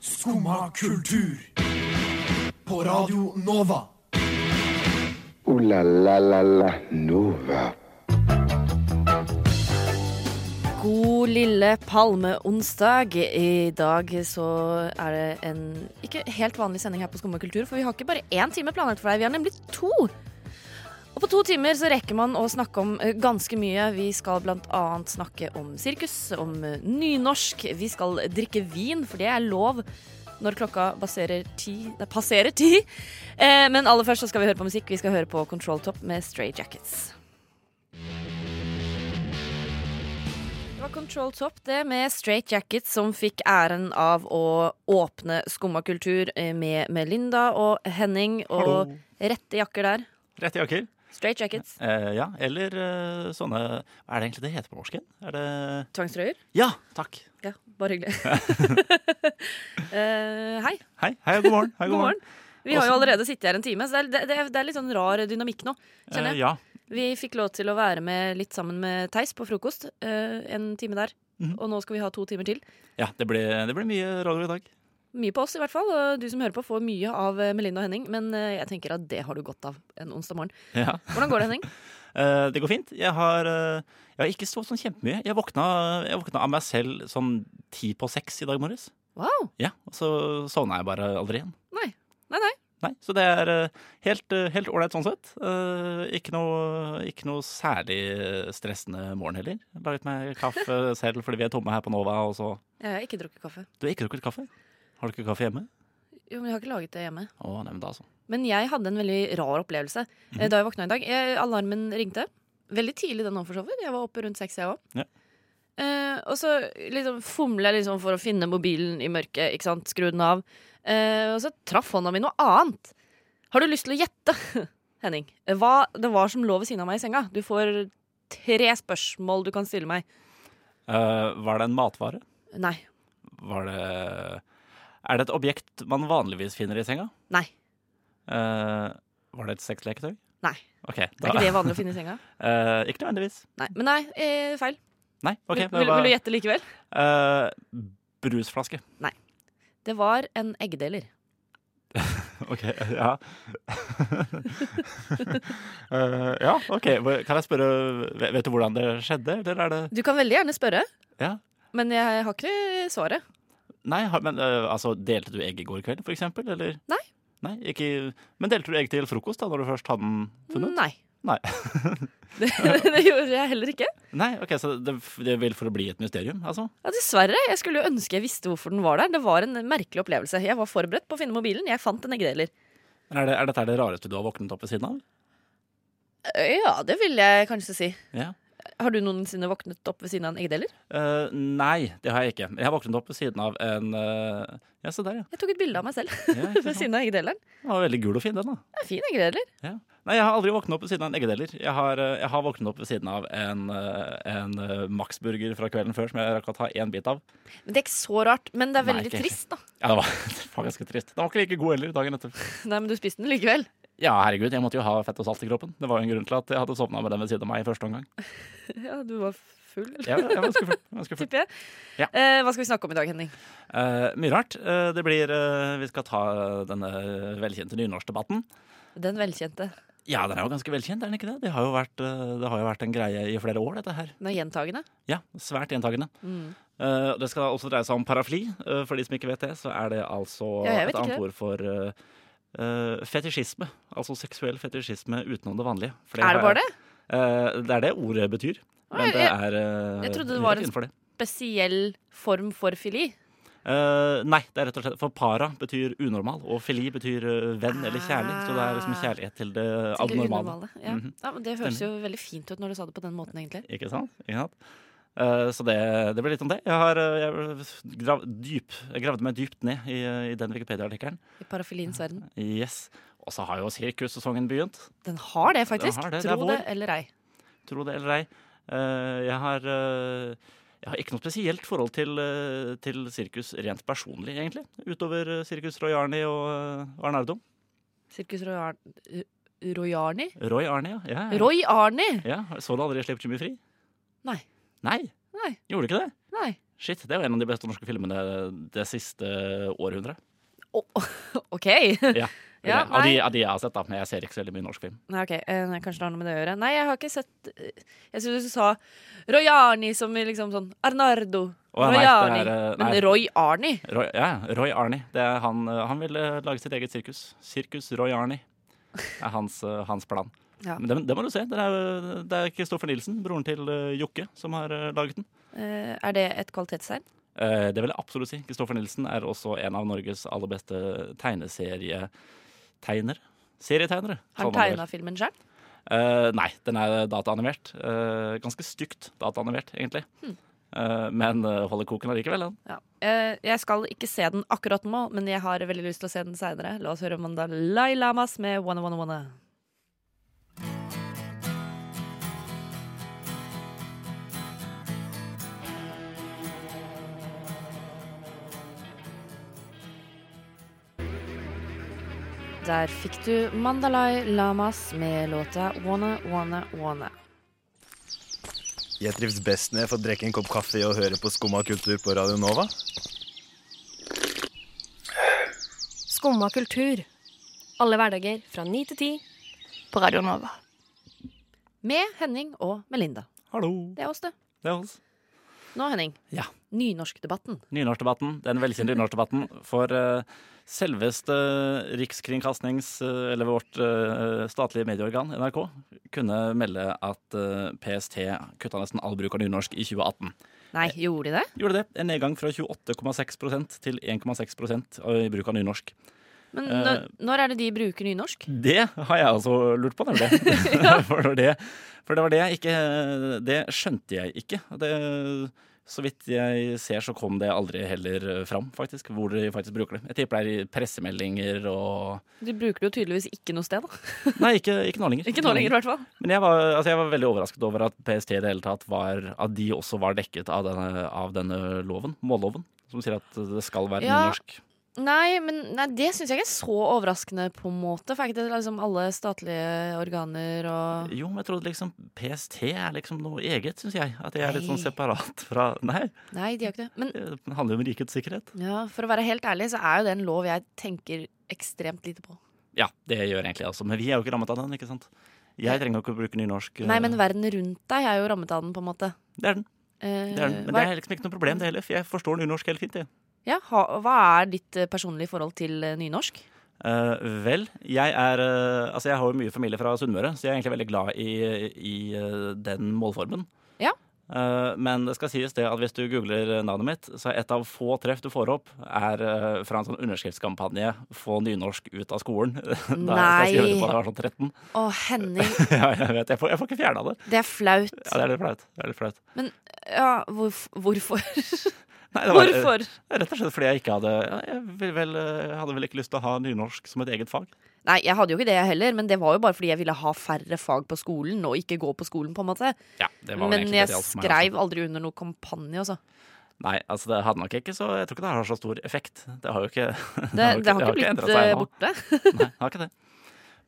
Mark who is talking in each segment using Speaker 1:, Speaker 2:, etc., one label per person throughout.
Speaker 1: Skumma kultur. På Radio Nova.
Speaker 2: Ooh la la la la Nova.
Speaker 3: God lille palmeonsdag. I dag så er det en ikke helt vanlig sending her på Skumma kultur, for vi har ikke bare én time planlagt for deg, vi har nemlig to. Og på to timer så rekker man å snakke om eh, ganske mye. Vi skal blant annet snakke om sirkus, om eh, nynorsk. Vi skal drikke vin, for det er lov når klokka baserer ti, nei, passerer ti. Eh, men aller først så skal vi høre på musikk. Vi skal høre på Control Top med Stray Jackets. Det var Control Top det med Straight Jackets som fikk æren av å åpne Skumma kultur eh, med Melinda og Henning og rette jakker der.
Speaker 4: Rette jakker.
Speaker 3: Straight Jackets.
Speaker 4: Eh, ja, eller eh, sånne Hva er det egentlig det heter på norsk? igjen? Er det
Speaker 3: Tvangstrøyer.
Speaker 4: Ja, takk.
Speaker 3: Ja, bare hyggelig. Eh, hei,
Speaker 4: Hei, hei og god morgen. Hei, og
Speaker 3: god morgen. Vi har jo
Speaker 4: Også-
Speaker 3: allerede sittet her en time, så det er, det, er, det er litt sånn rar dynamikk nå.
Speaker 4: Eh,
Speaker 3: Kjenner jeg.
Speaker 4: ja.
Speaker 3: Vi fikk lov til å være med litt sammen med Theis på frokost eh, en time der.
Speaker 4: Mhm.
Speaker 3: Og nå skal vi ha to timer til.
Speaker 4: ja, det ble, det ble mye radio i dag.
Speaker 3: Mye på oss, i hvert fall. Og du som hører på, får mye av eh, Melinda og Henning. Men eh, jeg tenker at det har du godt av en onsdag morgen.
Speaker 4: Ja.
Speaker 3: Hvordan går det, Henning?
Speaker 4: Eh, det går fint. Jeg har, eh, jeg har ikke stått sånn kjempemye. Jeg våkna, jeg våkna av meg selv sånn ti på seks i dag morges.
Speaker 3: Wow!
Speaker 4: Ja, og så sovna jeg bare aldri igjen.
Speaker 3: Nei. Nei, nei.
Speaker 4: Nei, Så det er eh, helt eh, helt ålreit sånn sett. Eh, ikke, noe, ikke noe særlig eh, stressende morgen heller. Laget meg kaffe selv fordi vi er tomme her på Nova. og så...
Speaker 3: Jeg har ikke drukket kaffe.
Speaker 4: Du har ikke drukket kaffe? Har du ikke kaffe hjemme?
Speaker 3: Jo, men jeg har ikke laget det hjemme.
Speaker 4: Å, nei, men da altså.
Speaker 3: Men jeg hadde en veldig rar opplevelse eh,
Speaker 4: Mhm.
Speaker 3: da jeg våkna i dag. Jeg, alarmen ringte. Veldig tidlig den nå, for så vidt. Jeg var oppe rundt seks, jeg òg.
Speaker 4: Ja.
Speaker 3: Eh, og så liksom fomler jeg liksom for å finne mobilen i mørket. Ikke sant? Skru den av. Eh, og så traff hånda mi noe annet. Har du lyst til å gjette, Henning, hva det var som lå ved siden av meg i senga? Du får tre spørsmål du kan stille meg.
Speaker 4: Eh, var det en matvare?
Speaker 3: Nei.
Speaker 4: Var det Er det et objekt man vanligvis finner i senga?
Speaker 3: Nei.
Speaker 4: Eh, var det et sexleketøy?
Speaker 3: Nei.
Speaker 4: OK.
Speaker 3: Det er ikke det vanlig å finne i senga.
Speaker 4: Eh, ikke nødvendigvis.
Speaker 3: Nei, Men nei, eh, feil.
Speaker 4: Nei. ok. det
Speaker 3: vil, vil,
Speaker 4: var-
Speaker 3: vil du gjette likevel?
Speaker 4: Eh, brusflaske.
Speaker 3: Det var en eggdeler.
Speaker 4: OK, ja. Eh, ja, OK. Hvor- Kan jeg spørre ve- Vet du hvordan det skjedde, eller er det
Speaker 3: Du kan veldig gjerne spørre,
Speaker 4: Ja.
Speaker 3: men jeg har ikke svaret.
Speaker 4: Nei, har- men eh, altså, delte du egg i går kveld, for eksempel, eller?
Speaker 3: Nei.
Speaker 4: Nei, ikke Men delte du egg til frokost, da, når du først hadde den funnet?
Speaker 3: Nei.
Speaker 4: Nei.
Speaker 3: det, det gjorde jeg heller ikke.
Speaker 4: Nei, ok, så det, det vil for å bli et mysterium, altså?
Speaker 3: Ja, dessverre. Jeg skulle jo ønske jeg visste hvorfor den var der. Det var en merkelig opplevelse. Jeg var forberedt på å finne mobilen. Jeg fant en eggdeler.
Speaker 4: Er, det, er dette det rareste du har våknet opp ved siden av?
Speaker 3: Eh, Ja, det vil jeg kanskje si.
Speaker 4: Ja.
Speaker 3: Har du noensinne våknet opp ved siden av en eggdeler?
Speaker 4: Eh, nei, det har jeg ikke. Jeg har våknet opp ved siden av en eh, Ja, se der, ja.
Speaker 3: Jeg tok et bilde av meg selv
Speaker 4: ja ikke
Speaker 3: ved
Speaker 4: sant?
Speaker 3: siden av eggdeleren.
Speaker 4: den var veldig gul og fin, den, da.
Speaker 3: Det er fin eggdeler.
Speaker 4: Ja. Nei, jeg har aldri våknet opp ved siden av en eggedeler. Jeg har, eh, jeg har våknet opp ved siden av en, eh, en eh, Max-burger fra kvelden før som jeg rakk å ta én bit av.
Speaker 3: Men det er ikke så rart. Men det er
Speaker 4: Nei,
Speaker 3: veldig
Speaker 4: ikke.
Speaker 3: trist, da.
Speaker 4: Ja, det var, det var ganske trist. Den var ikke like god heller dagen etter.
Speaker 3: Nei, men du spiste den likevel.
Speaker 4: Ja, herregud, jeg måtte jo ha fett og salt i kroppen. Det var jo en grunn til at jeg hadde sovna med den ved siden av meg i første omgang.
Speaker 3: Ja, du var full, eller?
Speaker 4: Jeg, jeg var skuffet. Jeg var skuffet.
Speaker 3: Tipper jeg.
Speaker 4: Ja.
Speaker 3: Eh, hva skal vi snakke om i dag, Henning?
Speaker 4: Eh, mye rart. Eh, det blir eh, Vi skal ta denne velkjente nynorskdebatten.
Speaker 3: Den velkjente.
Speaker 4: Ja, den er jo ganske velkjent, er den ikke det? Det har jo vært, eh, det har jo vært en greie i flere år, dette her.
Speaker 3: Den er gjentagende.
Speaker 4: Ja, svært gjentagende.
Speaker 3: Mm.
Speaker 4: Eh, det skal også dreie seg om parafli. Eh, for de som ikke vet det, så er det altså
Speaker 3: Ja, jeg vet
Speaker 4: et annet
Speaker 3: ikke
Speaker 4: ord for eh, eh, fetisjisme. Altså seksuell fetisjisme utenom det vanlige. For
Speaker 3: er det
Speaker 4: har-
Speaker 3: bare det?
Speaker 4: Eh, det er det ordet betyr.
Speaker 3: Ah,
Speaker 4: Men det
Speaker 3: jeg-
Speaker 4: er eh,
Speaker 3: jeg trodde det
Speaker 4: helt
Speaker 3: var en-
Speaker 4: innenfor det.
Speaker 3: Spesiell form for fili.
Speaker 4: Eh, nei, det er rett og slett For para betyr unormal, og fili betyr eh, venn eller kjærlig. Så det er liksom
Speaker 3: Ah.
Speaker 4: kjærlighet til det
Speaker 3: Til det
Speaker 4: abnormale.
Speaker 3: unormale, Ja.
Speaker 4: Mhm.
Speaker 3: ja, men Det høres jo veldig fint ut når du sa det på den måten, egentlig.
Speaker 4: Ikke sant? Ikke sant? Eh, så det, det blir litt om det. Jeg har eh, jeg grav, dyp, jeg gravde meg dypt ned i, eh, i den Wikipedia-artikkelen.
Speaker 3: I parafiliens verden.
Speaker 4: Yes. Og så har jo sirkussesongen begynt.
Speaker 3: Den har det, faktisk.
Speaker 4: Den har det, det er
Speaker 3: Tro
Speaker 4: vår.
Speaker 3: det eller ei.
Speaker 4: Tro det eller ei. Eh, jeg har eh, jeg har ikke noe spesielt forhold til, eh, til sirkus rent personlig, egentlig. Utover eh, sirkus Roy Arni og eh, Arnardo.
Speaker 3: Sirkus Royar- Ro- Royarni?
Speaker 4: Roy Arni, ja. ja, ja.
Speaker 3: Roy Arni!
Speaker 4: ja. Så du aldri Slipp Jimmy fri?
Speaker 3: Nei.
Speaker 4: Nei,
Speaker 3: Nei.
Speaker 4: gjorde du ikke det?
Speaker 3: Nei.
Speaker 4: Shit, det er jo en av de beste norske filmene det siste århundret.
Speaker 3: Å, OK!
Speaker 4: Ja, vil
Speaker 3: Ja,
Speaker 4: jeg- av, de,
Speaker 3: nei.
Speaker 4: av de jeg har sett, da. Men jeg ser ikke så veldig mye norsk film.
Speaker 3: Nei, ok, eh, nei, Kanskje det har noe med det å gjøre. Nei, jeg har ikke sett eh, Jeg synes du sa Royani som i liksom sånn Arnardo.
Speaker 4: Å,
Speaker 3: Roy
Speaker 4: nei, det er,
Speaker 3: Arni.
Speaker 4: eh,
Speaker 3: Men
Speaker 4: nei.
Speaker 3: Roy Arni?
Speaker 4: Roy, ja, ja, Roy Arnie. Det er han, eh, han vil eh, lage sitt eget sirkus. Sirkus Roy Arnie er hans, eh, hans plan.
Speaker 3: Ja.
Speaker 4: Men det, det må du se. Det er, eh, det er Kristoffer Nilsen, broren til eh, Jokke, som har eh, laget den.
Speaker 3: Eh, er det et kvalitetstegn?
Speaker 4: Eh, Det vil jeg absolutt si. Kristoffer Nilsen er også en av Norges aller beste tegneserietegnere. Serietegnere.
Speaker 3: Har han
Speaker 4: kaller man det vel.
Speaker 3: tegna filmen sjøl?
Speaker 4: Eh, nei, den er dataanimert. Eh, ganske stygt dataanimert, egentlig.
Speaker 3: Hm.
Speaker 4: Eh, men eh, holder koken allikevel. Den.
Speaker 3: Ja. Eh, jeg skal ikke se den akkurat nå, men jeg har veldig lyst til å se den seinere. La oss høre om Dalai Lamas med Wanna Wanna Wanna. Der fikk du Mandalai Lamas med låta Wanna Wanna Wanna.
Speaker 5: Jeg trives best når jeg får drikke en kopp kaffe og høre på Skumma kultur på Radio Nova.
Speaker 6: Skumma kultur. Alle hverdager fra ni til ti. På Radio Nova.
Speaker 3: Med Henning og Melinda.
Speaker 4: Hallo.
Speaker 3: Det er oss, det.
Speaker 4: Det er oss.
Speaker 3: Nå, Henning.
Speaker 4: Ja.
Speaker 3: Nynorskdebatten.
Speaker 4: Nynorskdebatten. Den velsinte nynorskdebatten. For eh, selveste Rikskringkastings, eh, eller vårt eh, statlige medieorgan, NRK, kunne melde at eh, PST kutta nesten all bruk av nynorsk i 2018.
Speaker 3: Nei, gjorde de det?
Speaker 4: Gjorde det. En nedgang fra 28,6 til 1,6 i bruk av nynorsk.
Speaker 3: Men
Speaker 4: Eh,
Speaker 3: når, når er det de bruker nynorsk?
Speaker 4: Det har jeg også lurt på, nemlig. for, det var det, for det var det jeg ikke Det skjønte jeg ikke. Det, så vidt jeg ser, så kom det aldri heller fram, faktisk, hvor de faktisk bruker det. Jeg tipper det er i pressemeldinger og
Speaker 3: De bruker det jo tydeligvis ikke noe sted. da.
Speaker 4: Nei, ikke, ikke nå lenger.
Speaker 3: Ikke nå lenger, i hvert fall.
Speaker 4: Men jeg var, altså jeg var veldig overrasket over at PST i det hele tatt var At de også var dekket av denne, av denne loven, målloven, som sier at det skal være
Speaker 3: Ja.
Speaker 4: nynorsk.
Speaker 3: Nei, men nei, det syns jeg ikke er så overraskende, på en måte. For er ikke det liksom alle statlige organer og
Speaker 4: Jo, men jeg trodde liksom PST er liksom noe eget, syns jeg. At det er litt sånn separat fra Nei.
Speaker 3: Nei, de har ikke det. Men
Speaker 4: Det handler jo om rikets sikkerhet.
Speaker 3: ja, for å være helt ærlig, så er jo det en lov jeg tenker ekstremt lite på.
Speaker 4: Ja, det gjør egentlig jeg også, men vi er jo ikke rammet av den, ikke sant? Jeg trenger jo ikke å bruke nynorsk. eh,
Speaker 3: Nei, men verden rundt deg er jo rammet av den, på en måte.
Speaker 4: Det er den.
Speaker 3: Eh,
Speaker 4: det er den. Men
Speaker 3: hva,
Speaker 4: det er liksom ikke noe problem, det heller, for jeg forstår nynorsk helt fint, jeg.
Speaker 3: ja, ha, hva er ditt eh, personlige forhold til eh, nynorsk?
Speaker 4: Eh, vel, jeg er eh, Altså, jeg har jo mye familie fra Sunnmøre, så jeg er egentlig veldig glad i, i eh, den målformen.
Speaker 3: Ja.
Speaker 4: Eh, men det skal sies det at hvis du googler navnet mitt, så er et av få treff du får opp, er eh, fra en sånn underskriftskampanje 'Få nynorsk ut av skolen'. da jeg skal skrive det på da jeg var sånn 13.
Speaker 3: Å, Henning,
Speaker 4: ja, jeg vet. Jeg får, jeg får ikke fjerna det.
Speaker 3: det er flaut.
Speaker 4: Ja, det er litt flaut. Det er litt flaut.
Speaker 3: Ja, hvorf hvorfor?
Speaker 4: Nei, det var- eh,
Speaker 3: Hvorfor?
Speaker 4: Rett og slett fordi jeg ikke hadde ja, jeg, vil vel, jeg hadde vel ikke lyst til å ha nynorsk som et eget fag.
Speaker 3: Nei, jeg hadde jo ikke det jeg heller, men det var jo bare fordi jeg ville ha færre fag på skolen og ikke gå på skolen, på en måte.
Speaker 4: Ja, det var vel
Speaker 3: Men
Speaker 4: egentlig det
Speaker 3: jeg
Speaker 4: det gjaldt for meg
Speaker 3: skreiv aldri under noe kampanje, altså.
Speaker 4: også. Nei, altså det hadde nok ikke så Jeg tror ikke det har så stor effekt. Det har jo ikke Det,
Speaker 3: Det, det har
Speaker 4: det
Speaker 3: ikke
Speaker 4: endret
Speaker 3: blitt
Speaker 4: seg
Speaker 3: eh,
Speaker 4: nå.
Speaker 3: borte.
Speaker 4: Nei, det har ikke det.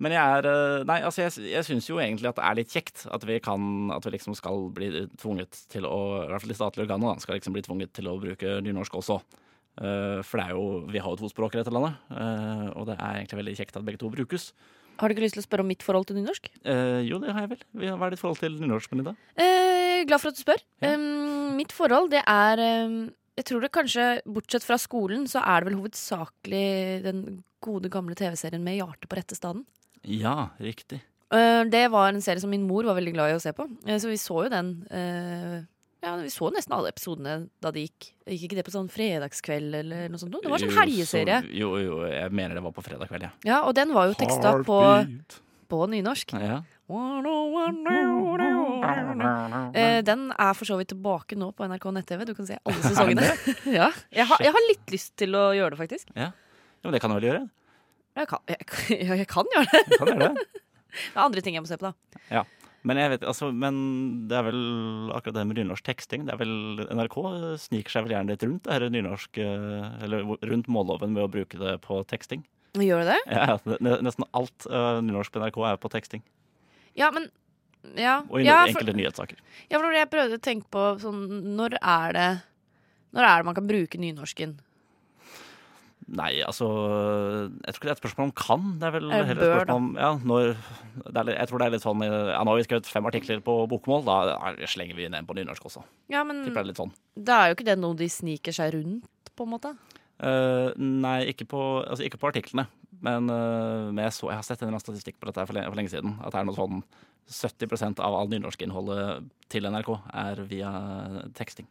Speaker 4: Men jeg er eh, Nei, altså jeg, jeg syns jo egentlig at det er litt kjekt at vi kan At vi liksom skal bli tvunget til å I hvert fall de statlige organene da, skal liksom bli tvunget til å bruke nynorsk også. Eh, for det er jo Vi har jo to språk i dette landet, eh, og det er egentlig veldig kjekt at begge to brukes.
Speaker 3: Har du ikke lyst til å spørre om mitt forhold til nynorsk?
Speaker 4: Eh, jo, det har jeg vel. Hva er ditt forhold til nynorsk, Melinda?
Speaker 3: Eh, glad for at du spør.
Speaker 4: Ja.
Speaker 3: Um, mitt forhold, det er um, Jeg tror det kanskje, bortsett fra skolen, så er det vel hovedsakelig den gode, gamle TV-serien med hjertet på rette staden.
Speaker 4: Ja, riktig.
Speaker 3: Eh, det var en serie som min mor var veldig glad i å se på, eh, så vi så jo den. eh, ja, Vi så nesten alle episodene da det gikk. Gikk ikke det på sånn fredagskveld eller noe sånt? noe? Det var sånn
Speaker 4: Jo,
Speaker 3: helgeserie.
Speaker 4: så- Jo, jo, jeg mener det var på fredag kveld, ja.
Speaker 3: Ja, og den var jo teksta på, på nynorsk.
Speaker 4: ja.
Speaker 3: Eh, Den er for så vidt tilbake nå på NRK nett-TV. Du kan se alle sesongene. ja. jeg, har, jeg har litt lyst til å gjøre det, faktisk.
Speaker 4: Ja, men det kan du vel gjøre?
Speaker 3: Jeg kan, jeg, kan- jeg kan gjøre det.
Speaker 4: Du Kan gjøre det.
Speaker 3: Det er andre ting jeg må se på, da.
Speaker 4: Men, jeg vet, altså, men det er vel akkurat det med nynorsk teksting. Det er vel, NRK sniker seg vel gjerne litt rundt det her nynorsk, eh, eller rundt målloven med å bruke det på teksting.
Speaker 3: Gjør du det?
Speaker 4: Ja, ja, ne- nesten alt eh, nynorsk på NRK er på teksting.
Speaker 3: Ja, men Ja,
Speaker 4: Og i
Speaker 3: ja, for,
Speaker 4: enkelte nyhetssaker.
Speaker 3: ja for når jeg prøvde å tenke på sånn Når er det Når er det man kan bruke nynorsken?
Speaker 4: Nei, altså Jeg tror ikke det er et spørsmål om kan. Det er vel
Speaker 3: Eller
Speaker 4: heller
Speaker 3: Eh, bør,
Speaker 4: et spørsmål om ja, når det er, litt- Jeg tror det er litt sånn ja, Nå har vi skrevet fem artikler på bokmål, da er- slenger vi den på nynorsk også.
Speaker 3: Ja, men
Speaker 4: Tipper det er litt sånn.
Speaker 3: da er jo ikke det noe de sniker seg rundt, på en måte.
Speaker 4: Eh, nei, ikke på, altså, ikke på artiklene. Men, eh, men jeg, så, jeg har sett en eller annen statistikk på dette her for lenge, for lenge siden. At det er noe sånn 70 av all nynorskinnholdet til NRK er via teksting.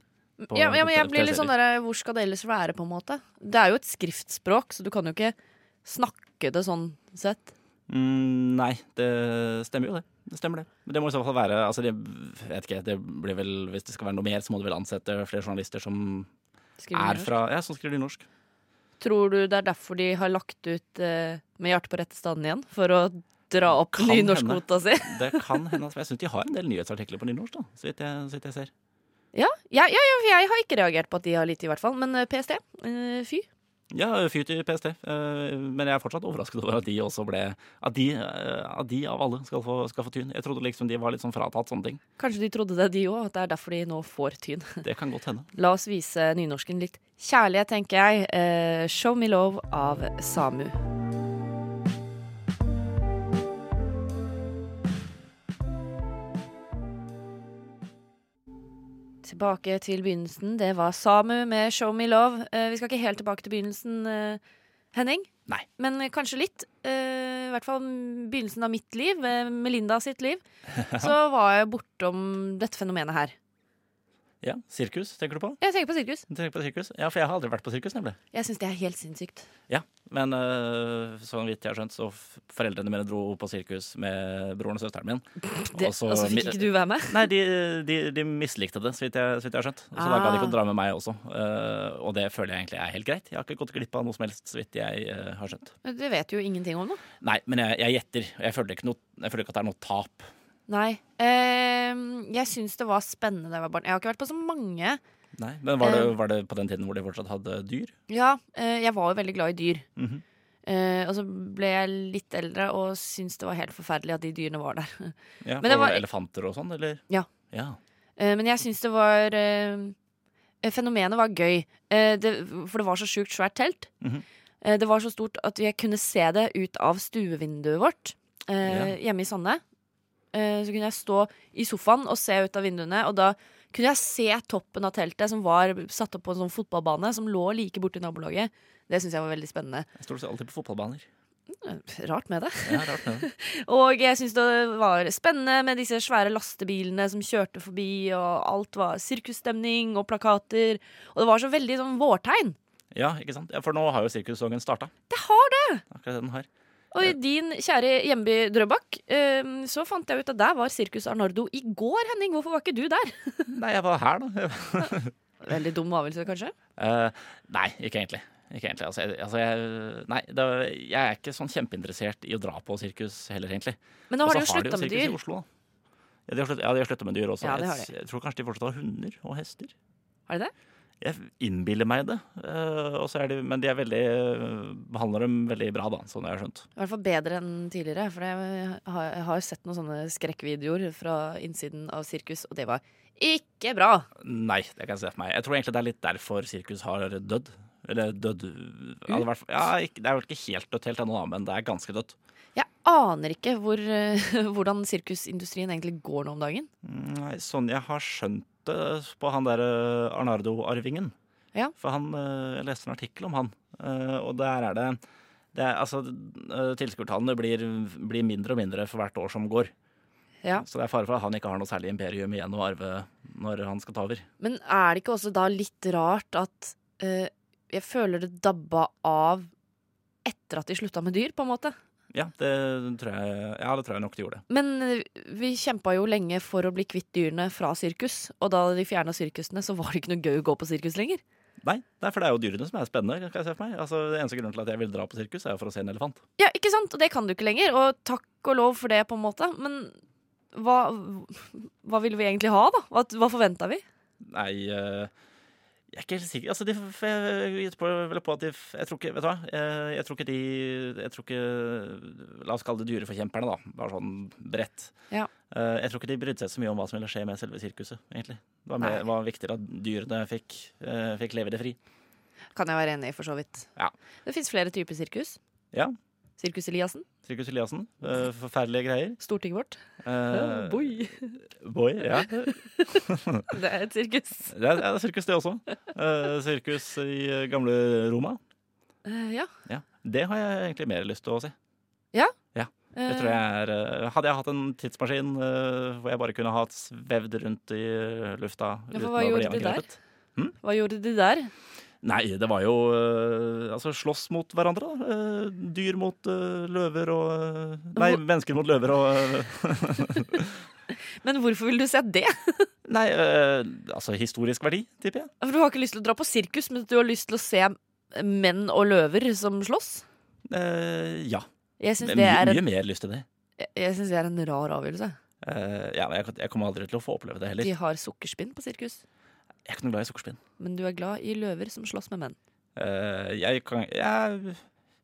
Speaker 4: på
Speaker 3: Ja, ja, men jeg blir litt sånn
Speaker 4: TV-serier.
Speaker 3: der, Hvor skal det ellers være, på en måte? Det er jo et skriftspråk, så du kan jo ikke snakke det sånn sett.
Speaker 4: Mm, nei, det stemmer jo det. Det stemmer det. Men det må i så fall være altså det, jeg vet ikke, det blir vel, Hvis det skal være noe mer, så må du vel ansette flere journalister som
Speaker 3: Skriver
Speaker 4: er
Speaker 3: nynorsk.
Speaker 4: fra Ja, som skriver nynorsk.
Speaker 3: Tror du det er derfor de har lagt ut eh, Med hjertet på rette standen igjen? For å dra opp
Speaker 4: Kan
Speaker 3: nynorskkvota si?
Speaker 4: Det kan hende. at- Jeg syns de har en del nyhetsartikler på nynorsk, da, så vidt jeg, så vidt jeg ser.
Speaker 3: Ja, ja, ja, ja, for jeg har ikke reagert på at de har lite, i hvert fall. Men eh, PST, eh, fy.
Speaker 4: Ja, fyr til PST. eh, Men jeg er fortsatt overrasket over at de også ble At de, eh, at de av alle skal få, skal få tyn. Jeg trodde liksom de var litt sånn fratatt sånne ting.
Speaker 3: Kanskje de trodde det, de òg, at det er derfor de nå får tyn.
Speaker 4: Det kan godt hende.
Speaker 3: La oss vise nynorsken litt kjærlighet, tenker jeg. Eh, 'Show Me Love' av Samu. Tilbake til begynnelsen. Det var Samu med 'Show Me Love'. Eh, vi skal ikke helt tilbake til begynnelsen, eh, Henning.
Speaker 4: Nei.
Speaker 3: Men eh, kanskje litt. Eh, I hvert fall begynnelsen av mitt liv, eh, Melinda sitt liv. Så var jeg bortom dette fenomenet her.
Speaker 4: Ja, Sirkus, tenker du på?
Speaker 3: Jeg tenker på sirkus.
Speaker 4: Du Tenker på sirkus? Ja, for jeg har aldri vært på sirkus, nemlig.
Speaker 3: Jeg syns det er helt sinnssykt.
Speaker 4: Ja, men øh, sånn vidt jeg har skjønt, så f- foreldrene mine dro på sirkus med broren og søsteren min.
Speaker 3: Det, og
Speaker 4: Altså,
Speaker 3: så fikk ikke du være med?
Speaker 4: Nei, de, de, de mislikte det, så vidt jeg, så vidt jeg har skjønt. Så da
Speaker 3: Ah.
Speaker 4: ga de ikke å dra med meg også. Eh, og det føler jeg egentlig er helt greit. Jeg har ikke gått glipp av noe som helst, så vidt jeg eh, har skjønt.
Speaker 3: Det vet jo ingenting om, da.
Speaker 4: Nei, men jeg, jeg gjetter. Jeg føler, ikke noe, jeg føler ikke at det er noe tap.
Speaker 3: Nei. Eh, jeg syns det var spennende da jeg var barn. Jeg har ikke vært på så mange.
Speaker 4: Nei, Men var det,
Speaker 3: Eh.
Speaker 4: var det på den tiden hvor de fortsatt hadde dyr?
Speaker 3: Ja, eh, jeg var jo veldig glad i dyr.
Speaker 4: Mhm.
Speaker 3: eh, og så ble jeg litt eldre og syntes det var helt forferdelig at de dyrene var der.
Speaker 4: Ja,
Speaker 3: Men
Speaker 4: men
Speaker 3: det
Speaker 4: det
Speaker 3: var-
Speaker 4: var det elefanter og sånn, eller?
Speaker 3: Ja.
Speaker 4: ja.
Speaker 3: Eh, men jeg syns det var eh, Fenomenet var gøy, eh, det, for det var så sjukt svært telt.
Speaker 4: Mhm.
Speaker 3: eh, det var så stort at jeg kunne se det ut av stuevinduet vårt eh, hjemme i Sande. Eh, så kunne jeg stå i sofaen og se ut av vinduene, og da kunne jeg se toppen av teltet som var satt opp på en sånn fotballbane som lå like borti nabolaget. Det syns jeg var veldig spennende.
Speaker 4: Jeg står alltid på fotballbaner.
Speaker 3: Eh, Rart med det.
Speaker 4: Ja, rart med det.
Speaker 3: Og jeg syntes det var spennende med disse svære lastebilene som kjørte forbi, og alt var sirkusstemning og plakater. Og det var så veldig sånn vårtegn.
Speaker 4: ja, ikke sant? Ja, for nå har jo sirkussesongen starta.
Speaker 3: Det har det!
Speaker 4: Akkurat det den har.
Speaker 3: Og i din kjære hjemby Drøbak, eh, så fant jeg ut at der var Sirkus Arnardo i går, Henning. Hvorfor var ikke du der?
Speaker 4: Nei, jeg var her, da.
Speaker 3: Veldig dum avgjørelse, kanskje?
Speaker 4: Eh, nei, ikke egentlig. Ikke egentlig. Altså, jeg, altså, jeg, nei, det, jeg er ikke sånn kjempeinteressert i å dra på sirkus heller, egentlig.
Speaker 3: Men nå har
Speaker 4: Og
Speaker 3: de jo
Speaker 4: så
Speaker 3: slutta med
Speaker 4: sirkus i
Speaker 3: dyr.
Speaker 4: Oslo, da. Ja, de har slutt- ja, de har slutta med dyr også.
Speaker 3: Ja, det har
Speaker 4: jeg,
Speaker 3: de.
Speaker 4: jeg tror kanskje de fortsatt har hunder og hester.
Speaker 3: Har de det?
Speaker 4: Jeg innbiller meg det. eh, og så er de, men de er veldig, eh, behandler dem veldig bra, da, sånn jeg har skjønt.
Speaker 3: I hvert fall bedre enn tidligere. For jeg har, jeg har sett noen sånne skrekkvideoer fra innsiden av sirkus, og det var ikke bra.
Speaker 4: Nei, det kan jeg se for meg. Jeg tror egentlig det er litt derfor sirkus har dødd. Eller dødd ja, det, er i hvert fall- ja, ikke, det er vel ikke helt dødt helt ennå, da, men det er ganske dødt.
Speaker 3: Jeg aner ikke hvor, eh, hvordan sirkusindustrien egentlig går nå om dagen.
Speaker 4: Nei, sånn jeg har skjønt det på han der eh, Arnardo-arvingen.
Speaker 3: Ja.
Speaker 4: For han, eh, jeg leste en artikkel om han, eh, og der er det, det er, altså, eh, Tilskuertallene blir, blir mindre og mindre for hvert år som går.
Speaker 3: Ja.
Speaker 4: Så det er fare for at han ikke har noe særlig imperium igjen å arve når han skal ta over.
Speaker 3: Men er det ikke også da litt rart at eh, jeg føler det dabba av etter at de slutta med dyr, på en måte?
Speaker 4: Ja, det tror jeg, ja, det tror jeg nok de gjorde.
Speaker 3: Men eh, vi kjempa jo lenge for å bli kvitt dyrene fra sirkus, og da de fjerna sirkusene, så var det ikke noe gøy å gå på sirkus lenger.
Speaker 4: Nei, nei, for det er jo dyrene som er spennende. kan jeg se for meg. Altså, det eneste grunnen til at jeg ville dra på sirkus, er jo for å se en elefant.
Speaker 3: Ja, ikke sant? Og det kan du ikke lenger, og takk og lov for det, på en måte. Men hva, hva ville vi egentlig ha, da? Hva, hva forventa vi?
Speaker 4: Nei, eh, Jeg er ikke helt sikker. Altså, de, f- jeg gjetter på, vel på at de f- Jeg tror ikke Vet du hva? Eh, Jeg tror ikke de Jeg tror ikke La oss kalle det dyreforkjemperne, da. Bare sånn bredt.
Speaker 3: Ja.
Speaker 4: Eh, Jeg tror ikke de brydde seg så mye om hva som ville skje med selve sirkuset, egentlig. Det var, mer,
Speaker 3: Nei.
Speaker 4: var viktigere at dyrene fikk, eh, fikk leve i det fri.
Speaker 3: Kan jeg være enig i, for så vidt.
Speaker 4: Ja.
Speaker 3: Det fins flere typer sirkus.
Speaker 4: Ja.
Speaker 3: Sirkus Eliassen,
Speaker 4: Sirkus Eliassen. eh, Forferdelige greier.
Speaker 3: Stortinget vårt.
Speaker 4: Eh,
Speaker 3: Øh, boy.
Speaker 4: boy, ja.
Speaker 3: Det er et sirkus.
Speaker 4: Det er, det er sirkus, det også. Eh, sirkus i eh, gamle Roma.
Speaker 3: Eh, ja.
Speaker 4: Ja. Det har jeg egentlig mer lyst til å se. Det tror
Speaker 3: Eh,
Speaker 4: jeg er, eh, hadde jeg hatt en tidsmaskin eh, hvor jeg bare kunne ha svevd rundt i eh, lufta
Speaker 3: Ja, for hva gjorde du der?
Speaker 4: Hm?
Speaker 3: Hva gjorde de der?
Speaker 4: Nei, det var jo eh, altså slåss mot hverandre. da. Eh, dyr mot eh, løver og eh, Nei,
Speaker 3: Hvor-
Speaker 4: mennesker mot løver og eh,
Speaker 3: Men hvorfor vil du se det?
Speaker 4: Nei, eh, altså historisk verdi, tipper jeg.
Speaker 3: For Du har ikke lyst til å dra på sirkus, men du har lyst til å se menn og løver som slåss?
Speaker 4: Eh, ja.
Speaker 3: Jeg syns
Speaker 4: Det
Speaker 3: det,
Speaker 4: er
Speaker 3: er
Speaker 4: mye,
Speaker 3: en-
Speaker 4: mye mer lyst til det.
Speaker 3: jeg- jeg synes det er en rar avgjørelse.
Speaker 4: Eh, ja, men jeg, jeg kommer aldri til å få oppleve det heller.
Speaker 3: De har sukkerspinn på sirkus,
Speaker 4: Jeg er ikke noe glad i sukkerspinn.
Speaker 3: men du er glad i løver som slåss med menn.
Speaker 4: Eh, jeg kan jeg,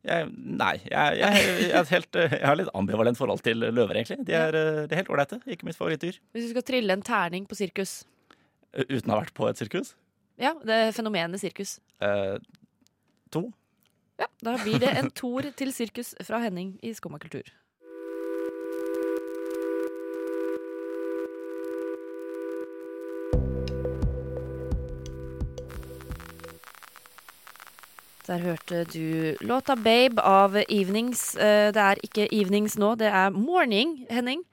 Speaker 4: jeg, Nei. Jeg, jeg, jeg, er helt, eh, jeg har litt ambivalent forhold til løver, egentlig. De er, eh, de er helt ålreite. Ikke mitt favorittdyr.
Speaker 3: Hvis du skal trille en terning på sirkus
Speaker 4: Eh, Uten å ha vært på et sirkus.
Speaker 3: Ja, det er fenomenet sirkus.
Speaker 4: Eh, to.
Speaker 3: Ja, Da blir det en toer til sirkus fra Henning i Skumma kultur. Der hørte du låta 'Babe' av Evenings. Eh, Det er ikke Evenings nå, det er Morning Henning.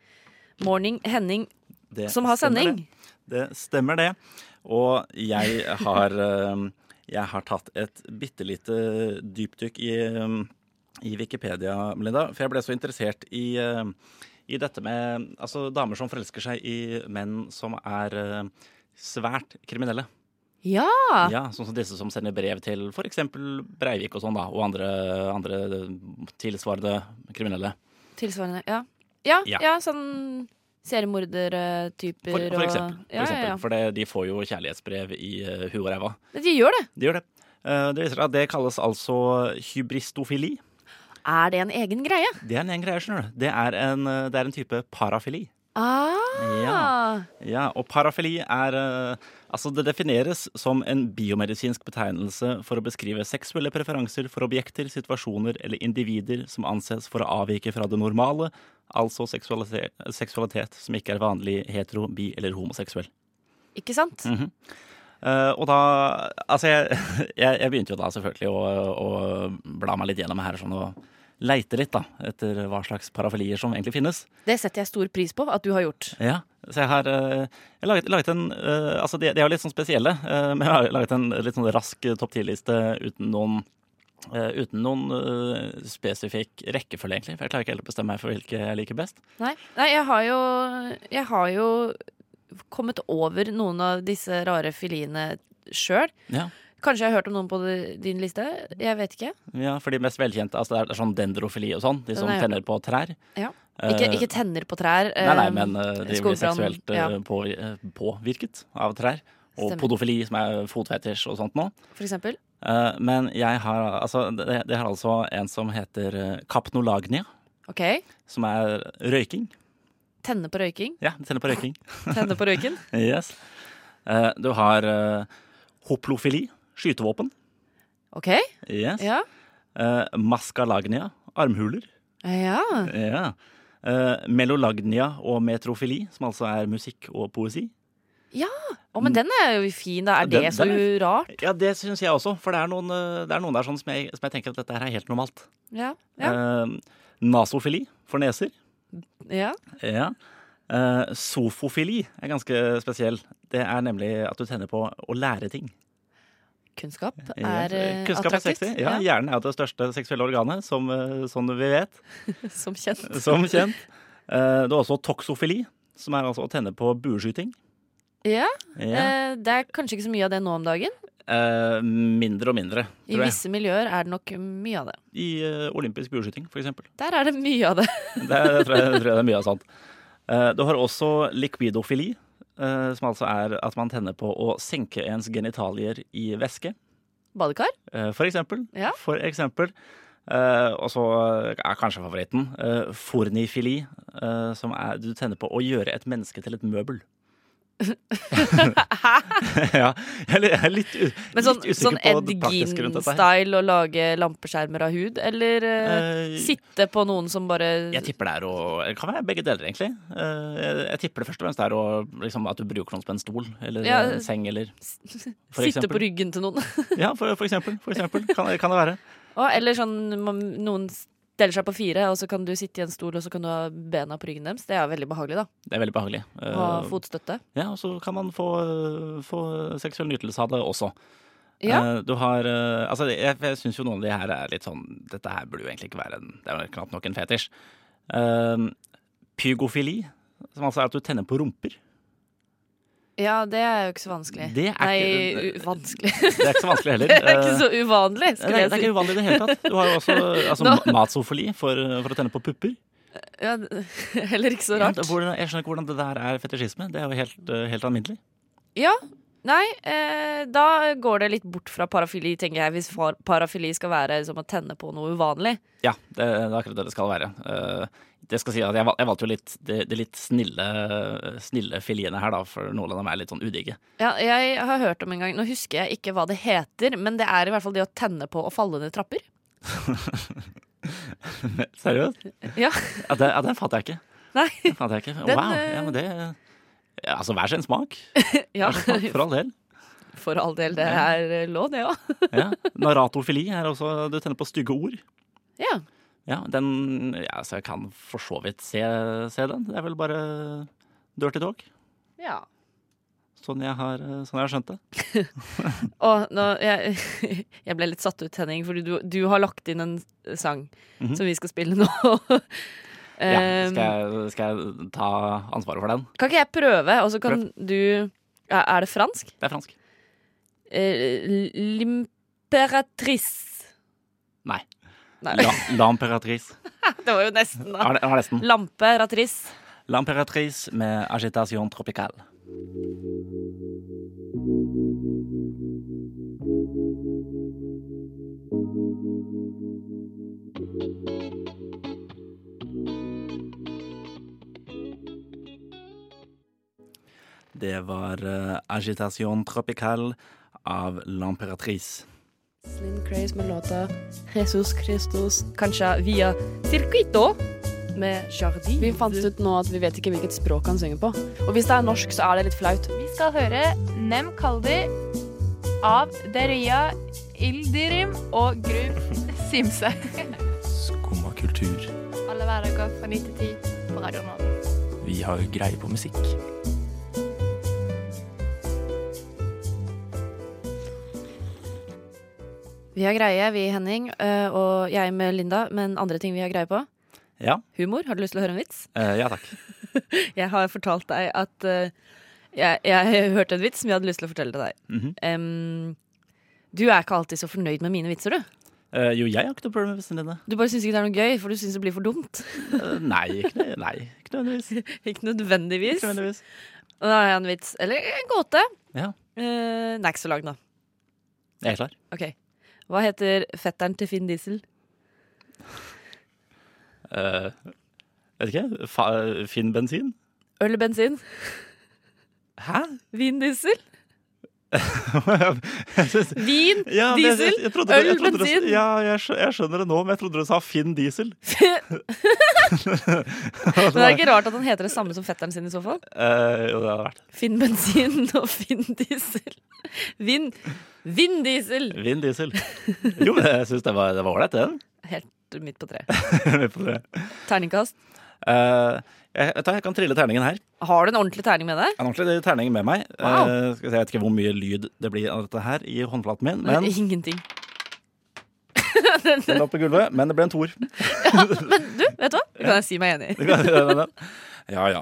Speaker 3: Morning Henning
Speaker 4: Det
Speaker 3: som har
Speaker 4: stemmer
Speaker 3: sending.
Speaker 4: Det. det stemmer, det. Og jeg har, eh, jeg har tatt et bitte lite dypdykk i, eh, i Wikipedia, Melinda. For jeg ble så interessert i, eh, i dette med altså, damer som forelsker seg i menn som er eh, svært kriminelle.
Speaker 3: Ja!
Speaker 4: Ja, sånn som disse som sender brev til f.eks. Breivik og sånn, da. Og andre, andre tilsvarende kriminelle.
Speaker 3: Tilsvarende. Ja, ja,
Speaker 4: Ja.
Speaker 3: ja. sånn seriemordertyper
Speaker 4: For, for eksempel.
Speaker 3: og
Speaker 4: For, eksempel for det, de får jo kjærlighetsbrev i uh, huet og ræva.
Speaker 3: Men De gjør det.
Speaker 4: De gjør det. Eh, det viser seg at det kalles altså hybristofili.
Speaker 3: Er det en egen greie?
Speaker 4: Det er en egen greie, skjønner du. Det er en, eh, det er en type parafili.
Speaker 3: Ah,
Speaker 4: Ja. Ja, og parafili er eh, Altså, det defineres som en biomedisinsk betegnelse for å beskrive seksuelle preferanser for objekter, situasjoner eller individer som anses for å avvike fra det normale, altså seksualitet, seksualitet som ikke er vanlig hetero, bi eller homoseksuell.
Speaker 3: Ikke sant?
Speaker 4: Eh, og da Altså, jeg, jeg, jeg begynte jo da selvfølgelig å, å bla meg litt gjennom her sånn og leite litt, da, etter hva slags parafilier som egentlig finnes.
Speaker 3: Det setter jeg stor pris på at du har gjort.
Speaker 4: Ja, så jeg har eh, jeg har laget, laget en eh, Altså, de, de er jo litt sånn spesielle, eh, men jeg har laget en litt sånn rask eh, topp 10-liste uten noen eh, uten noen eh, spesifikk rekkefølge, egentlig. For jeg klarer ikke helt å bestemme meg for hvilke jeg liker best.
Speaker 3: Nei, Nei jeg, har jo, jeg har jo kommet over noen av disse rare filiene sjøl.
Speaker 4: Ja,
Speaker 3: Kanskje jeg har hørt om noen på de- din liste? Jeg vet ikke.
Speaker 4: ja For de mest velkjente altså det er, det er sånn dendrofili og sånn. De som
Speaker 3: Nei.
Speaker 4: tenner på trær.
Speaker 3: Ja.
Speaker 4: Eh,
Speaker 3: Ikke, ikke tenner på trær.
Speaker 4: Nei, nei,
Speaker 3: eh,
Speaker 4: men eh, de blir
Speaker 3: skogbrann,
Speaker 4: seksuelt eh,
Speaker 3: ja.
Speaker 4: på, eh, påvirket av trær. Og
Speaker 3: Stemmer.
Speaker 4: podofili, som er fotfetisj og sånt nå.
Speaker 3: For eksempel.
Speaker 4: Eh, men jeg har altså Det, det har altså en som heter eh, Kapnolagnia,
Speaker 3: OK.
Speaker 4: som er røyking.
Speaker 3: Tenne på røyking.
Speaker 4: Ja, de tenner på røyking.
Speaker 3: Tenne på røyken.
Speaker 4: Yes. Eh, du har eh, hoplofili, skytevåpen.
Speaker 3: OK.
Speaker 4: Yes.
Speaker 3: Ja.
Speaker 4: Eh, maskalagnia, armhuler.
Speaker 3: Ja.
Speaker 4: Ja. Eh, melolagnia og metrofili, som altså er musikk og poesi.
Speaker 3: Å, men den er jo fin, da. Mm. Er
Speaker 4: Den-
Speaker 3: det så
Speaker 4: den
Speaker 3: rart?
Speaker 4: Ja, det syns jeg også, for det er noen, eh, det er noen der sånn som, jeg, som jeg tenker at dette her er helt normalt.
Speaker 3: Ja. Ja.
Speaker 4: Eh, nasofili for neser.
Speaker 3: ja.
Speaker 4: Ja. Eh, sofofili er ganske spesiell. Det er nemlig at du tenner på å lære ting.
Speaker 3: Kunnskap er eh,
Speaker 4: Kunnskap er
Speaker 3: attraktivt.
Speaker 4: sexy. Ja, Hjernen er jo det største seksuelle organet, som, eh, som vi vet.
Speaker 3: Som kjent.
Speaker 4: Som kjent. Eh, det er også toksofili, som er altså å tenne på bueskyting.
Speaker 3: Ja,
Speaker 4: Ja.
Speaker 3: eh, Det er kanskje ikke så mye av det nå om dagen.
Speaker 4: Eh, mindre og mindre,
Speaker 3: I
Speaker 4: tror jeg.
Speaker 3: visse miljøer er det nok mye av det.
Speaker 4: I eh, olympisk bueskyting, for eksempel.
Speaker 3: Der er det mye av det.
Speaker 4: Det er- tror jeg, tror jeg det er mye av sant. Eh, Du har også likvidofili, eh, som altså er at man tenner på å senke ens genitalier i væske.
Speaker 3: Badekar?
Speaker 4: Eh, For eksempel.
Speaker 3: Ja.
Speaker 4: For eksempel. Eh, og så er kanskje favoritten eh, fornifili, eh, som er du tenner på å gjøre et menneske til et møbel. Hæ? ja, jeg er litt- jeg er litt, u-
Speaker 3: Men sånn,
Speaker 4: litt usikker
Speaker 3: sånn
Speaker 4: på
Speaker 3: Ed
Speaker 4: det praktiske rundt dette her.
Speaker 3: Gein-style å lage lampeskjermer av hud? Eller eh,
Speaker 4: Eh,
Speaker 3: sitte på noen som bare
Speaker 4: Jeg tipper det er å Det kan være begge deler, egentlig. Eh, jeg, jeg tipper det først og fremst er å, liksom, at du bruker noen som en stol eller
Speaker 3: Ja.
Speaker 4: en seng eller for
Speaker 3: Sitte
Speaker 4: eksempel.
Speaker 3: på ryggen til noen?
Speaker 4: Ja, for, for eksempel. For eksempel. Kan, kan det være.
Speaker 3: Å, eller sånn man- noen steller seg på fire, og så kan du sitte i en stol og så kan du ha bena på ryggen deres. Det er veldig behagelig, da.
Speaker 4: Det er veldig behagelig. Eh,
Speaker 3: Å ha fotstøtte.
Speaker 4: Ja, og så kan man få, øh, få seksuell nytelse av det også.
Speaker 3: Ja.
Speaker 4: Eh, Du har eh, Altså, jeg, jeg syns jo noen av de her er litt sånn Dette her burde jo egentlig ikke være en Det er jo knapt nok en fetisj. Eh, pygofili, som altså er at du tenner på rumper.
Speaker 3: ja, det er jo ikke så vanskelig.
Speaker 4: Det er
Speaker 3: Nei,
Speaker 4: ikke-
Speaker 3: u vanskelig.
Speaker 4: Det er ikke så vanskelig heller.
Speaker 3: det er ikke så uvanlig,
Speaker 4: Eh, det
Speaker 3: skulle
Speaker 4: er, det er
Speaker 3: jeg si.
Speaker 4: ikke uvanlig i det hele tatt. Du har jo også altså,
Speaker 3: Nå-
Speaker 4: ma- matsofili for, for å tenne på pupper.
Speaker 3: Ja, d- heller ikke så rart.
Speaker 4: Ja, hvordan- Jeg skjønner ikke hvordan det der er fetisjisme. Det er jo helt, eh, helt alminnelig.
Speaker 3: Ja. Nei, eh, da går det litt bort fra parafili, tenker jeg, hvis far- parafili skal være som å tenne på noe uvanlig.
Speaker 4: Ja, det, det er akkurat det det skal være. Eh, det skal si at jeg, val- jeg valgte jo litt det, det litt snille, snille filiene her, da, for noen av dem er litt sånn udigge.
Speaker 3: Ja, jeg har hørt om en gang, nå husker jeg ikke hva det heter, men det er i hvert fall det å tenne på og falle ned trapper.
Speaker 4: Seriøst?
Speaker 3: Ja,
Speaker 4: Ja, det, ja, den fant jeg ikke.
Speaker 3: nei.
Speaker 4: Den fant jeg ikke.
Speaker 3: Den,
Speaker 4: wow.
Speaker 3: eh,
Speaker 4: Ja, men det ja, Altså, hver sin smak.
Speaker 3: Ja,
Speaker 4: Hver sin smak, For all del.
Speaker 3: For all del, det er eh, lov, det òg.
Speaker 4: Ja. Narratofili er også Du tenner på stygge ord.
Speaker 3: Ja.
Speaker 4: Ja, den ja, Så jeg kan for så vidt se, se den. Det er vel bare dirty talk.
Speaker 3: ja.
Speaker 4: Sånn jeg har, sånn jeg har skjønt det.
Speaker 3: Og nå, jeg, jeg ble litt satt ut, Henning, fordi du, du har lagt inn en sang
Speaker 4: Mhm.
Speaker 3: som vi skal spille nå.
Speaker 4: Ja,
Speaker 3: Ehm,
Speaker 4: skal, jeg, skal jeg ta ansvaret for den?
Speaker 3: Kan ikke jeg prøve, og så kan du Er er det fransk?
Speaker 4: Det er fransk.
Speaker 3: Eh, L'Imperatrice.
Speaker 4: Nei.
Speaker 3: Nei,
Speaker 4: La, la Imperatrice.
Speaker 3: det var jo nesten, da.
Speaker 4: Har, har nesten.
Speaker 3: Lamperatrice.
Speaker 4: L'Imperatrice med agitation tropicale. Det var eh, agitation tropicale av L'Imperatrice.
Speaker 3: Slim Craze med låta Jesus Christus Kanskje via Circuito med Jardin.
Speaker 7: Vi fant ut nå at vi vet ikke hvilket språk han synger på. Og hvis det er norsk, så er det litt flaut.
Speaker 8: Vi skal høre Nem Kaldi av Deria Ildirim og Grub Simse.
Speaker 9: Skumma kultur.
Speaker 8: Alle hverdager fra 9 til 10 på Radio Nova.
Speaker 9: Vi har greie på musikk.
Speaker 3: Vi har greie, vi Henning, eh, og jeg med Linda, men andre ting vi har greie på.
Speaker 4: Ja.
Speaker 3: Humor. Har du lyst til å høre en vits?
Speaker 4: eh, ja takk.
Speaker 3: Jeg har fortalt deg at eh, jeg, jeg hørte en vits som jeg hadde lyst til å fortelle til deg.
Speaker 4: Mhm.
Speaker 3: Em, du er ikke alltid så fornøyd med mine vitser, du.
Speaker 4: Eh, jo, jeg har ikke noe problem med vitsene dine.
Speaker 3: Du bare syns ikke det er noe gøy, for du syns det blir for dumt.
Speaker 4: Eh, nei, ikke, nø- nei, ikke nødvendigvis. Ikke
Speaker 3: ikke nødvendigvis. Og
Speaker 4: nødvendigvis.
Speaker 3: Da har jeg en vits. Eller en gåte.
Speaker 4: Ja.
Speaker 3: Eh, den er ikke så lang, da.
Speaker 4: Jeg er klar.
Speaker 3: Ok. Hva heter fetteren til Finn Diesel?
Speaker 4: Eh, vet ikke. Fa Finn bensin?
Speaker 3: Øl eller bensin?
Speaker 4: Hæ?
Speaker 3: Vin diesel?
Speaker 4: Jeg synes-
Speaker 3: Vin!
Speaker 4: Ja, men jeg-
Speaker 3: Diesel,
Speaker 4: jeg trodde du- jeg
Speaker 3: øl,
Speaker 4: trodde du-
Speaker 3: bensin.
Speaker 4: Ja, jeg, skjø- jeg skjønner det nå, men jeg trodde du sa Finn diesel.
Speaker 3: Men det er ikke rart at han heter det samme som fetteren sin i så fall.
Speaker 4: Eh, jo, det hadde vært
Speaker 3: Finn bensin og Finn diesel. Vinn Vinn diesel!
Speaker 4: Vinn diesel. Jo, men jeg syns det var det var ålreit, den.
Speaker 3: Helt midt på treet.
Speaker 4: Med på det.
Speaker 3: Terningkast.
Speaker 4: Eh, jeg, vet du hva, jeg kan trille terningen her.
Speaker 3: Har du en ordentlig terning med deg?
Speaker 4: Jeg har en ordentlig terning med meg.
Speaker 3: Wow.
Speaker 4: Eh, skal vi se, jeg vet ikke hvor mye lyd det blir av dette her i håndflaten min, men
Speaker 3: Ingenting.
Speaker 4: den lå på gulvet. Men det ble en toer.
Speaker 3: Du, vet du hva? Det kan jeg si meg enig i.
Speaker 4: Ja, ja.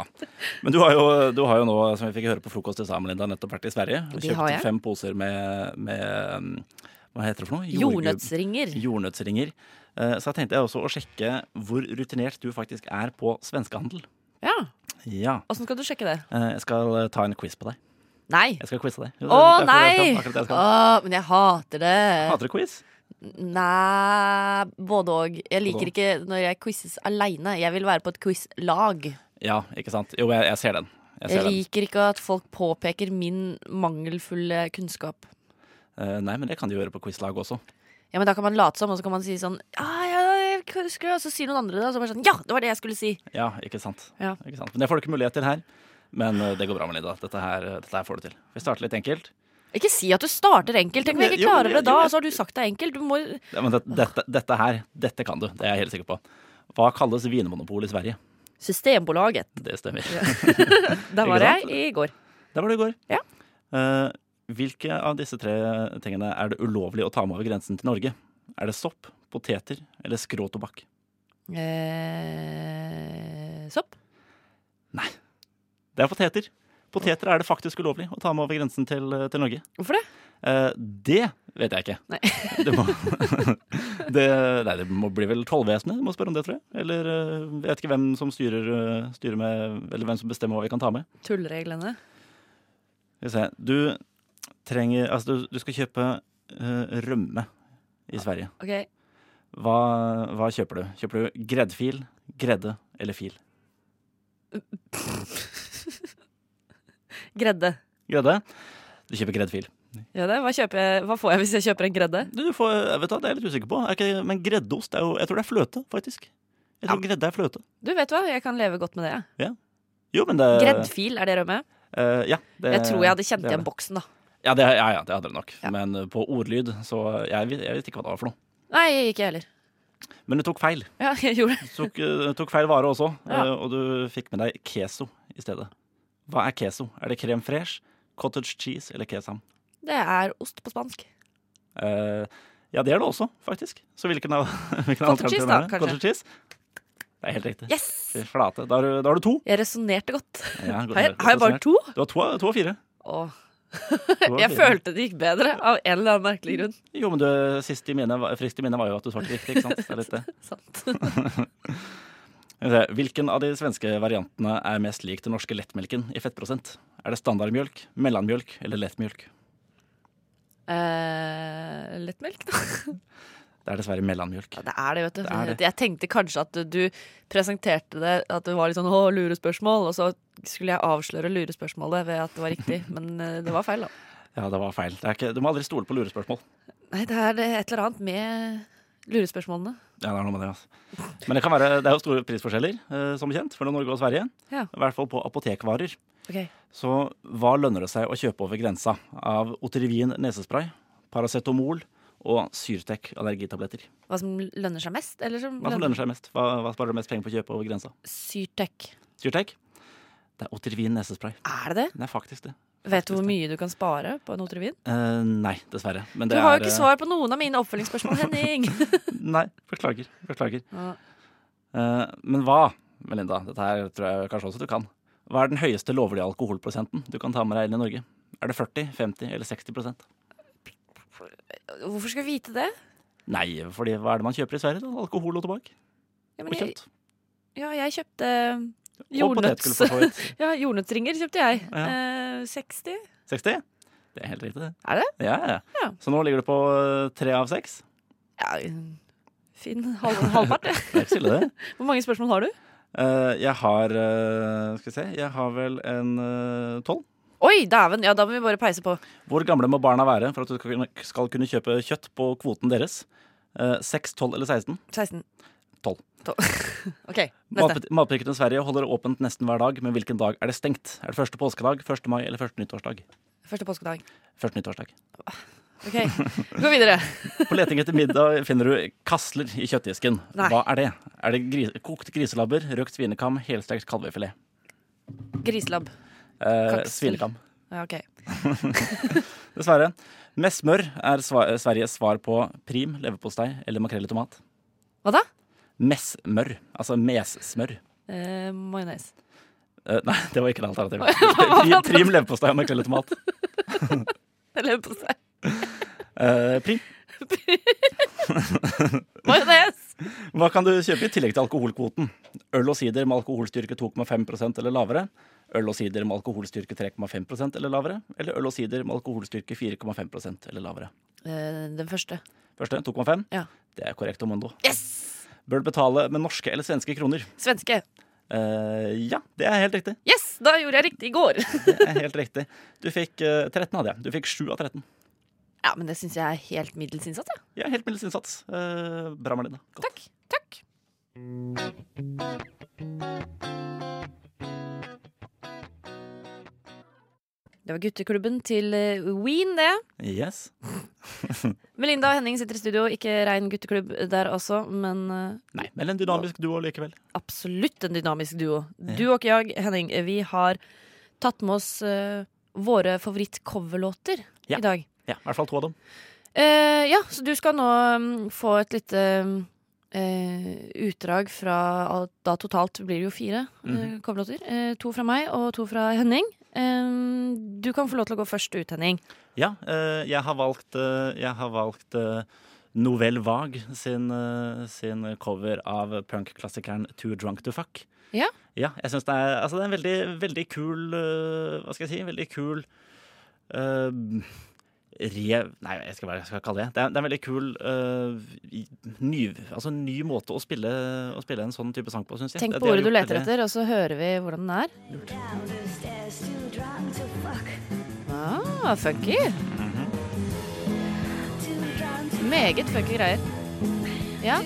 Speaker 4: Men du har, jo, du har jo nå, som vi fikk høre på frokost til sammen, Linda, nettopp vært i Sverige. og
Speaker 3: Det har
Speaker 4: Kjøpt
Speaker 3: jeg.
Speaker 4: fem poser med, med um, Hva heter det for noe? Jordgubb-
Speaker 3: Jordnøttsringer.
Speaker 4: jordnøttsringer. Eh, Så da tenkte jeg også å sjekke hvor rutinert du faktisk er på svenskehandel.
Speaker 3: Ja.
Speaker 4: Ja.
Speaker 3: Åssen skal du sjekke det?
Speaker 4: Eh, Jeg skal eh, ta en quiz på deg.
Speaker 3: Nei!
Speaker 4: Jeg skal quize deg. Jo,
Speaker 3: Å
Speaker 4: det er akkurat det
Speaker 3: nei!
Speaker 4: jeg skal. Akkurat det jeg skal.
Speaker 3: Å, men jeg hater det.
Speaker 4: Hater du quiz?
Speaker 3: Nei, både og. Jeg
Speaker 4: Både og.
Speaker 3: liker ikke når jeg quizes aleine. Jeg vil være på et quizlag.
Speaker 4: Ja, ikke sant. Jo, jeg, jeg ser den. Jeg
Speaker 3: Jeg
Speaker 4: ser den.
Speaker 3: liker ikke at folk påpeker min mangelfulle kunnskap.
Speaker 4: Eh, Nei, men det kan de gjøre på quizlag også.
Speaker 3: Ja, men Da kan man late som, og så kan man si sånn Ja, ja, jeg husker det, og så sier noen andre det. Og så bare sånn Ja, det var det jeg skulle si!
Speaker 4: Ja, ikke sant.
Speaker 3: Ja.
Speaker 4: Ikke sant? Men det får du ikke mulighet til her. Men eh, det går bra med Linda. Dette her, eh, dette her får du til. Vi starter litt enkelt.
Speaker 3: Ikke si at du starter enkelt. Tenk om jeg
Speaker 4: Jo,
Speaker 3: ikke klarer
Speaker 4: jo,
Speaker 3: det da,
Speaker 4: jo.
Speaker 3: og så har du sagt det er enkelt. Du må
Speaker 4: Ja, men det, dette, dette her, dette kan du. Det er jeg helt sikker på. Hva kalles vinmonopol i Sverige?
Speaker 3: Systembolaget.
Speaker 4: Det stemmer.
Speaker 3: Der var
Speaker 4: Ikke
Speaker 3: jeg i går.
Speaker 4: Der var du i går.
Speaker 3: Ja.
Speaker 4: Eh, hvilke av disse tre tingene er det ulovlig å ta med over grensen til Norge? Er det sopp, poteter eller skråtobakk?
Speaker 3: Eh, sopp.
Speaker 4: Det er poteter. Poteter er det faktisk ulovlig å ta med over grensen til, til Norge.
Speaker 3: Hvorfor det?
Speaker 4: Eh, det vet jeg ikke.
Speaker 3: Nei.
Speaker 4: det, må, det, nei, det må bli vel tollvesenet du må spørre om det, tror jeg. Eller eh, jeg vet ikke hvem som styrer, eh, styrer med Eller hvem som bestemmer hva vi kan ta med.
Speaker 3: Tullreglene.
Speaker 4: Skal vi se. Du trenger Altså, du, du skal kjøpe eh, rømme i Sverige.
Speaker 3: OK.
Speaker 4: Hva, hva kjøper du? Kjøper du greddfil, gredde eller fil?
Speaker 3: Gredde.
Speaker 4: Gredde? Du kjøper greddfil.
Speaker 3: Ja, det. Hva, kjøper jeg, hva får jeg hvis jeg kjøper en gredde?
Speaker 4: Du, du får, jeg vet da, det er jeg litt usikker på. Er ikke, men greddeost er jo Jeg tror det er fløte, faktisk. Jeg tror gredde er fløte.
Speaker 3: Du vet hva, jeg kan leve godt med det. jeg.
Speaker 4: Jo, men det
Speaker 3: Greddfil, er det rømme?
Speaker 4: eh, ja, Eh, det-
Speaker 3: Jeg tror jeg hadde kjent
Speaker 4: det er
Speaker 3: igjen
Speaker 4: det.
Speaker 3: boksen, da.
Speaker 4: Ja, det, ja, ja, det hadde det nok.
Speaker 3: Ja.
Speaker 4: Men eh, på ordlyd, så jeg, vet- jeg vet ikke hva det var for noe.
Speaker 3: Nei, ikke jeg heller.
Speaker 4: Men du tok feil.
Speaker 3: Ja, jeg gjorde det.
Speaker 4: Du tok, eh, tok feil vare også,
Speaker 3: Ja.
Speaker 4: eh, og du fikk med deg keso i stedet. Hva er keso? Er det krem fresh, cottage cheese eller kesam?
Speaker 3: Det er ost på spansk.
Speaker 4: Eh, ja, det er det også, faktisk. Så hvilken av hvilken
Speaker 3: Cottage
Speaker 4: alternativ
Speaker 3: cheese, da,
Speaker 4: er det?
Speaker 3: kanskje?
Speaker 4: Cottage cheese? Det er helt riktig.
Speaker 3: Yes!
Speaker 4: Fy Flate. Da har du, da har du to.
Speaker 3: Jeg resonnerte godt.
Speaker 4: Ja, godt
Speaker 3: Har jeg,
Speaker 4: resonert.
Speaker 3: har jeg bare to?
Speaker 4: Du har to, av- to av fire.
Speaker 3: Åh.
Speaker 4: To av
Speaker 3: Jeg
Speaker 4: fire.
Speaker 3: følte det gikk bedre, av en eller annen merkelig grunn.
Speaker 4: Jo, men du, sist i minnet, var- frist i minnet var jo at du svarte riktig, ikke sant? Det er litt eh, det.
Speaker 3: Sant.
Speaker 4: Skal vi se. Hvilken av de svenske variantene er mest lik den norske lettmelken i fettprosent? Er det standardmjølk, mellommjølk eller lettmjølk?
Speaker 3: Eh, lettmelk, da.
Speaker 4: Det er dessverre mellommjølk.
Speaker 3: Ja, det er det, vet du.
Speaker 4: Det er det.
Speaker 3: Jeg tenkte kanskje at du presenterte det at det var litt sånn å, lurespørsmål, og så skulle jeg avsløre lurespørsmålet ved at det var riktig, men eh, det var feil, da.
Speaker 4: Ja, det var feil. Det er ikke, du må aldri stole på lurespørsmål.
Speaker 3: Nei, det er eh, et eller annet med lurespørsmålene.
Speaker 4: Ja, det er noe med det, altså. Men det, kan være, det er jo store prisforskjeller, eh, som kjent, mellom Norge og Sverige.
Speaker 3: Ja.
Speaker 4: I hvert fall på apotekvarer.
Speaker 3: Ok.
Speaker 4: Så hva lønner det seg å kjøpe over grensa av Otrivin nesespray, Paracetomol og Syrtec allergitabletter?
Speaker 3: Hva som lønner seg mest? Eller som
Speaker 4: Hva som lønner seg mest? Hva, hva sparer du mest penger på å kjøpe over grensa?
Speaker 3: Syrtec.
Speaker 4: Syrtec? Det er Otrivin nesespray.
Speaker 3: Er det det?
Speaker 4: Det er faktisk det.
Speaker 3: Vet du hvor
Speaker 4: det.
Speaker 3: mye du kan spare på en Otrevin?
Speaker 4: Eh, nei, dessverre. Men
Speaker 3: Du
Speaker 4: det
Speaker 3: har jo
Speaker 4: er,
Speaker 3: ikke
Speaker 4: eh,
Speaker 3: svar på noen av mine oppfølgingsspørsmål, Henning.
Speaker 4: Nei, beklager. Beklager.
Speaker 3: Ja.
Speaker 4: Eh, men hva, Melinda, dette her tror jeg kanskje også du kan. Hva er den høyeste lovlige alkoholprosenten du kan ta med deg inn i Norge? Er det 40, 50 eller 60 prosent?
Speaker 3: Hvorfor skal jeg vite det?
Speaker 4: Nei, fordi hva er det man kjøper i Sverige? da? Alkohol og tobakk?
Speaker 3: Ja, men
Speaker 4: Og
Speaker 3: jeg,
Speaker 4: kjøtt?
Speaker 3: ja, jeg kjøpte
Speaker 4: Og potetgull, for
Speaker 3: jordnøtts-
Speaker 4: så vidt.
Speaker 3: ja, jordnøttsringer. kjøpte jeg.
Speaker 4: Ja.
Speaker 3: Eh, 60?
Speaker 4: 60? Det er helt riktig, det.
Speaker 3: Er det?
Speaker 4: Ja, ja. ja.
Speaker 3: Ja.
Speaker 4: Så nå ligger du på eh, tre av seks.
Speaker 3: Ja, fin halv, halvpart. det.
Speaker 4: Det er ikke så ille, det.
Speaker 3: Hvor mange spørsmål har du?
Speaker 4: Eh, jeg har eh, Skal vi se, jeg har vel en eh, tolv.
Speaker 3: Oi, dæven! Ja, da må vi bare peise på.
Speaker 4: Hvor gamle må barna være for at du skal kunne, skal kunne kjøpe kjøtt på kvoten deres? Eh, 6, 12 eller 16?
Speaker 3: 16.
Speaker 4: Tolv.
Speaker 3: Tolv. OK, neste.
Speaker 4: Matbut- Matbutikken i Sverige holder åpent nesten hver dag, men hvilken dag er det stengt? Er det første påskedag, første mai eller første nyttårsdag?
Speaker 3: Første påskedag.
Speaker 4: Første nyttårsdag.
Speaker 3: OK, gå videre.
Speaker 4: På leting etter middag finner du kasler i kjøttdisken.
Speaker 3: Nei.
Speaker 4: Hva er det? Er det gris kokte griselabber, røkt svinekam, helstekt kalvefilet?
Speaker 3: Griselab.
Speaker 4: Eh,
Speaker 3: Kaksler.
Speaker 4: svinekam.
Speaker 3: Ja, OK.
Speaker 4: Dessverre. Med smør er sva Sveriges svar på prim, leverpostei eller makrell i tomat.
Speaker 3: Hva da?
Speaker 4: Messmør. Altså messmør.
Speaker 3: Eh, Majones.
Speaker 4: Eh, nei, det var ikke det alternativet. Prim, prim leverpostei og makrell i tomat.
Speaker 3: Eller på seg.
Speaker 4: Eh, prim.
Speaker 3: Majones!
Speaker 4: Hva kan du kjøpe i tillegg til alkoholkvoten? Øl og sider med alkoholstyrke 2,5 eller lavere. Øl og sider med alkoholstyrke 3,5 eller lavere. Eller øl og sider med alkoholstyrke 4,5 eller lavere.
Speaker 3: Eh, den første.
Speaker 4: Første 2,5.
Speaker 3: Ja.
Speaker 4: Det er korrekt Omondo.
Speaker 3: Yes!
Speaker 4: Bør du betale med norske eller svenske kroner?
Speaker 3: Svenske.
Speaker 4: Eh, ja, det er helt riktig.
Speaker 3: Yes! Da gjorde jeg riktig i går.
Speaker 4: Det er helt riktig. Du fikk eh, 13 av det. Du fikk 7 av 13.
Speaker 3: Ja, men det syns jeg er helt middels innsats, jeg.
Speaker 4: Ja, helt middels innsats. Eh, bra, Marlene. Godt.
Speaker 3: Takk. Takk. Det var gutteklubben til eh, Ween, det.
Speaker 4: Yes.
Speaker 3: Melinda og Henning sitter i studio, ikke rein gutteklubb der også, men eh,
Speaker 4: Nei, men en dynamisk duo likevel.
Speaker 3: absolutt en dynamisk duo. Du og ikke jeg, Henning, eh, vi har tatt med oss eh, våre favoritt-coverlåter
Speaker 4: Ja.
Speaker 3: i dag.
Speaker 4: Ja, I hvert fall to av dem.
Speaker 3: Eh, ja, så du skal nå mm, få et lite mm, eh, utdrag fra Da totalt blir det jo fire mm
Speaker 4: Mhm.
Speaker 3: coverlåter. Eh, to fra meg og to fra Henning. Eh, du kan få lov til å gå først ut, Henning.
Speaker 4: Ja, eh, jeg har valgt, eh, jeg har valgt eh, Nouvelle Vague sin, eh, sin cover av punkklassikeren Too Drunk to Fuck.
Speaker 3: Ja.
Speaker 4: Ja, jeg synes det er, altså det er en veldig, veldig kul eh, Hva skal jeg si? Veldig kul eh, re... Nei, jeg skal bare jeg skal kalle det det. Er, det er en veldig kul eh, i- ny, altså en ny måte å spille, å spille en sånn type sang på, syns jeg.
Speaker 3: Tenk
Speaker 4: Det-
Speaker 3: på
Speaker 4: det har
Speaker 3: ordet du
Speaker 4: gjort
Speaker 3: leter
Speaker 4: veldig-
Speaker 3: etter, og så hører vi hvordan den er. Ah, funky. Meget funky greier. Ja.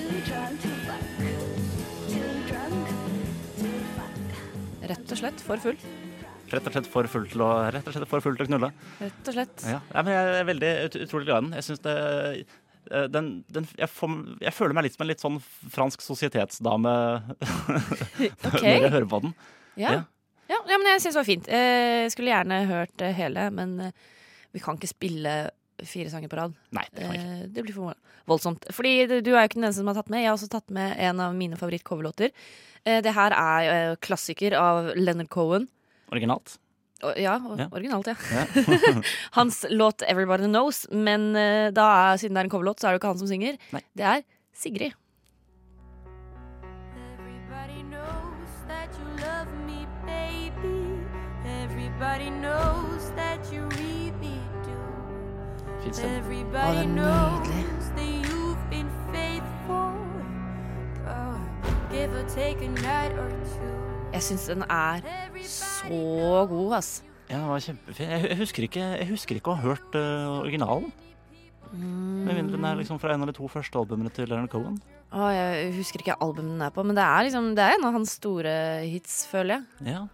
Speaker 3: Rett og slett for full.
Speaker 4: Rett og slett for full til å, rett og slett for full til å knulle.
Speaker 3: Rett og slett.
Speaker 4: Ja, Nei, men jeg er veldig ut utrolig glad i den. Jeg synes det eh, den, den, jeg, får, jeg føler meg litt som en litt sånn fransk sosietetsdame
Speaker 3: Ok.
Speaker 4: når jeg hører på den.
Speaker 3: Ja,
Speaker 4: Ja.
Speaker 3: ja, ja men jeg syns det var fint. Eh, skulle gjerne hørt eh, hele, men eh, vi kan ikke spille fire sanger på rad.
Speaker 4: Nei, det kan jeg ikke.
Speaker 3: Eh, det blir for voldsomt. Fordi det- du er jo ikke den eneste som har tatt med. Jeg har også tatt med en av mine favoritt-coverlåter. Eh, det her er eh, klassiker av Leonard Cohen.
Speaker 4: Originalt.
Speaker 3: Og- Ja, og-
Speaker 4: Ja.
Speaker 3: originalt, ja.
Speaker 4: Ja.
Speaker 3: Hans låt 'Everybody Knows', men eh, da er, siden det er en coverlåt, så er det jo ikke han som synger.
Speaker 4: Nei.
Speaker 3: Det er Sigrid.
Speaker 10: Everybody knows that you love me, baby. Everybody knows that you really do.
Speaker 4: Fin stemme.
Speaker 3: Å, det
Speaker 10: Everybody
Speaker 3: er
Speaker 10: knows
Speaker 3: nydelig.
Speaker 10: that you've been faithful. Oh, give or take a night or two.
Speaker 3: Jeg syns den er så god, ass.
Speaker 4: Ja, den var kjempefin. Jeg, jeg, husker ikke, jeg husker ikke å ha hørt eh, originalen.
Speaker 3: Mm.
Speaker 4: Med mindre den er liksom fra en eller to første albumene til Leonard Cohen.
Speaker 3: Å, jeg husker ikke albumet den er på, men det er, liksom, det er en av hans store hits, føler jeg.
Speaker 4: Ja.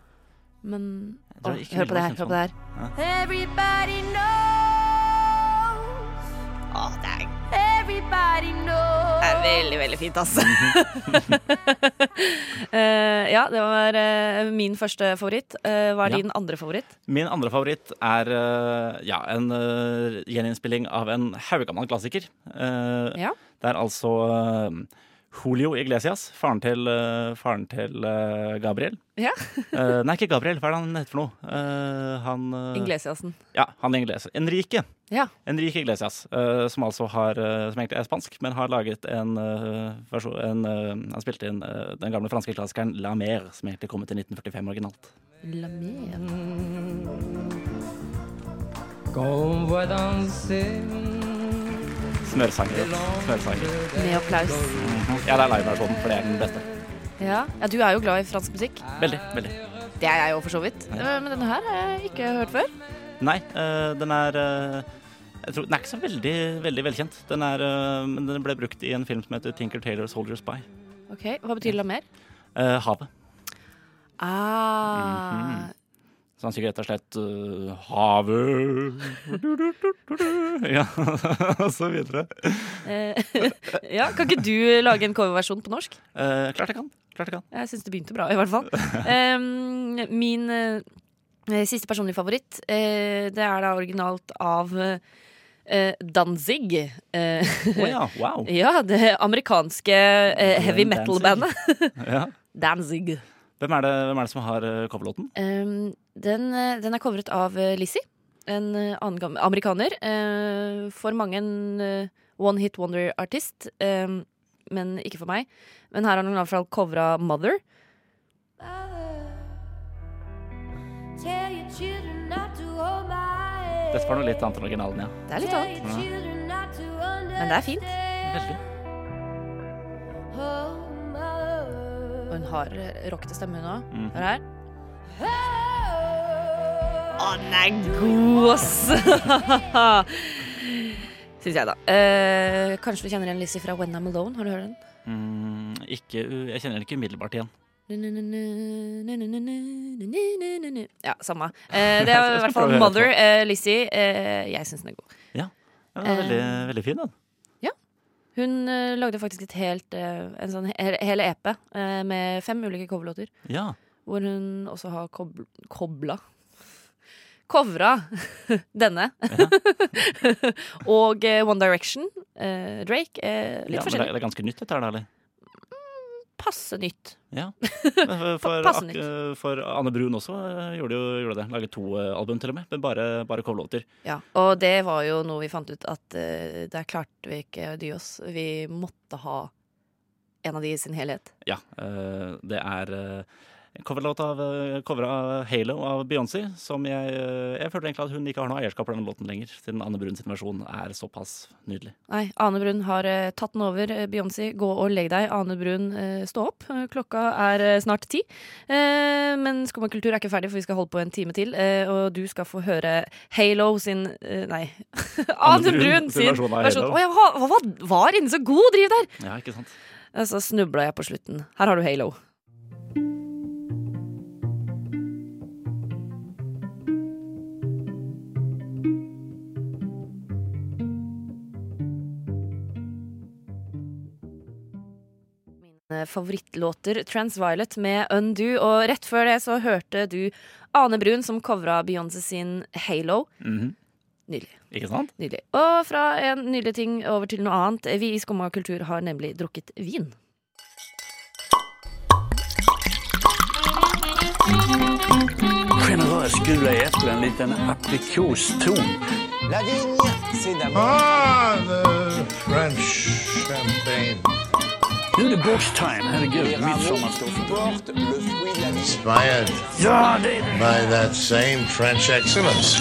Speaker 3: Men
Speaker 4: Jeg
Speaker 3: å,
Speaker 4: tror ikke
Speaker 3: hør på det
Speaker 4: Vilma
Speaker 3: her.
Speaker 4: kjente
Speaker 3: Hør på det her.
Speaker 10: Everybody knows. Everybody knows.
Speaker 3: veldig, veldig fint, ass. ja, det var eh, min første favoritt. Eh, hva er
Speaker 4: Ja.
Speaker 3: din andre favoritt?
Speaker 4: Min andre favoritt er eh, ja, en eh, gjeninnspilling av en haugammel klassiker. Eh,
Speaker 3: Ja.
Speaker 4: Det er altså eh, Julio Iglesias, faren til, eh, faren til eh, Gabriel.
Speaker 3: Ja.
Speaker 4: Eh, nei, ikke Gabriel. Hva er det han heter for noe? Eh, han eh,
Speaker 3: Inglesiasen.
Speaker 4: Ja, han Iglesias. Enrique.
Speaker 3: Ja.
Speaker 4: Enrique Iglesias, eh, som altså har eh, Som egentlig er spansk, men har laget en eh, versjon en, eh, Han spilte inn eh, den gamle franske klassikeren La Mer, som egentlig kom ut i 1945 originalt. Smørsanger. Smørsanger.
Speaker 3: Med applaus.
Speaker 4: Mhm. Ja, det er liveversjonen, for det er den beste.
Speaker 3: Ja. ja, du er jo glad i fransk musikk.
Speaker 4: Veldig. veldig.
Speaker 3: Det er jeg jo for så vidt. Eh, Men denne her har jeg ikke hørt før.
Speaker 4: Nei, eh, den er eh, jeg tror, Den er ikke så veldig, veldig velkjent. Den, er, eh, men den ble brukt i en film som heter Tinker Taylor Soldier Spy.
Speaker 3: Ok, Hva betyr la mer?
Speaker 4: Eh, havet.
Speaker 3: Ah.
Speaker 4: Så han synger rett og slett eh, Havet Ja, og så videre.
Speaker 3: Eh, ja, Kan ikke du lage en coverversjon på norsk?
Speaker 4: Eh, klart jeg kan. Klart jeg kan.
Speaker 3: Jeg syns det begynte bra, i hvert fall. Em, min eh, siste personlige favoritt, eh, det er da originalt av eh, Danzig. Eh,
Speaker 4: Å ja, wow.
Speaker 3: ja, det amerikanske eh, heavy metal-bandet
Speaker 4: Ja.
Speaker 3: Danzig.
Speaker 4: Hvem, er det, hvem er det som har eh, coverlåten?
Speaker 3: Em, den, eh, den er covret av eh, Lizzie, en eh, annen gam- amerikaner. eh, for mange en eh, one-hit wonder-artist. em, men ikke for meg. Men her har han i hvert fall covra Mother.
Speaker 10: Tell your children not to hold my hand.
Speaker 4: Dette var noe litt annet enn originalen, ja.
Speaker 3: Det er litt
Speaker 10: Tell
Speaker 3: annet.
Speaker 10: your children not to
Speaker 3: Men det er fint.
Speaker 4: Veldig.
Speaker 3: Og hun har eh, rockete stemme, hun òg. Hør her. Å, den er god, ass! Syns jeg, da. Eh, kanskje du kjenner igjen Lizzie fra When I'm Alone? Har du hørt den?
Speaker 4: Mm, ikke, jeg kjenner den ikke umiddelbart igjen.
Speaker 3: Ja, samme. Eh, det er i hvert fall Mother. eh, Lizzie. eh, jeg syns den er god.
Speaker 4: Ja, den er veldig, veldig fin, den.
Speaker 3: Hun eh, lagde faktisk et helt, eh, en sånn he hele EP eh, med fem ulike coverlåter.
Speaker 4: Ja.
Speaker 3: Hvor hun også har kobl kobla Kovra denne. og eh, One Direction. eh, Drake. eh, litt
Speaker 4: ja men det,
Speaker 3: forskjellig.
Speaker 4: det er ganske nytt, dette her, da, eller?
Speaker 3: Passe nytt.
Speaker 4: Ja. Men For, for,
Speaker 3: Passe
Speaker 4: ak- for Anne Brun også eh, gjorde, jo- gjorde det. Laget to eh, album, til og med. Men bare, bare coverlåter.
Speaker 3: Ja, Og det var jo noe vi fant ut at eh, der klarte vi ikke å dy oss. Vi måtte ha en av de i sin helhet.
Speaker 4: Ja, eh, det er eh, en coverlåt av eh, cover av Halo av Beyoncé, som jeg, eh, jeg føler egentlig at hun ikke har noe eierskap på den låten lenger, siden Anne Bruns versjon er såpass nydelig.
Speaker 3: Nei, Ane Brun har eh, tatt den over. Eh, Beyoncé, gå og legg deg. Ane Brun, eh, stå opp. Eh, Klokka er eh, snart ti. Eh, men Skum og kultur er ikke ferdig, for vi skal holde på en time til. Eh, og du skal få høre Halo sin eh, Nei, Ane Brun sin
Speaker 4: versjon av
Speaker 3: versjon.
Speaker 4: Halo.
Speaker 3: Å, jeg har- hva var, var inne så god driv der!
Speaker 4: Ja, ikke sant?
Speaker 3: Eh, Så snubla jeg på slutten. Her har du Halo. Mine Favorittlåter Transviolet med Undo, og rett før det så hørte du Ane Brun som covra Beyoncé sin Halo.
Speaker 4: Mhm.
Speaker 3: Nydelig.
Speaker 4: Ikke sant?
Speaker 3: nydelig. Og fra en nydelig ting over til noe annet. Vi i Skumma kultur har nemlig drukket vin.
Speaker 11: Generøst gula eplen, en liten aprikoston. Lavigne,
Speaker 12: Ah, the French champagne.
Speaker 11: Nå er det borstime. Herregud, midsommarstoff.
Speaker 12: Inspired
Speaker 11: Ja, det er
Speaker 12: by that same French excellence.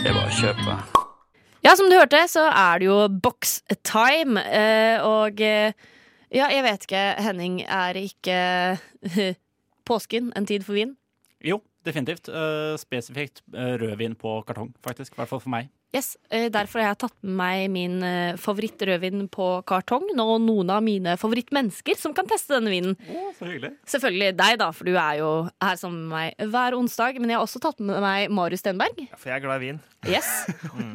Speaker 11: Det er bare å kjøpe.
Speaker 3: Ja, som du hørte, så er det jo box time. eh, Og eh, ja, jeg vet ikke, Henning, er ikke påsken en tid for vin?
Speaker 4: Jo, definitivt. Eh, spesifikt eh, rødvin på kartong, faktisk. I hvert fall for meg.
Speaker 3: Yes, eh, Derfor har jeg tatt med meg min eh, favorittrødvin på kartong. Og noen av mine favorittmennesker som kan teste denne vinen.
Speaker 4: Så hyggelig.
Speaker 3: Selvfølgelig deg, da, for du er jo her sammen med meg hver onsdag. Men jeg har også tatt med meg Marius Stenberg.
Speaker 13: For jeg er glad i vin.
Speaker 3: Yes.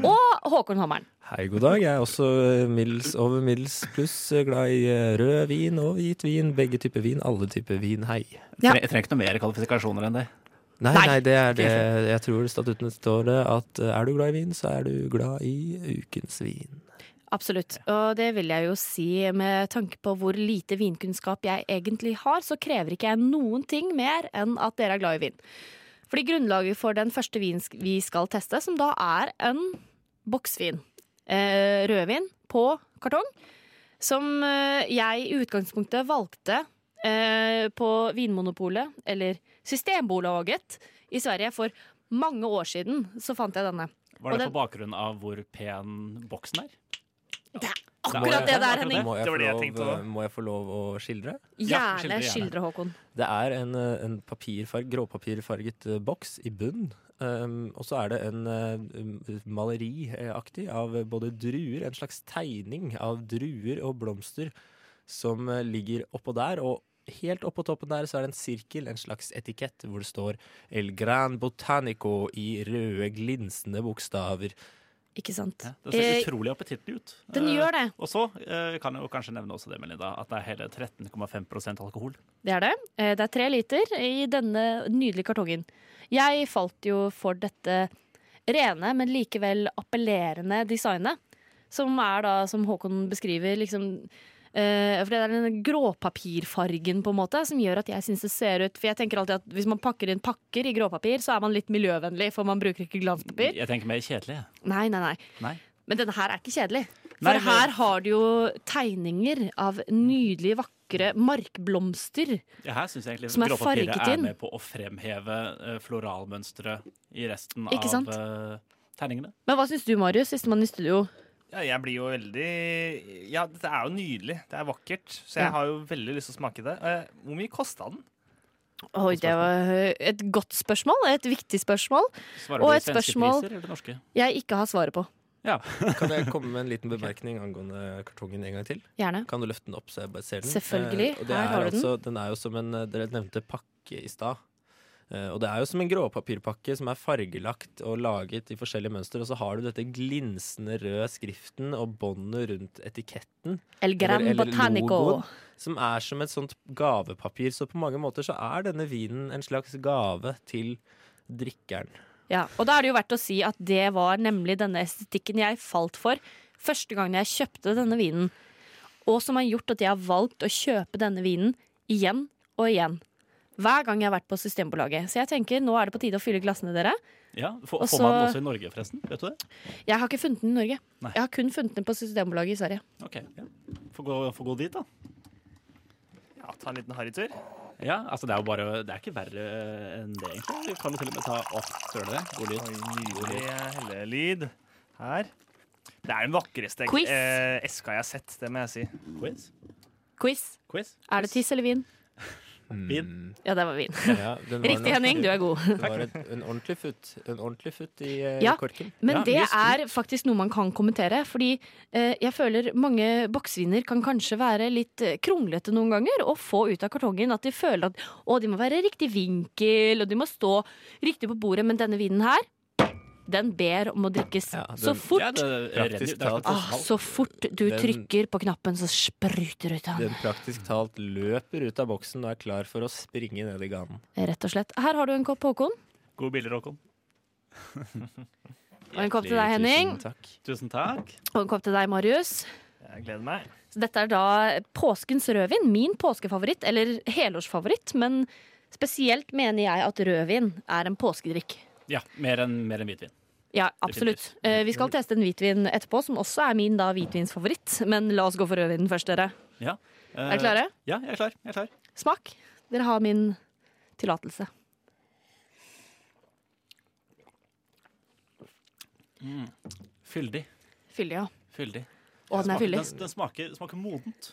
Speaker 3: Og Håkon Hammeren.
Speaker 14: Hei, god dag. Jeg er også eh, middels over middels pluss eh, glad i eh, rød vin og hvit vin. Begge typer vin. Alle typer vin. Hei.
Speaker 3: Ja.
Speaker 4: Jeg trenger ikke noe mer kvalifikasjoner enn det.
Speaker 14: Nei, nei, det er det jeg tror statuten står det at eh, er du glad i vin, så er du glad i ukens vin.
Speaker 3: Absolutt. Og det vil jeg jo si med tanke på hvor lite vinkunnskap jeg egentlig har, så krever ikke jeg noen ting mer enn at dere er glad i vin. Fordi grunnlaget for den første vinen sk- vi skal teste, som da er en boksvin, eh, rødvin på kartong, som eh, jeg i utgangspunktet valgte eh, på Vinmonopolet, eller Systembolaget, i Sverige for mange år siden. Så fant jeg denne.
Speaker 4: Var
Speaker 3: Og
Speaker 4: det
Speaker 3: den-
Speaker 4: på bakgrunn av hvor pen boksen er?
Speaker 3: Akkurat det der, Henning.
Speaker 14: Må jeg,
Speaker 4: Det var det jeg
Speaker 14: få
Speaker 4: tenkte
Speaker 14: lov,
Speaker 4: også.
Speaker 14: eh, må jeg få lov å skildre?
Speaker 3: Gjerne skildre, Håkon.
Speaker 14: Det er en, eh, en papirfarg, gråpapirfarget eh, boks i bunnen. Um, og så er det en eh, maleriaktig av både druer, en slags tegning av druer og blomster som eh, ligger oppå der. Og helt oppå toppen der så er det en sirkel, en slags etikett, hvor det står El Gran Botanico i røde, glinsende bokstaver.
Speaker 3: Ikke sant. Eh,
Speaker 4: Det ser utrolig appetittlig ut.
Speaker 3: den
Speaker 4: Eh,
Speaker 3: gjør det.
Speaker 4: Og så eh, kan jeg jo kanskje nevne også det, Melinda, at det er hele 13,5 alkohol.
Speaker 3: Det er det. Eh, Det er tre liter i denne nydelige kartongen. Jeg falt jo for dette rene, men likevel appellerende designet. Som er da, som Håkon beskriver, liksom eh, For det er den gråpapirfargen på en måte som gjør at jeg syns det ser ut For jeg tenker alltid at hvis man pakker inn pakker i gråpapir, så er man litt miljøvennlig, for man bruker ikke glanspapir.
Speaker 4: Jeg tenker mer kjedelig. jeg.
Speaker 3: Nei, nei, nei.
Speaker 4: Nei.
Speaker 3: Men denne her er ikke kjedelig. For her har du jo tegninger av nydelige, vakre markblomster.
Speaker 4: Ja, her syns jeg egentlig
Speaker 3: Som er
Speaker 4: gråpapiret
Speaker 3: farget
Speaker 4: er
Speaker 3: inn.
Speaker 4: med på å fremheve eh, floralmønsteret i resten
Speaker 3: Ikke sant?
Speaker 4: av eh, tegningene.
Speaker 3: Men hva syns du, Marius? Sistemann i studio.
Speaker 13: Ja, jeg blir jo veldig Ja, dette er jo nydelig. Det er vakkert. Så jeg
Speaker 3: Ja.
Speaker 13: har jo veldig lyst til å smake det. Eh, hvor mye kosta den?
Speaker 3: Oi, det var øh, et godt spørsmål. Et viktig spørsmål.
Speaker 14: Svarer
Speaker 3: og
Speaker 14: du
Speaker 3: et
Speaker 14: svenske
Speaker 3: spørsmål
Speaker 14: priser eller norske?
Speaker 3: jeg ikke har svaret på.
Speaker 14: kan jeg komme med en liten bemerkning angående kartongen en gang til?
Speaker 3: Gjerne.
Speaker 14: Kan du løfte den opp så jeg bare ser den?
Speaker 3: Selvfølgelig.
Speaker 14: Eh, og det
Speaker 3: Her
Speaker 14: er
Speaker 3: har du den.
Speaker 14: altså, den. er jo som en, eh, dere nevnte pakke i stad. Eh, og det er jo som en gråpapirpakke som er fargelagt og laget i forskjellige mønster. Og så har du dette glinsende røde skriften og båndet rundt etiketten.
Speaker 3: El Gran
Speaker 14: eller- eller
Speaker 3: Botanico.
Speaker 14: logoen, Som er som et sånt gavepapir. Så på mange måter så er denne vinen en slags gave til drikkeren.
Speaker 3: Ja, og da er det jo verdt å si at det var nemlig denne estetikken jeg falt for første gang jeg kjøpte denne vinen. Og som har gjort at jeg har valgt å kjøpe denne vinen igjen og igjen. Hver gang jeg har vært på Systembolaget. Så jeg tenker nå er det på tide å fylle glassene, dere.
Speaker 4: Ja, Får,
Speaker 3: Og
Speaker 4: får man den
Speaker 3: så-
Speaker 4: også i Norge, forresten? Vet du det?
Speaker 3: Jeg har ikke funnet den i Norge. Jeg har kun funnet den på Systembolaget i Sverige.
Speaker 4: Ok, ja. Får gå, får gå dit, da.
Speaker 13: Ja, ta en liten harrytur.
Speaker 4: Ja, altså Det er jo bare Det er ikke verre enn det, egentlig. Du kan jo til og med ta opp Hører dere det? God lyd. God
Speaker 13: Nydelig
Speaker 4: lyd.
Speaker 13: hellelyd her. Det er den vakreste
Speaker 3: Quiz.
Speaker 13: eh, eska jeg har sett, det må jeg si.
Speaker 4: Quiz?
Speaker 3: Quiz. Er det tiss eller vin?
Speaker 13: Mm.
Speaker 14: Vin.
Speaker 3: Ja, det var vin.
Speaker 14: Ja, den var
Speaker 3: Riktig,
Speaker 14: nok-
Speaker 3: Henning. Du er god.
Speaker 14: Det var et, en ordentlig futt En ordentlig futt i eh,
Speaker 3: Ja,
Speaker 14: korken.
Speaker 3: men
Speaker 14: Ja,
Speaker 3: det
Speaker 14: mye skryt.
Speaker 3: er faktisk noe man kan kommentere. Fordi eh, jeg føler mange boksviner kan kanskje være litt eh, kronglete noen ganger og få ut av kartongen at de føler at å, de må være i riktig vinkel, og de må stå riktig på bordet. Men denne vinen her, den ber om å drikkes så
Speaker 14: den-
Speaker 3: fort.
Speaker 14: Ja, det er praktisk
Speaker 4: Praktisk talt.
Speaker 14: talt
Speaker 3: ah, så fort du
Speaker 14: Den-
Speaker 3: trykker på knappen, så spruter det ut av den.
Speaker 14: Den praktisk talt løper ut av boksen og er klar for å springe ned i ganen.
Speaker 3: Rett og slett. Her har du en kopp Håkon,
Speaker 13: Gode bilder, Håkon.
Speaker 3: og en kopp til deg, Henning,
Speaker 14: takk.
Speaker 4: Tusen takk.
Speaker 3: og en kopp til deg, Marius.
Speaker 13: Jeg gleder meg.
Speaker 3: Så dette er da påskens rødvin. Min påskefavoritt, eller helårsfavoritt. Men spesielt mener jeg at rødvin er en påskedrikk.
Speaker 4: Ja, mer enn mer enn hvitvin.
Speaker 3: Ja, absolutt. Eh, Vi skal teste en hvitvin etterpå, som også er min da hvitvinsfavoritt. Men la oss gå for rødvinen først, dere.
Speaker 4: Ja. Eh,
Speaker 3: Er dere klare?
Speaker 4: Ja, jeg er klar. Jeg er klar.
Speaker 3: Smak. Dere har min tillatelse.
Speaker 4: Fyldig.
Speaker 3: Fyldig, ja.
Speaker 4: Fyldig.
Speaker 3: Å, den er
Speaker 4: Smaker-
Speaker 3: fyldig.
Speaker 4: Den, den smaker, smaker modent.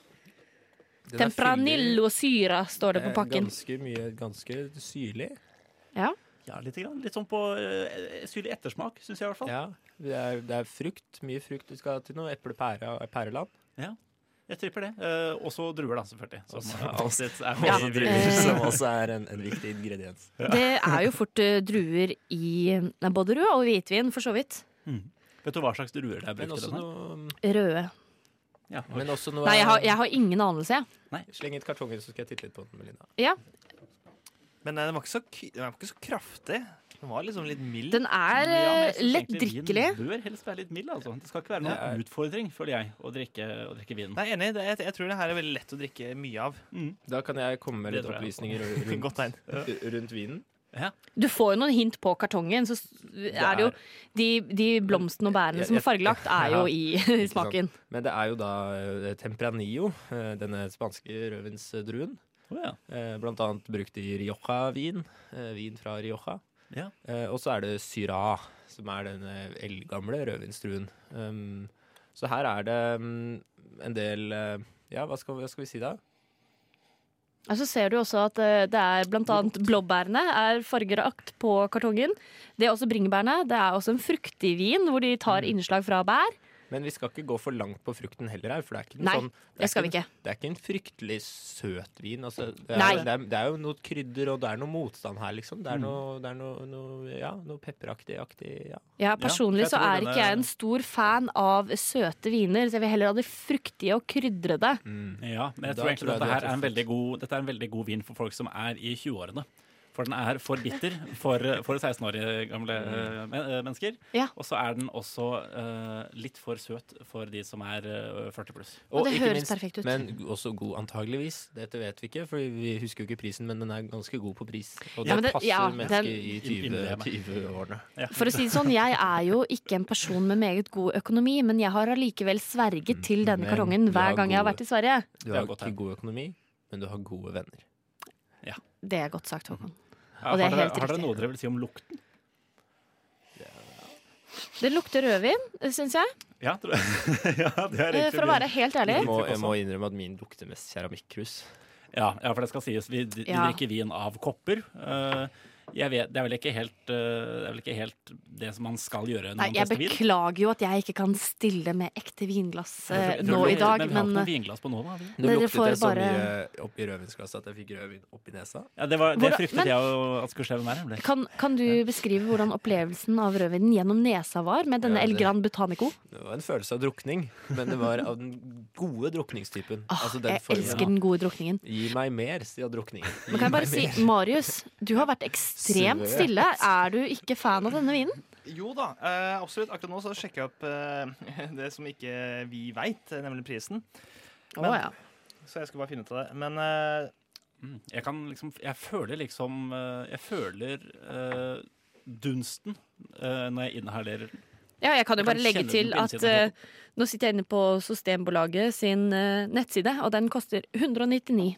Speaker 3: Tempranillo syra står
Speaker 14: Eh,
Speaker 3: det på pakken.
Speaker 14: Ganske mye, ganske syrlig.
Speaker 3: Ja.
Speaker 4: Ja, litt, grann. litt sånn på uh, syrlig ettersmak, syns jeg i hvert fall.
Speaker 14: Ja, det er, det er frukt. Mye frukt du skal til noe. Eple, pære, pæreland.
Speaker 4: Ja. Jeg tripper det. Eh, også druer, da, selvfølgelig. Som
Speaker 14: Også- Eh.
Speaker 4: alltid er
Speaker 14: også
Speaker 4: veldig-
Speaker 14: druer, som også er en, en viktig ingrediens.
Speaker 3: Det er jo fort eh, druer i eh, både rød og hvitvin, for så vidt.
Speaker 4: Vet du hva slags druer det er
Speaker 14: Men
Speaker 4: brukt i
Speaker 14: også
Speaker 4: den her?
Speaker 3: Røde.
Speaker 4: Ja,
Speaker 14: Men også noe
Speaker 3: Nei, jeg har, jeg har ingen anelse, jeg.
Speaker 14: Sleng ut kartongen, så skal jeg titte litt på den, Melina.
Speaker 3: Ja.
Speaker 13: Men eh, den var ikke så, k- den var ikke så kraftig. Den var liksom litt mild.
Speaker 3: Den er eh, lettdrikkelig.
Speaker 4: Vin bør helst være litt mild, altså. Det skal ikke være
Speaker 13: Ja.
Speaker 4: noen utfordring, føler jeg, å drikke, å drikke vin.
Speaker 13: Nei, enig. Det, jeg, jeg tror det her er veldig lett å drikke mye av.
Speaker 14: Da kan jeg komme med
Speaker 13: Det
Speaker 14: litt
Speaker 13: tror jeg.
Speaker 14: opplysninger
Speaker 13: Godt
Speaker 14: rundt,
Speaker 13: tegn.
Speaker 14: rundt vinen.
Speaker 3: Du får jo noen hint på kartongen. Så s- er det jo De, de blomstene og bærene som er fargelagt, er jo i, i
Speaker 14: Ikke sant.
Speaker 3: smaken.
Speaker 14: Men det er jo da eh, Tempranillo, eh, denne spanske rødvinsdruen.
Speaker 4: ja.
Speaker 14: Eh, Blant annet brukt i Rioja-vin. eh, Vin fra Rioja.
Speaker 4: Ja.
Speaker 14: Eh, Og så er det Syrah, som er denne eldgamle rødvinsdruen. Um, Så her er det mm, en del eh, Ja, hva skal, hva skal vi si da?
Speaker 3: Og så ser du også at eh, det er blant annet blåbærene er fargerakt på kartongen. Det er også bringebærene. Det er også en fruktig vin hvor de tar innslag fra bær.
Speaker 14: Men vi skal ikke gå for langt på frukten heller her, for det er ikke noe
Speaker 3: Nei,
Speaker 14: sånn
Speaker 3: det skal vi
Speaker 14: ikke,
Speaker 3: ikke.
Speaker 14: en- Det er ikke en fryktelig søt vin. Altså, det,
Speaker 3: Nei.
Speaker 14: er, det, er, det er jo noe krydder, og det er noe motstand her, liksom. Det er noe, det er noe, noe, ja, noe pepperaktig aktig, ja.
Speaker 3: Ja, Personlig så er ikke jeg en stor fan av søte viner, så jeg vil heller ha det fruktige og krydrede.
Speaker 4: Ja, men jeg
Speaker 14: Mm. Da
Speaker 4: tror egentlig
Speaker 14: tror jeg
Speaker 4: dette
Speaker 14: du har
Speaker 4: her er en veldig god Dette er en veldig god vin for folk som er i 20-årene. For den er for bitter for, for 16-årige gamle
Speaker 14: Mm.
Speaker 4: eh, men- eh, mennesker.
Speaker 3: Ja.
Speaker 4: Og så er den også eh, litt for søt for de som er eh, 40 pluss.
Speaker 3: Og det høres perfekt ut.
Speaker 14: Men også god, antageligvis. Dette vet vi ikke, for vi husker jo ikke prisen, men den er ganske god på pris. Og
Speaker 3: Ja,
Speaker 14: det,
Speaker 3: men det-
Speaker 14: passer
Speaker 3: ja,
Speaker 14: mennesker
Speaker 3: den-
Speaker 14: i 20 20-årene.
Speaker 3: For å si det sånn, jeg er jo ikke en person med meget god økonomi, men jeg har allikevel
Speaker 4: Mm,
Speaker 3: sverget til denne
Speaker 14: Men
Speaker 3: kartongen
Speaker 14: du har
Speaker 3: hver gang jeg har
Speaker 14: gode-
Speaker 3: vært i Sverige.
Speaker 14: Du har ikke god økonomi, men du har gode venner.
Speaker 3: Det er godt sagt, Håkon.
Speaker 4: Ja,
Speaker 3: Og det
Speaker 4: har
Speaker 3: er
Speaker 4: dere-
Speaker 3: helt
Speaker 4: Har dere
Speaker 3: riktig.
Speaker 4: noe dere vil si om lukten?
Speaker 3: Det lukter rødvin, syns jeg.
Speaker 4: Ja, tror jeg. ja det er
Speaker 3: Eh,
Speaker 4: egentlig
Speaker 3: For å
Speaker 4: min-
Speaker 3: være helt ærlig.
Speaker 14: Jeg må, jeg må innrømme at min lukter mest keramikkrus.
Speaker 4: Ja, ja, for det skal sies. Vi, vi
Speaker 3: Ja.
Speaker 4: drikker vin av kopper. Eh, jeg vet, det, er vel ikke helt, eh, det er vel ikke helt det som man skal gjøre når
Speaker 3: Nei,
Speaker 4: man
Speaker 3: jeg
Speaker 4: tester vin.
Speaker 3: beklager jo at jeg ikke kan stille med ekte vinglass
Speaker 4: Jeg tror-
Speaker 3: eh,
Speaker 4: jeg tror
Speaker 3: nå
Speaker 4: det
Speaker 3: i dag,
Speaker 4: lukter- Men vi har ikke noe
Speaker 3: men eh,
Speaker 4: vinglass på nå, da. har vi?
Speaker 14: Nå
Speaker 3: Dere
Speaker 14: luktet
Speaker 3: får
Speaker 14: jeg så
Speaker 3: bare-
Speaker 14: mye oppi rødvinsglasset at jeg fikk rødvin oppi nesa.
Speaker 4: Ja, det, var, det
Speaker 3: Hvordan-
Speaker 4: fryktet
Speaker 3: men-
Speaker 4: jeg jo at skulle skje med meg. nemlig.
Speaker 3: eh, kan, kan du beskrive hvordan opplevelsen av rødvinen gjennom nesa var med denne
Speaker 14: Ja,
Speaker 3: El
Speaker 14: det-
Speaker 3: Gran Butanico?
Speaker 14: Det var en følelse av drukning, men det var av den gode drukningstypen.
Speaker 3: Ah,
Speaker 14: Altså den
Speaker 3: jeg
Speaker 14: formen.
Speaker 3: elsker den gode drukningen.
Speaker 14: Gi meg mer, sier drukning.
Speaker 3: Men kan jeg bare si, Marius, du har vært ekstremt
Speaker 14: Søt.
Speaker 3: stille. Er du ikke fan av denne vinen?
Speaker 13: Jo da, eh, absolutt. Akkurat nå så sjekker jeg opp eh, det som ikke vi veit, nemlig prisen.
Speaker 3: Å, ja.
Speaker 13: Så jeg skulle bare finne ut av det. Men eh,
Speaker 4: Mm. Jeg kan liksom Jeg føler liksom eh, Jeg føler eh, dunsten eh, når jeg inhalerer den.
Speaker 3: Ja, jeg kan jo
Speaker 4: Jeg kan
Speaker 3: bare legge
Speaker 4: kjenne den
Speaker 3: til
Speaker 4: på
Speaker 3: at
Speaker 4: innsiden
Speaker 3: eh,
Speaker 4: av
Speaker 3: nå sitter jeg inne på Systembolaget sin eh, nettside, og den koster 199.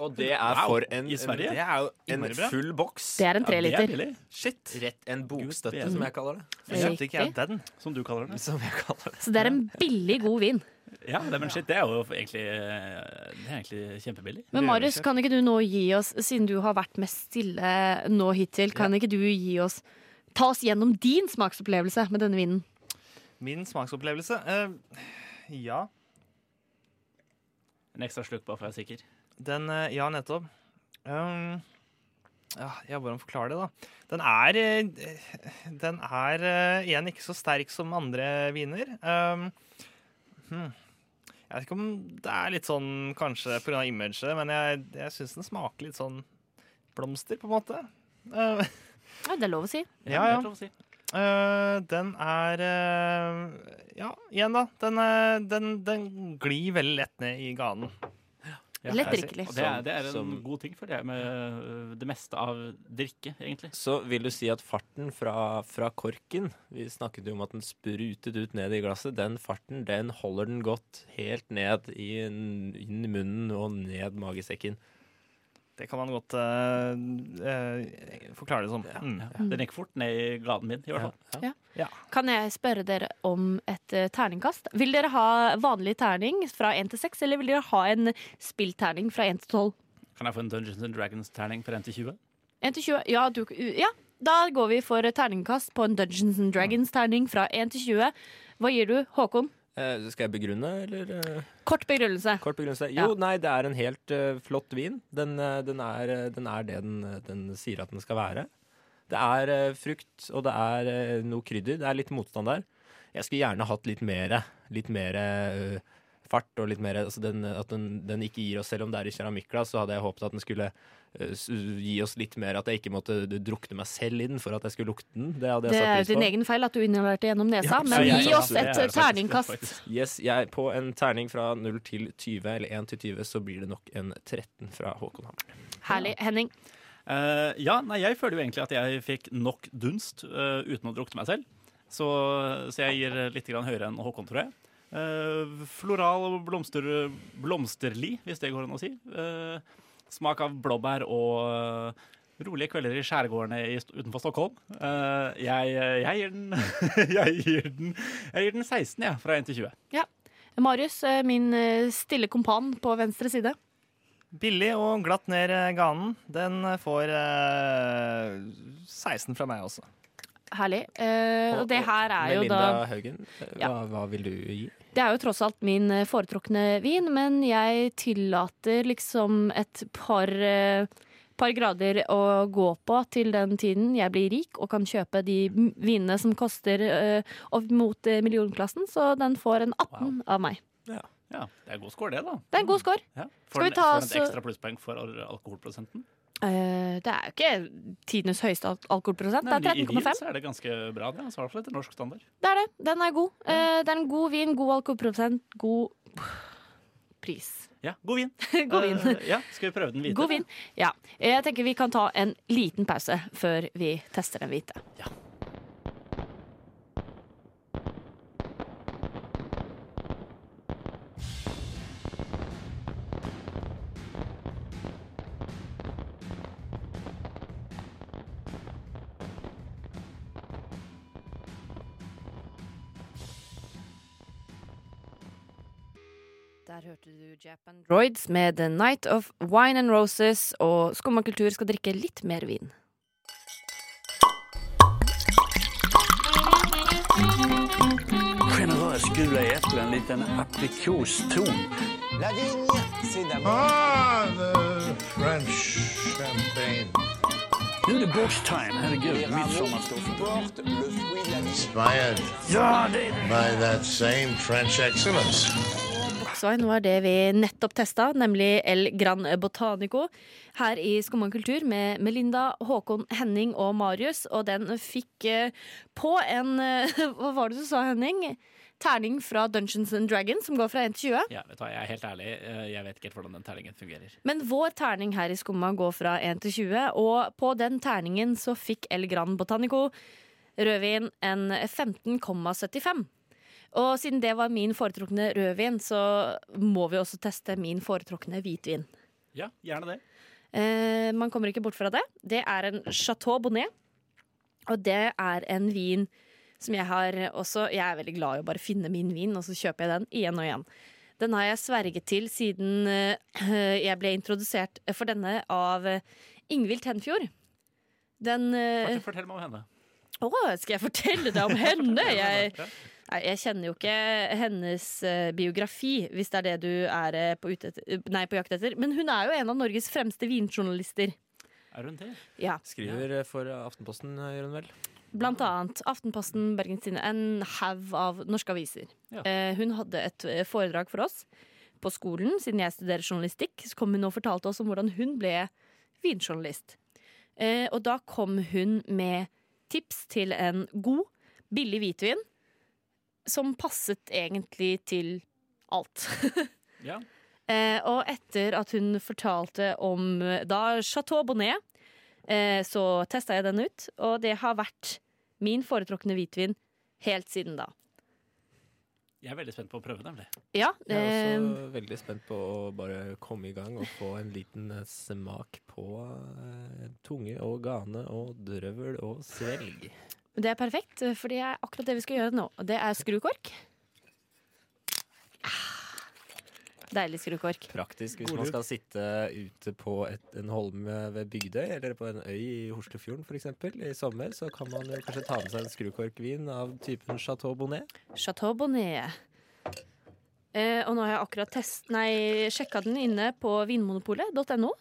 Speaker 14: Og det er
Speaker 4: Wow,
Speaker 14: for en
Speaker 4: i Sverige?
Speaker 14: Det er jo en
Speaker 4: Innmari bra.
Speaker 14: full boks.
Speaker 3: Det er en
Speaker 14: Ja, det
Speaker 3: treliter.
Speaker 14: billig. Shit. Rett en bokstøtte,
Speaker 4: bedre.
Speaker 14: som jeg kaller det.
Speaker 3: Så kjøpte ikke jeg Riktig.
Speaker 4: den, som du kaller den.
Speaker 14: Som jeg kaller det.
Speaker 3: Så det er en billig, god vin.
Speaker 4: Ja, det, men shit, det er jo egentlig eh, Det er egentlig kjempebillig.
Speaker 3: Men Marius, kan ikke du nå gi oss, siden du har vært mest stille nå hittil, kan ikke du gi oss Ta oss gjennom din smaksopplevelse med denne vinen.
Speaker 13: min smaksopplevelse eh, Ja.
Speaker 4: En ekstra slurk bare for å være sikker.
Speaker 13: Den eh, Ja, nettopp. Um, ja, ja, hvordan forklare det, da? Den er eh, Den er eh, igjen ikke så sterk som andre viner. Um, hmm. Jeg vet ikke om det er litt sånn kanskje pga. imaget, men jeg, jeg syns den smaker litt sånn blomster, på en måte. Uh,
Speaker 3: Ja, det er lov å si.
Speaker 13: ja, ja. Eh, den er eh, Ja, igjen, da. Den, eh, den, den glir veldig lett ned i ganen.
Speaker 4: Ja,
Speaker 3: Lettdrikkelig.
Speaker 4: Og Det er, det er en
Speaker 14: Som-
Speaker 4: god ting, føler jeg, med eh, det meste av drikke, egentlig.
Speaker 14: Så vil du si at farten fra, fra korken Vi snakket jo om at den sprutet ut ned i glasset. Den farten den holder den godt helt ned i, inn i munnen og ned magesekken.
Speaker 13: Det kan man godt eh, eh, forklare det som. Mm.
Speaker 4: Ja, Den gikk fort ned i gaten min, i hvert fall.
Speaker 3: Ja. Kan jeg spørre dere om et eh, terningkast? Vil dere ha vanlig terning fra 1 til 6, eller vil dere ha en spillterning fra 1 til 12?
Speaker 4: Kan jeg få en Dungeons and Dragons-terning for 1 til 20?
Speaker 3: 1 til 20? Ja, du, ja, da går vi for terningkast på en Dungeons and Dragons-terning fra 1 til 20. Hva gir du, Håkon?
Speaker 14: Eh, skal jeg begrunne, eller? eh?
Speaker 3: Kort begrunnelse.
Speaker 14: Kort begrunnelse.
Speaker 3: Ja.
Speaker 14: Jo, nei, det er en helt eh, flott vin. Den, eh, den, er, eh, den er det den, eh, den sier at den skal være. Det er eh, frukt, og det er eh, noe krydder. Det er litt motstand der. Jeg skulle gjerne hatt litt mer, litt mer eh, fart og litt mer altså den, At den, den ikke gir oss, selv om det er i keramikkglass, så hadde jeg håpet at den skulle eh, s- gi oss litt mer at jeg ikke måtte drukne meg selv i den for at jeg skulle lukte den. Det hadde
Speaker 3: Det
Speaker 14: jeg
Speaker 3: er
Speaker 14: satt
Speaker 3: jo din
Speaker 14: pris på.
Speaker 3: egen feil at du inhalerte gjennom nesa,
Speaker 14: Ja,
Speaker 3: men
Speaker 14: så jeg-
Speaker 3: gi oss
Speaker 14: det
Speaker 3: et
Speaker 14: er faktisk-
Speaker 3: terningkast.
Speaker 14: Yes, jeg, på en terning fra 0 til 20, eller 1 til 20, så blir det nok en 13 fra Håkon Hammer.
Speaker 3: Herlig. Henning.
Speaker 4: Eh, ja, nei, jeg føler jo egentlig at jeg fikk nok dunst eh, uten å drukne meg selv. Så, så jeg gir litt grann høyere enn Håkon, tror jeg. Eh, floral og blomster, blomsterli, hvis det går an å si. Eh, smak av blåbær og eh, rolige kvelder i skjærgårdene i, St- utenfor Stockholm. Eh, jeg, jeg, gir den, jeg, gir den, jeg gir den 16, jeg, fra 1 til 20.
Speaker 3: Ja. Marius, eh, min eh, stille kompan på venstre side.
Speaker 13: Billig og glatt ned eh, ganen. Den eh, får eh, 16 fra meg også.
Speaker 3: Herlig. Eh, og det her er jo da
Speaker 14: Melinda Haugen, hva,
Speaker 3: Ja.
Speaker 14: hva vil du gi?
Speaker 3: Det er jo tross alt min eh, foretrukne vin, men jeg tillater liksom et par, eh, par grader å gå på til den tiden jeg blir rik og kan kjøpe de m- vinene som koster eh, opp mot eh, millionklassen, så den får en 18 av meg.
Speaker 14: Ja.
Speaker 4: det er god score, det, da.
Speaker 3: Det er en god score.
Speaker 4: Ja.
Speaker 3: Skal
Speaker 4: Får
Speaker 3: vi
Speaker 4: den,
Speaker 3: ta
Speaker 4: får den
Speaker 3: oss-
Speaker 4: et ekstra plusspoeng for al- alkoholprosenten?
Speaker 3: Eh, det er jo ikke tidenes høyeste al- alkoholprosent. Det er
Speaker 4: Nemlig I Wien
Speaker 3: 13,5.
Speaker 4: så er det ganske bra, det. Altså, I hvert fall etter norsk standard.
Speaker 3: Det er det. Den er god. Eh, det er en god vin, god alkoholprosent, god pris.
Speaker 4: Ja, god vin.
Speaker 3: God vin.
Speaker 4: Eh, ja, skal vi prøve den hvite?
Speaker 3: God vin. Ja. Jeg tenker vi kan ta en liten pause før vi tester den hvite. Der hørte du Japan Droids med The Night of Wine and Roses, og Skumma kultur skal drikke litt mer vin.
Speaker 11: Generöst gula äpplen, en liten aprikostron. Lavigne, c'est
Speaker 12: Ah, the French champagne.
Speaker 11: Nu är det borst time, herregud. Midsommarstånd.
Speaker 12: Inspired
Speaker 11: Ja, det-
Speaker 12: by that same French excellence.
Speaker 3: Boksvin var det vi nettopp testa, nemlig El Gran Botanico her i Skumma kultur med Melinda, Håkon, Henning og Marius, og den fikk eh, på en eh, Hva var det du sa, Henning? Terning fra Dungeons and Dragons, som går fra 1 til 20.
Speaker 4: Ja, vet du hva, jeg er helt ærlig, eh, jeg vet ikke helt hvordan den terningen fungerer.
Speaker 3: Men vår terning her i Skumma går fra 1 til 20, og på den terningen så fikk El Gran Botanico rødvin en 15,75. Og siden det var min foretrukne rødvin, så må vi også teste min foretrukne hvitvin.
Speaker 4: Ja, gjerne det.
Speaker 3: Eh, man kommer ikke bort fra det. Det er en Chateau Bonnet, og det er en vin som jeg har også Jeg er veldig glad i å bare finne min vin, og så kjøper jeg den igjen og igjen. Den har jeg sverget til siden eh, jeg ble introdusert for denne av eh, Ingvild Tenfjord. Den eh,
Speaker 4: Fortell, fortell meg om henne.
Speaker 3: Å, skal jeg fortelle deg om henne? Jeg, nei, jeg kjenner jo ikke hennes eh, biografi, hvis det er det du er eh, på, ute etter, nei, på jakt etter. Men hun er jo en av Norges fremste vinjournalister.
Speaker 4: Er hun det?
Speaker 3: Ja.
Speaker 14: Skriver eh, for Aftenposten, eh, gjør hun vel?
Speaker 3: Blant annet Aftenposten, Bergens Tidende, en haug av norske aviser.
Speaker 14: Ja.
Speaker 3: Eh, hun hadde et eh, foredrag for oss på skolen, siden jeg studerer journalistikk. Så kom hun og fortalte oss om hvordan hun ble vinjournalist. Eh, og da kom hun med tips til en god, billig hvitvin som passet egentlig til alt.
Speaker 4: Ja.
Speaker 3: Eh, og etter at hun fortalte om eh, da Chateau Bonnet, eh, så testa jeg den ut. Og det har vært min foretrukne hvitvin helt siden da.
Speaker 4: Jeg er veldig spent på å prøve, nemlig.
Speaker 3: Ja,
Speaker 14: Jeg
Speaker 3: eh,
Speaker 14: er også veldig spent på å bare komme i gang og få en liten eh, smak på eh, tunge og gane og drøvel og svelg.
Speaker 3: det er perfekt, eh, for det er akkurat det vi skal gjøre nå. Og det er skrukork. Ah, Deilig skrukork.
Speaker 14: Praktisk hvis
Speaker 3: God lur.
Speaker 14: man skal sitte ute på et, en holme ved Bygdøy eller på en øy i Horslefjorden f.eks. i sommer, så kan man jo kanskje ta med seg en skrukorkvin av typen Chateau Bonnet.
Speaker 3: Chateau Bonnet. Eh, og nå har jeg akkurat test, nei, sjekka den inne på vinmonopolet.no.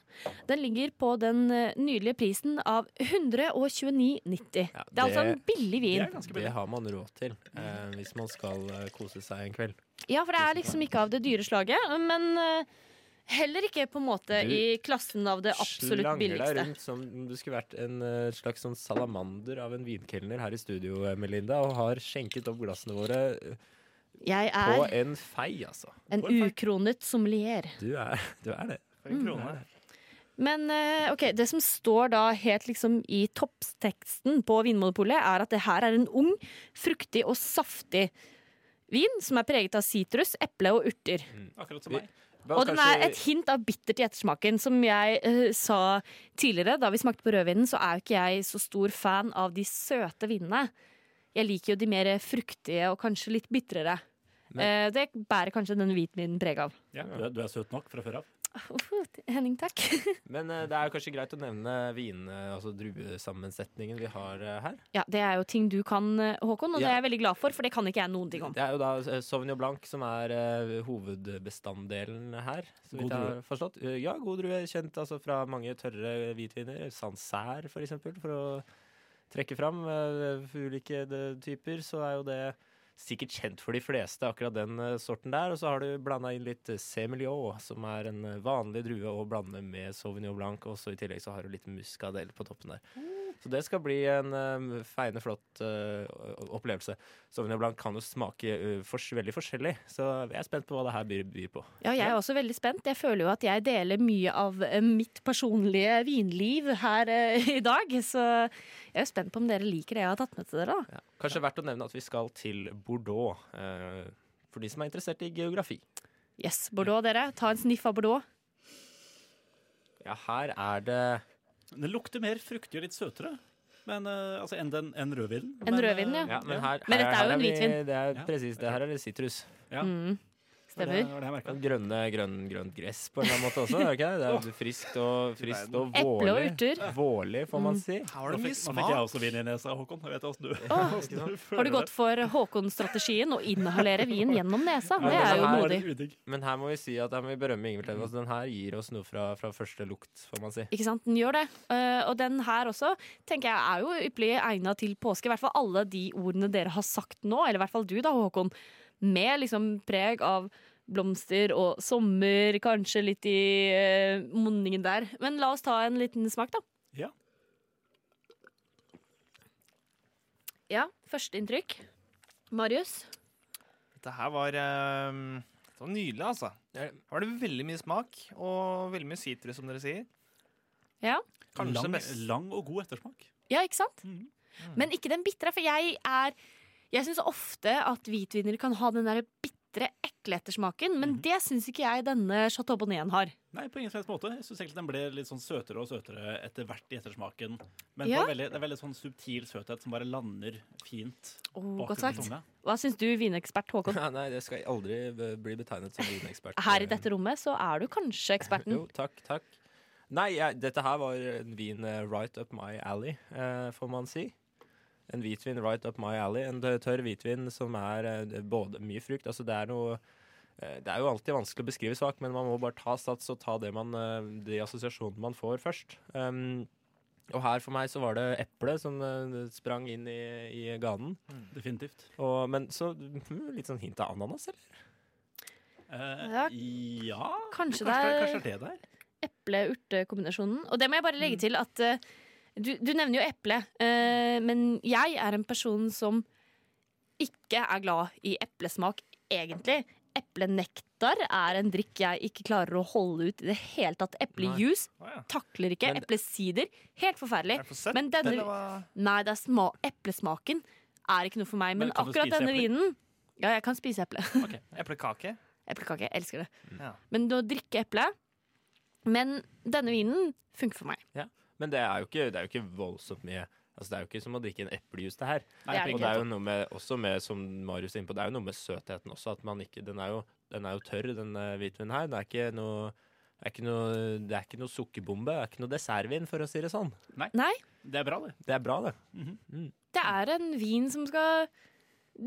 Speaker 3: Den ligger på den eh, nydelige prisen av 129,90. det, er altså en billig vin.
Speaker 14: Det har man råd til eh, hvis man skal eh, kose seg en kveld.
Speaker 3: Ja, for det er liksom ikke av det dyre slaget, men eh, heller ikke på en måte
Speaker 14: Du
Speaker 3: i klassen av det absolutt
Speaker 14: Slanger deg
Speaker 3: billigste.
Speaker 14: rundt som om du skulle vært en eh, slags sånn salamander av en vinkelner her i studio, eh, Melinda, og har skjenket opp glassene våre eh,
Speaker 3: Jeg
Speaker 14: på
Speaker 3: er
Speaker 14: en fei, altså.
Speaker 3: en ukronet sommelier.
Speaker 14: Du er, du er det.
Speaker 3: For
Speaker 4: Mm.
Speaker 3: en krone. Men eh, ok, det som står da helt liksom i toppteksten på Vinmonopolet, er at det her er en ung, fruktig og saftig vin som er preget av sitrus, eple og urter.
Speaker 4: Akkurat som meg.
Speaker 3: Og den er et hint av bittert i ettersmaken. Som jeg eh, sa tidligere, da vi smakte på rødvinen, så er jo ikke jeg så stor fan av de søte vinene. Jeg liker jo de mer fruktige og kanskje litt bitrere. Eh, det bærer kanskje den hvitvinen preg av.
Speaker 4: Ja, du, er, du er søt nok fra før av.
Speaker 3: Uhuh, Henning, takk.
Speaker 14: Men eh, det er jo kanskje greit å nevne vin, eh, altså druesammensetningen vi har eh, her.
Speaker 3: Ja, Det er jo ting du kan, eh, Håkon, og det
Speaker 14: Ja.
Speaker 3: er jeg veldig glad for, for det kan ikke jeg noen ting om.
Speaker 14: Det er jo da eh, Sauvignon Blanc som er eh, hovedbestanddelen her. Så vidt
Speaker 4: God
Speaker 14: jeg
Speaker 4: drue.
Speaker 14: har forstått. Eh, ja, god drue. Kjent altså fra mange tørre hvitviner. Sancerre, for eksempel, for å trekke fram eh, ulike de, typer. eh, Så er jo det sikkert kjent for de fleste, akkurat den eh, sorten der. Og så har du blanda inn litt eh, Semillon, som er en eh, vanlig drue å blande med Sauvignon Blanc. Og så i tillegg så har du litt muskadell på toppen der. Så det skal bli en eh, feiende flott eh, opplevelse. Sauvignon Blanc kan jo smake eh, fors veldig forskjellig, så jeg er spent på hva det her byr, byr på.
Speaker 3: Ja, jeg er også veldig spent. Jeg føler jo at jeg deler mye av eh, mitt personlige vinliv her eh, i dag. Så jeg er jo spent på om dere liker det jeg har tatt med til dere. da.
Speaker 14: Kanskje verdt å nevne at vi skal til Bordeaux, eh, for de som er interessert i geografi.
Speaker 3: Yes, Bordeaux, dere. Ta en sniff av Bordeaux.
Speaker 14: Ja, her er det
Speaker 4: Den lukter mer fruktig og litt søtere men, eh, altså, enn den, enn rødvinen. eh,
Speaker 3: Enn rødvinen, ja.
Speaker 14: Ja, men her-
Speaker 3: Men dette er jo
Speaker 14: her
Speaker 3: en
Speaker 14: vi-
Speaker 3: hvitvin.
Speaker 14: Det er presis, det her er det sitrus.
Speaker 4: Ja.
Speaker 3: Mm. Stemmer.
Speaker 14: Og Grønne, grønn, grønt gress på en eller annen måte også. Er det, ikke? det er friskt og, friskt og
Speaker 3: Eple og
Speaker 14: vårlig.
Speaker 3: urter.
Speaker 14: Vårlig, får man
Speaker 3: Mm.
Speaker 14: si.
Speaker 3: Her var det
Speaker 4: Nå
Speaker 3: mye
Speaker 4: fikk, nå fikk jeg
Speaker 3: smak.
Speaker 4: også vin i nesa, Håkon. Jeg vet hvordan du,
Speaker 3: Åh,
Speaker 4: hvordan du
Speaker 3: Har du
Speaker 4: føler
Speaker 3: gått for Håkon-strategien å inhalere vin gjennom nesa? Det
Speaker 14: men
Speaker 3: er jo
Speaker 14: her-
Speaker 3: modig.
Speaker 14: Men her må vi si at her må vi berømme Ingvild Tellefsen. Den her gir oss noe fra, fra første lukt, får man si.
Speaker 3: Ikke sant, den gjør det. Eh, og den her også tenker jeg er jo ypperlig egna til påske. I hvert fall alle de ordene dere har sagt nå, eller i hvert fall du da, Håkon. Med liksom preg av blomster og sommer, kanskje litt i eh, munningen der. Men la oss ta en liten smak, da.
Speaker 4: Ja.
Speaker 3: Ja, førsteinntrykk. Marius?
Speaker 13: Dette her var, eh, det var nydelig, altså. Her var det veldig mye smak, og veldig mye sitrus, som dere sier.
Speaker 3: Ja.
Speaker 13: Kanskje
Speaker 4: lang,
Speaker 13: best.
Speaker 4: lang og god ettersmak.
Speaker 3: Ja, ikke sant? Men ikke den bitre, for jeg er Jeg syns ofte at hvitviner kan ha den der bitre, ekle ettersmaken, men det syns ikke jeg denne Chateau Bonnet har.
Speaker 4: Nei, på ingen som helst måte. Jeg syns egentlig den ble litt sånn søtere og søtere etter hvert i ettersmaken. Men
Speaker 3: Ja.
Speaker 4: på en veldig, det er veldig sånn subtil søthet som bare lander fint
Speaker 3: Oh,
Speaker 4: bak
Speaker 3: godt
Speaker 4: under
Speaker 3: sagt.
Speaker 4: tunga.
Speaker 3: Hva syns du, vinekspert Håkon?
Speaker 14: Ja, nei, det skal jeg aldri be- bli betegnet som vinekspert.
Speaker 3: Her i dette rommet så er du kanskje
Speaker 14: Jo,
Speaker 3: eksperten.
Speaker 14: takk, takk. Nei, jeg, dette her var en vin eh, right up my alley, eh, får man si. En hvitvin right up my alley. En tø- tørr hvitvin som er eh, både mye frukt Altså, det er noe eh, Det er jo alltid vanskelig å beskrive svak, men man må bare ta sats og ta det man, eh, de assosiasjonene man får, først. Um, og her for meg så var det eple som eh, sprang inn i, i ganen.
Speaker 4: Definitivt.
Speaker 14: Og, men så mm, litt sånn hint av ananas, eller?
Speaker 3: Ja.
Speaker 4: Eh, ja
Speaker 3: Kanskje det er-
Speaker 4: kanskje det er det der?
Speaker 3: Eple-urte-kombinasjonen. Og det må jeg bare
Speaker 13: Mm.
Speaker 3: legge til at eh, du, du nevner jo eple, eh, men jeg er en person som ikke er glad i eplesmak, egentlig. Eplenektar er en drikk jeg ikke klarer å holde ut i det hele tatt. Eplejus
Speaker 10: Nei. Å, ja.
Speaker 3: takler ikke. Eplesider, helt forferdelig.
Speaker 10: søtt,
Speaker 3: Men denne
Speaker 10: eller hva?
Speaker 3: Nei, det er sma eplesmaken er ikke noe for meg.
Speaker 13: Men
Speaker 3: Men
Speaker 13: kan du
Speaker 3: akkurat
Speaker 13: spise
Speaker 3: denne
Speaker 13: epler?
Speaker 3: vinen Ja, jeg kan spise eple.
Speaker 13: Eplekake.
Speaker 3: Eplekake. Jeg elsker det.
Speaker 13: Ja.
Speaker 3: Men å drikke eple Men denne vinen funker for meg.
Speaker 14: Ja, men det er jo ikke, det er jo ikke voldsomt mye Altså, det er jo ikke som å drikke en eplejus, det her.
Speaker 3: Nei, det er det
Speaker 14: og det
Speaker 3: ikke.
Speaker 14: er jo noe med, også med, som Marius er inne på, det er jo noe med søtheten også. At man ikke, den, er jo, den er jo tørr, den eh, hvitvinen her. Det er ikke noe det er ikke, noe, det er ikke noe sukkerbombe, det er ikke noe dessertvin, for å si det sånn.
Speaker 4: Nei.
Speaker 3: Nei,
Speaker 4: Det er bra, det.
Speaker 14: Det er bra, det.
Speaker 3: det er en vin som skal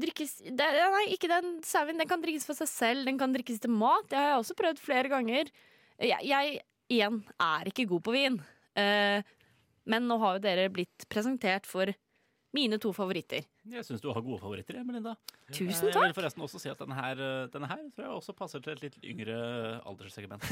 Speaker 3: drikkes det er, Nei, ikke den sauen. Den kan drikkes for seg selv, den kan drikkes til mat. Det har jeg også prøvd flere ganger. Jeg, jeg igjen, er ikke god på vin. Eh, men nå har jo dere blitt presentert for mine to favoritter.
Speaker 4: Jeg syns du har gode favoritter, jeg, Melinda. Eh,
Speaker 3: Tusen
Speaker 4: Jeg vil
Speaker 3: takk.
Speaker 4: forresten også si at denne her, eh, denne her tror jeg også passer til et litt yngre alderssegment.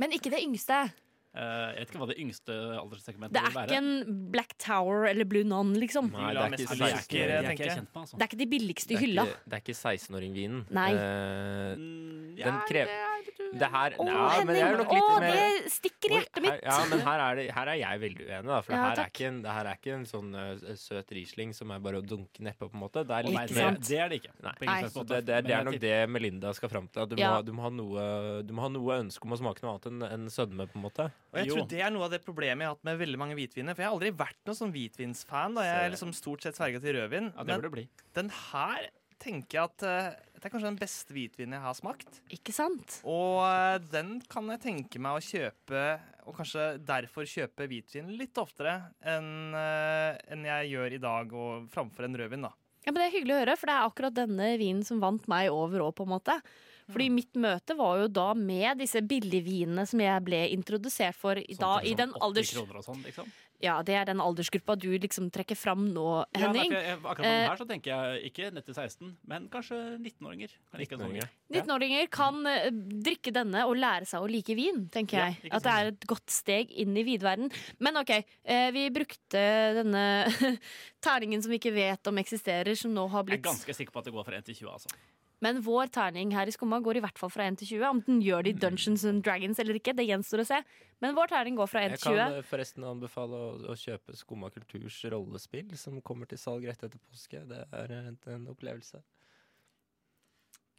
Speaker 3: Men ikke det yngste.
Speaker 4: Eh, jeg vet ikke hva det yngste alderssegmentet
Speaker 3: Det er
Speaker 4: vil være.
Speaker 3: ikke en Black Tower eller Blue Non, liksom.
Speaker 14: Nei, det er ikke
Speaker 4: De er ikke- de er
Speaker 14: 16-åring.
Speaker 4: ikke jeg kjent med, altså.
Speaker 3: Det er ikke de billigste
Speaker 14: eh, Det
Speaker 3: i
Speaker 14: er
Speaker 3: hylla.
Speaker 14: ikke- Det er ikke 16-åring-vinen.
Speaker 3: Nei.
Speaker 14: Eh, den
Speaker 3: ja,
Speaker 14: krever Det her
Speaker 3: Å,
Speaker 14: ja, men jeg er
Speaker 3: Henning!
Speaker 14: nok
Speaker 3: Å,
Speaker 14: litt mer
Speaker 3: det stikker i hjertet
Speaker 14: Her,
Speaker 3: mitt!
Speaker 14: ja, men her er, det, her er jeg veldig uenig, da. For
Speaker 3: Ja,
Speaker 14: det, her
Speaker 3: takk.
Speaker 14: er ikke en, det her er ikke en sånn eh, søt Riesling som er bare å dunke nedpå, på en måte. Det er
Speaker 4: Nei,
Speaker 14: litt
Speaker 4: det-
Speaker 14: mer
Speaker 4: det er det ikke.
Speaker 14: Nei.
Speaker 4: På ingen slags
Speaker 14: Så
Speaker 4: måte.
Speaker 14: det, det, det
Speaker 4: Men
Speaker 14: er nok
Speaker 4: jeg
Speaker 14: det Melinda skal fram til. At du,
Speaker 13: Ja.
Speaker 14: må, du, må ha noe, du må ha noe ønske om å smake noe annet enn enn sødme, på en måte.
Speaker 13: Og jeg tror det er noe av det problemet jeg har hatt med veldig mange hvitviner. For jeg har aldri vært noen sånn hvitvinsfan. da Jeg
Speaker 14: Se.
Speaker 13: er liksom stort sett sverga til rødvin.
Speaker 4: Ja, det
Speaker 13: men
Speaker 4: burde bli.
Speaker 13: den her tenker jeg at eh, Det er kanskje den beste hvitvinen jeg har smakt.
Speaker 3: Ikke sant?
Speaker 13: Og eh, den kan jeg tenke meg å kjøpe, og kanskje derfor kjøpe hvitvin litt oftere enn eh, enn jeg gjør i dag, og framfor en rødvin, da.
Speaker 3: Ja, men Det er hyggelig å høre, for det er akkurat denne vinen som vant meg over òg, på en måte. Fordi mitt møte var jo da med disse billigvinene som jeg ble introdusert for i-
Speaker 4: Sånn
Speaker 3: da i den alders...
Speaker 4: kroner og sånn, liksom.
Speaker 3: Ja, det er den aldersgruppa du liksom trekker fram nå,
Speaker 4: Ja, nei,
Speaker 3: Henning.
Speaker 4: for jeg, jeg- akkurat på
Speaker 3: eh,
Speaker 4: den her så tenker jeg ikke nett til 16, men kanskje 19-åringer. Kan like en sånn.
Speaker 3: 19-åringer kan eh, drikke denne og lære seg å like vin, tenker
Speaker 4: Ja,
Speaker 3: jeg.
Speaker 4: ikke
Speaker 3: At det er et godt steg inn i vidverden. Men OK, eh, vi brukte denne terningen som vi ikke vet om eksisterer, som nå har
Speaker 4: Jeg er
Speaker 3: blitt
Speaker 4: ganske sikker på at det går fra 1 til 20, altså.
Speaker 3: Men vår terning her i Skumma går i hvert fall fra 1 til 20. Om den gjør det i Dungeons and Dragons eller ikke, det gjenstår å se. Men vår terning går fra 1
Speaker 14: Jeg
Speaker 3: til
Speaker 14: kan
Speaker 3: 20.
Speaker 14: eh, forresten anbefale å, å kjøpe Skumma kulturs rollespill, som kommer til salg rett etter påske. Det er en, en opplevelse.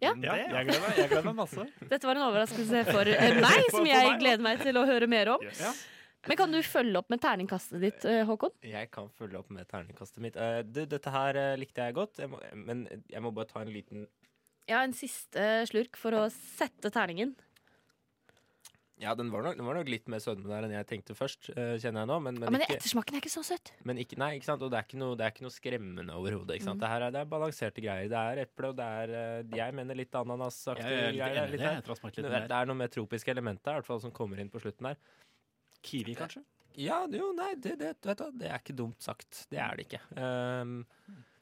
Speaker 3: Ja.
Speaker 14: Ja, jeg gleder meg- jeg gleder meg masse.
Speaker 3: Dette var en overraskelse for eh, meg, som jeg gleder meg til å høre mer om.
Speaker 14: Yes. Ja.
Speaker 3: Men kan du følge opp med terningkastet ditt, eh, Håkon?
Speaker 14: Jeg kan følge opp med terningkastet mitt. Eh, du, dette her eh, likte jeg godt, jeg må, men jeg må bare ta en liten
Speaker 3: Ja, en siste slurk for å sette terningen.
Speaker 14: Ja, den var nok, den var nok litt mer sødme der enn jeg tenkte først, eh, kjenner jeg nå. Men, men,
Speaker 3: Men, ja, men
Speaker 14: ikke,
Speaker 3: ettersmaken er ikke så søt.
Speaker 14: men ikke, nei, ikke sant? Og det er ikke noe, det er ikke noe skremmende overhodet. ikke sant?
Speaker 3: Mm.
Speaker 14: Det her er, det er balanserte greier. Det er eple, og det er eh, jeg mener litt ananasaktig.
Speaker 4: Jeg er litt
Speaker 14: greier,
Speaker 4: enig i det.
Speaker 14: her.
Speaker 4: Jeg tror jeg smakte litt
Speaker 14: det,
Speaker 4: mer.
Speaker 14: det er noe mer tropiske elementer i hvert fall, som kommer inn på slutten der.
Speaker 4: Kiwi, kanskje?
Speaker 14: Ja, jo, nei, det, det, vet du, hva, det er ikke dumt sagt. Det er det ikke. Ehm,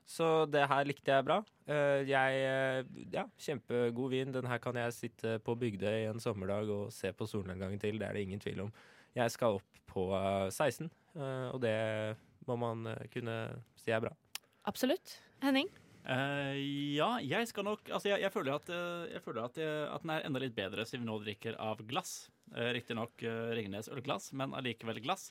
Speaker 14: så det her likte jeg bra. Eh, jeg eh, Ja, kjempegod vin. Den her kan jeg sitte på Bygdøy en sommerdag og se på solnedgangen til. Det er det ingen tvil om. Jeg skal opp på eh, 16, eh, og det må man eh, kunne si er bra.
Speaker 3: Absolutt. Henning?
Speaker 4: Eh, ja, jeg skal nok Altså, jeg, jeg føler, at, eh, jeg føler at, jeg, at den er enda litt bedre siden vi nå drikker av glass. Uh, Riktignok uh, Ringnes ølglass, men allikevel glass.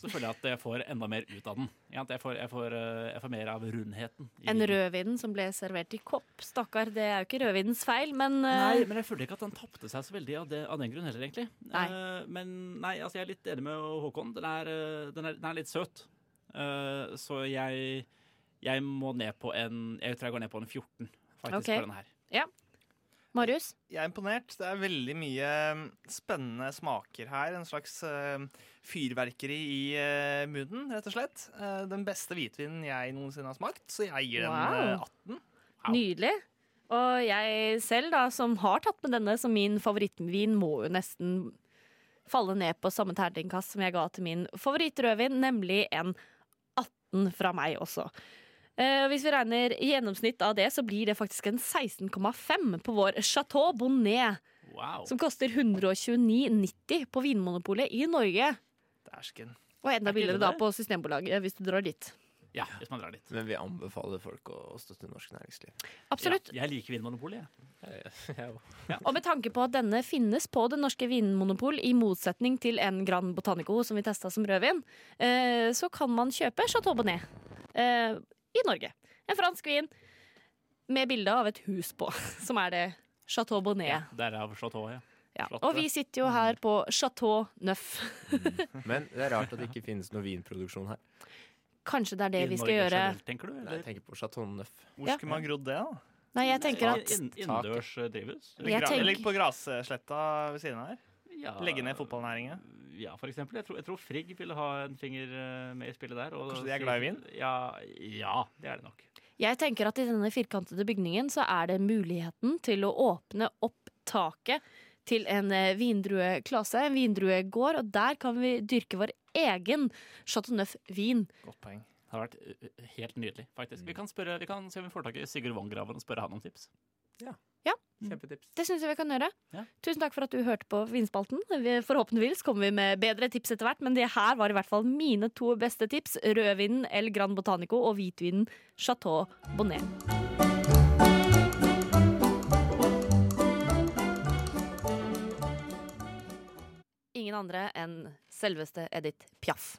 Speaker 4: Så føler jeg at jeg får enda mer ut av den. Ikke sant? Jeg får, jeg får, eh, jeg får mer av rundheten.
Speaker 3: En
Speaker 4: i vinen.
Speaker 3: rødvin som ble servert i kopp. Stakkar, det er jo ikke rødvinens feil, men eh,
Speaker 4: Nei, men jeg føler ikke at den tapte seg så veldig av, det, av den grunn heller, egentlig.
Speaker 3: Nei.
Speaker 4: Eh, men nei, altså jeg er litt enig med Håkon. Den er, eh, den er, den er litt søt. Eh, så jeg, jeg må ned på en Jeg tror jeg går ned på en 14, faktisk,
Speaker 13: Ok.
Speaker 4: på den her.
Speaker 3: Ja. Marius?
Speaker 13: Jeg er imponert. Det er veldig mye mm, spennende smaker her. En slags eh, fyrverkeri i eh, munnen, rett og slett. Eh, den beste hvitvinen jeg noensinne har smakt, så jeg gir den eh,
Speaker 3: Wow.
Speaker 13: 18.
Speaker 3: Nydelig. Og jeg selv, da, som har tatt med denne som min favorittvin, må jo nesten falle ned på samme terningkast som jeg ga til min favorittrødvin, nemlig en 18 fra meg også. Eh, hvis vi regner i gjennomsnitt av det, så blir det faktisk en 16,5 på vår Chateau Bonnet.
Speaker 4: Wow.
Speaker 3: Som koster 129,90 på Vinmonopolet i Norge.
Speaker 13: Dæsken.
Speaker 3: Og enda
Speaker 4: Er ikke
Speaker 3: billigere
Speaker 4: det
Speaker 3: da
Speaker 4: der?
Speaker 3: på Systembolaget, hvis du drar dit.
Speaker 4: Ja, hvis man drar dit.
Speaker 14: Men vi anbefaler folk å støtte norsk næringsliv.
Speaker 3: Absolutt.
Speaker 4: Ja, jeg liker Vinmonopolet, jeg.
Speaker 3: Og med tanke på at denne finnes på det norske vinmonopol, i motsetning til en Grand Botanico som vi testa som rødvin, eh, så kan man kjøpe Chateau Bonnet eh, i Norge. En fransk vin med bilde av et hus på, som er det Chateau Bonnet. Ja.
Speaker 4: Derav Chateau, ja.
Speaker 3: Og vi sitter jo her på Chateau Neuf.
Speaker 14: Men det er rart at det ikke finnes noe vinproduksjon her.
Speaker 3: Kanskje det er det vi skal gjøre.
Speaker 4: tenker du?
Speaker 14: Nei, jeg tenker på Chateau Neuf.
Speaker 13: Hvor
Speaker 3: Ja.
Speaker 13: skulle man grodd det, da?
Speaker 3: Nei, jeg tenker at
Speaker 4: Innendørs eh, drivhus?
Speaker 13: Eller, gra
Speaker 4: tenker-
Speaker 13: eller på grassletta ved siden av her?
Speaker 4: Ja.
Speaker 13: Legge ned fotballnæringa?
Speaker 4: Ja, for eksempel. Jeg tror, jeg tror Frigg ville ha en finger eh, med i spillet der. og-
Speaker 13: Kanskje de er glad i vin?
Speaker 4: Ja, ja, det er det nok.
Speaker 3: Jeg tenker at i denne firkantede bygningen så er det muligheten til å åpne opp taket til en eh, vindrueklase, en vindruegård, og der kan vi dyrke vår egen Chateau Neuf-vin.
Speaker 13: Godt poeng.
Speaker 4: Det har vært ø, ø, helt nydelig, faktisk. Vi, kan spørre, vi kan se om vi får tak i Sigurd Vongraven og spørre han om tips.
Speaker 3: Ja,
Speaker 14: Kjempetips.
Speaker 3: det syns jeg vi kan gjøre. Tusen takk for at du hørte på Vinspalten. Vi- Forhåpentligvis kommer vi med bedre tips etter hvert, men det her var i hvert fall mine to beste tips. Rødvinen El Gran Botanico og hvitvinen Chateau Bonnet. Ingen andre enn selveste Edith Piaf.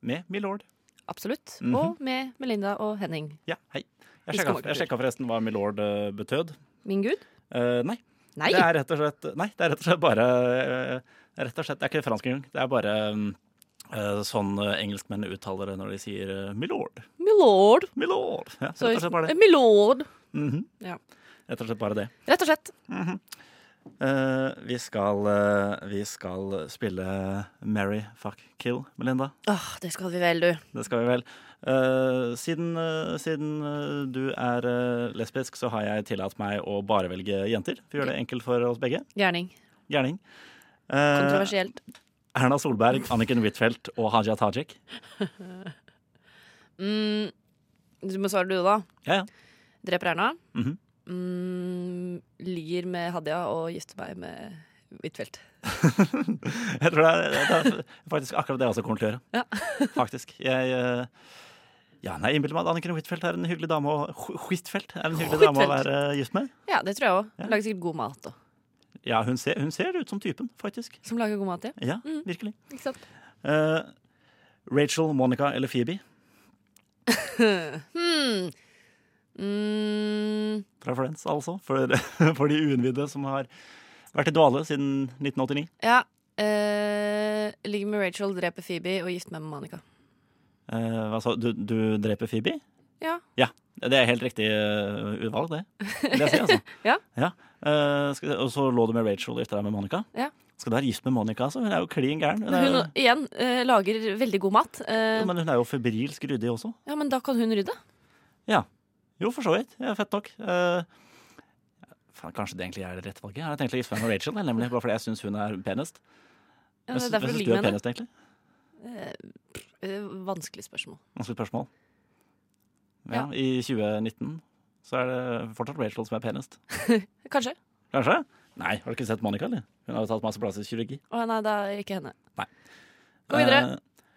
Speaker 4: Med Milord.
Speaker 3: Absolutt.
Speaker 4: Mhm.
Speaker 3: Og med Melinda og Henning.
Speaker 4: Ja, hei.
Speaker 3: I
Speaker 4: Jeg sjekka,
Speaker 3: Skomakertur.
Speaker 4: jeg sjekka forresten hva Milord eh, betød.
Speaker 3: Min gud?
Speaker 4: Eh, nei.
Speaker 3: Nei.
Speaker 4: Det er rett og slett, nei, det er rett og slett bare eh, det er rett og slett, Det er ikke fransk engang. Det er bare mm, eh, sånn eh, engelskmenn uttaler det når de sier eh, Milord.
Speaker 3: Milord.
Speaker 4: Milord. Ja,
Speaker 3: Så,
Speaker 4: rett og slett bare det.
Speaker 3: Milord.
Speaker 4: Mhm.
Speaker 3: Ja.
Speaker 4: Rett og slett bare det.
Speaker 3: Rett og slett.
Speaker 4: Eh, vi, skal, eh, vi skal spille Mary Fuck Kill, Melinda.
Speaker 3: Åh, det skal vi vel, du.
Speaker 4: Det skal vi vel. Eh, siden eh, siden eh, du er eh, lesbisk, så har jeg tillatt meg å bare velge jenter. Vi gjør det enkelt for oss begge.
Speaker 3: Gjerning.
Speaker 4: Gjerning. Eh,
Speaker 3: Kontroversielt.
Speaker 4: Erna Solberg, Anniken Huitfeldt og Haja Tajik.
Speaker 3: Mm, du må svare du, da.
Speaker 4: Ja, ja.
Speaker 3: Dreper Erna.
Speaker 4: Mhm.
Speaker 3: mm, ligger med Hadia og gifter meg med Huitfeldt.
Speaker 4: Jeg tror det er, det er faktisk akkurat det jeg også kommer til å gjøre.
Speaker 3: Ja.
Speaker 4: Faktisk. Jeg eh, ja, nei, jeg innbiller meg at Anniken Huitfeldt er en hyggelig dame å, Hu- Huitfeldt er en hyggelig dame å
Speaker 3: Huitfeldt.
Speaker 4: være eh, gift med.
Speaker 3: Ja, det tror jeg òg. Lager sikkert god mat òg.
Speaker 4: Ja, hun ser, hun ser ut som typen, faktisk.
Speaker 3: Som lager god mat, ja.
Speaker 4: Ja,
Speaker 3: Mm.
Speaker 4: virkelig.
Speaker 3: Ikke sant?
Speaker 4: Eh, Rachel, Monica eller Phoebe
Speaker 3: hmm. Mm,
Speaker 4: fra Friends, altså. For, for de uinnvidde som har vært i dvale siden 1989.
Speaker 3: ja. Eh, ligger med Rachel, dreper Phoebe og gifter meg med Monica.
Speaker 4: Eh, Hva sa du? Du dreper Phoebe?
Speaker 3: Ja.
Speaker 4: Ja, det er helt riktig eh, utvalg, det. Vil jeg si, altså.
Speaker 3: Ja.
Speaker 4: Ja. Eh, skal, og så lå du med Rachel og gifta deg med Monica.
Speaker 3: Ja.
Speaker 4: Skal du være gift med Monica, altså? Hun er jo klin gæren. Hun er,
Speaker 3: Men
Speaker 4: jo-
Speaker 3: hun igjen eh, lager veldig god mat. Eh,
Speaker 4: jo, men hun er jo febrilsk ryddig også.
Speaker 3: ja, men da kan hun rydde.
Speaker 4: Ja. Jo, for så vidt. Ja, fett nok. Eh, faen, kanskje det egentlig er det rette valget. Jeg hadde tenkt å gifte meg med Rachel, jeg, nemlig, bare fordi jeg syns hun er penest.
Speaker 3: Ja, det er
Speaker 4: Hva
Speaker 3: derfor du
Speaker 4: syns- hva syns
Speaker 3: ligger
Speaker 4: du er
Speaker 3: med henne.
Speaker 4: penest, egentlig?
Speaker 3: Eh, eh, vanskelig spørsmål.
Speaker 4: Vanskelig spørsmål. Ja,
Speaker 3: Ja.
Speaker 4: I 2019 så er det fortsatt Rachel som er penest.
Speaker 3: Kanskje.
Speaker 4: Kanskje? Nei, har du ikke sett Monica, eller? Hun har jo tatt masse plass i kirurgi.
Speaker 3: Å nei, det er ikke henne.
Speaker 4: Nei.
Speaker 3: Gå videre.
Speaker 4: Eh,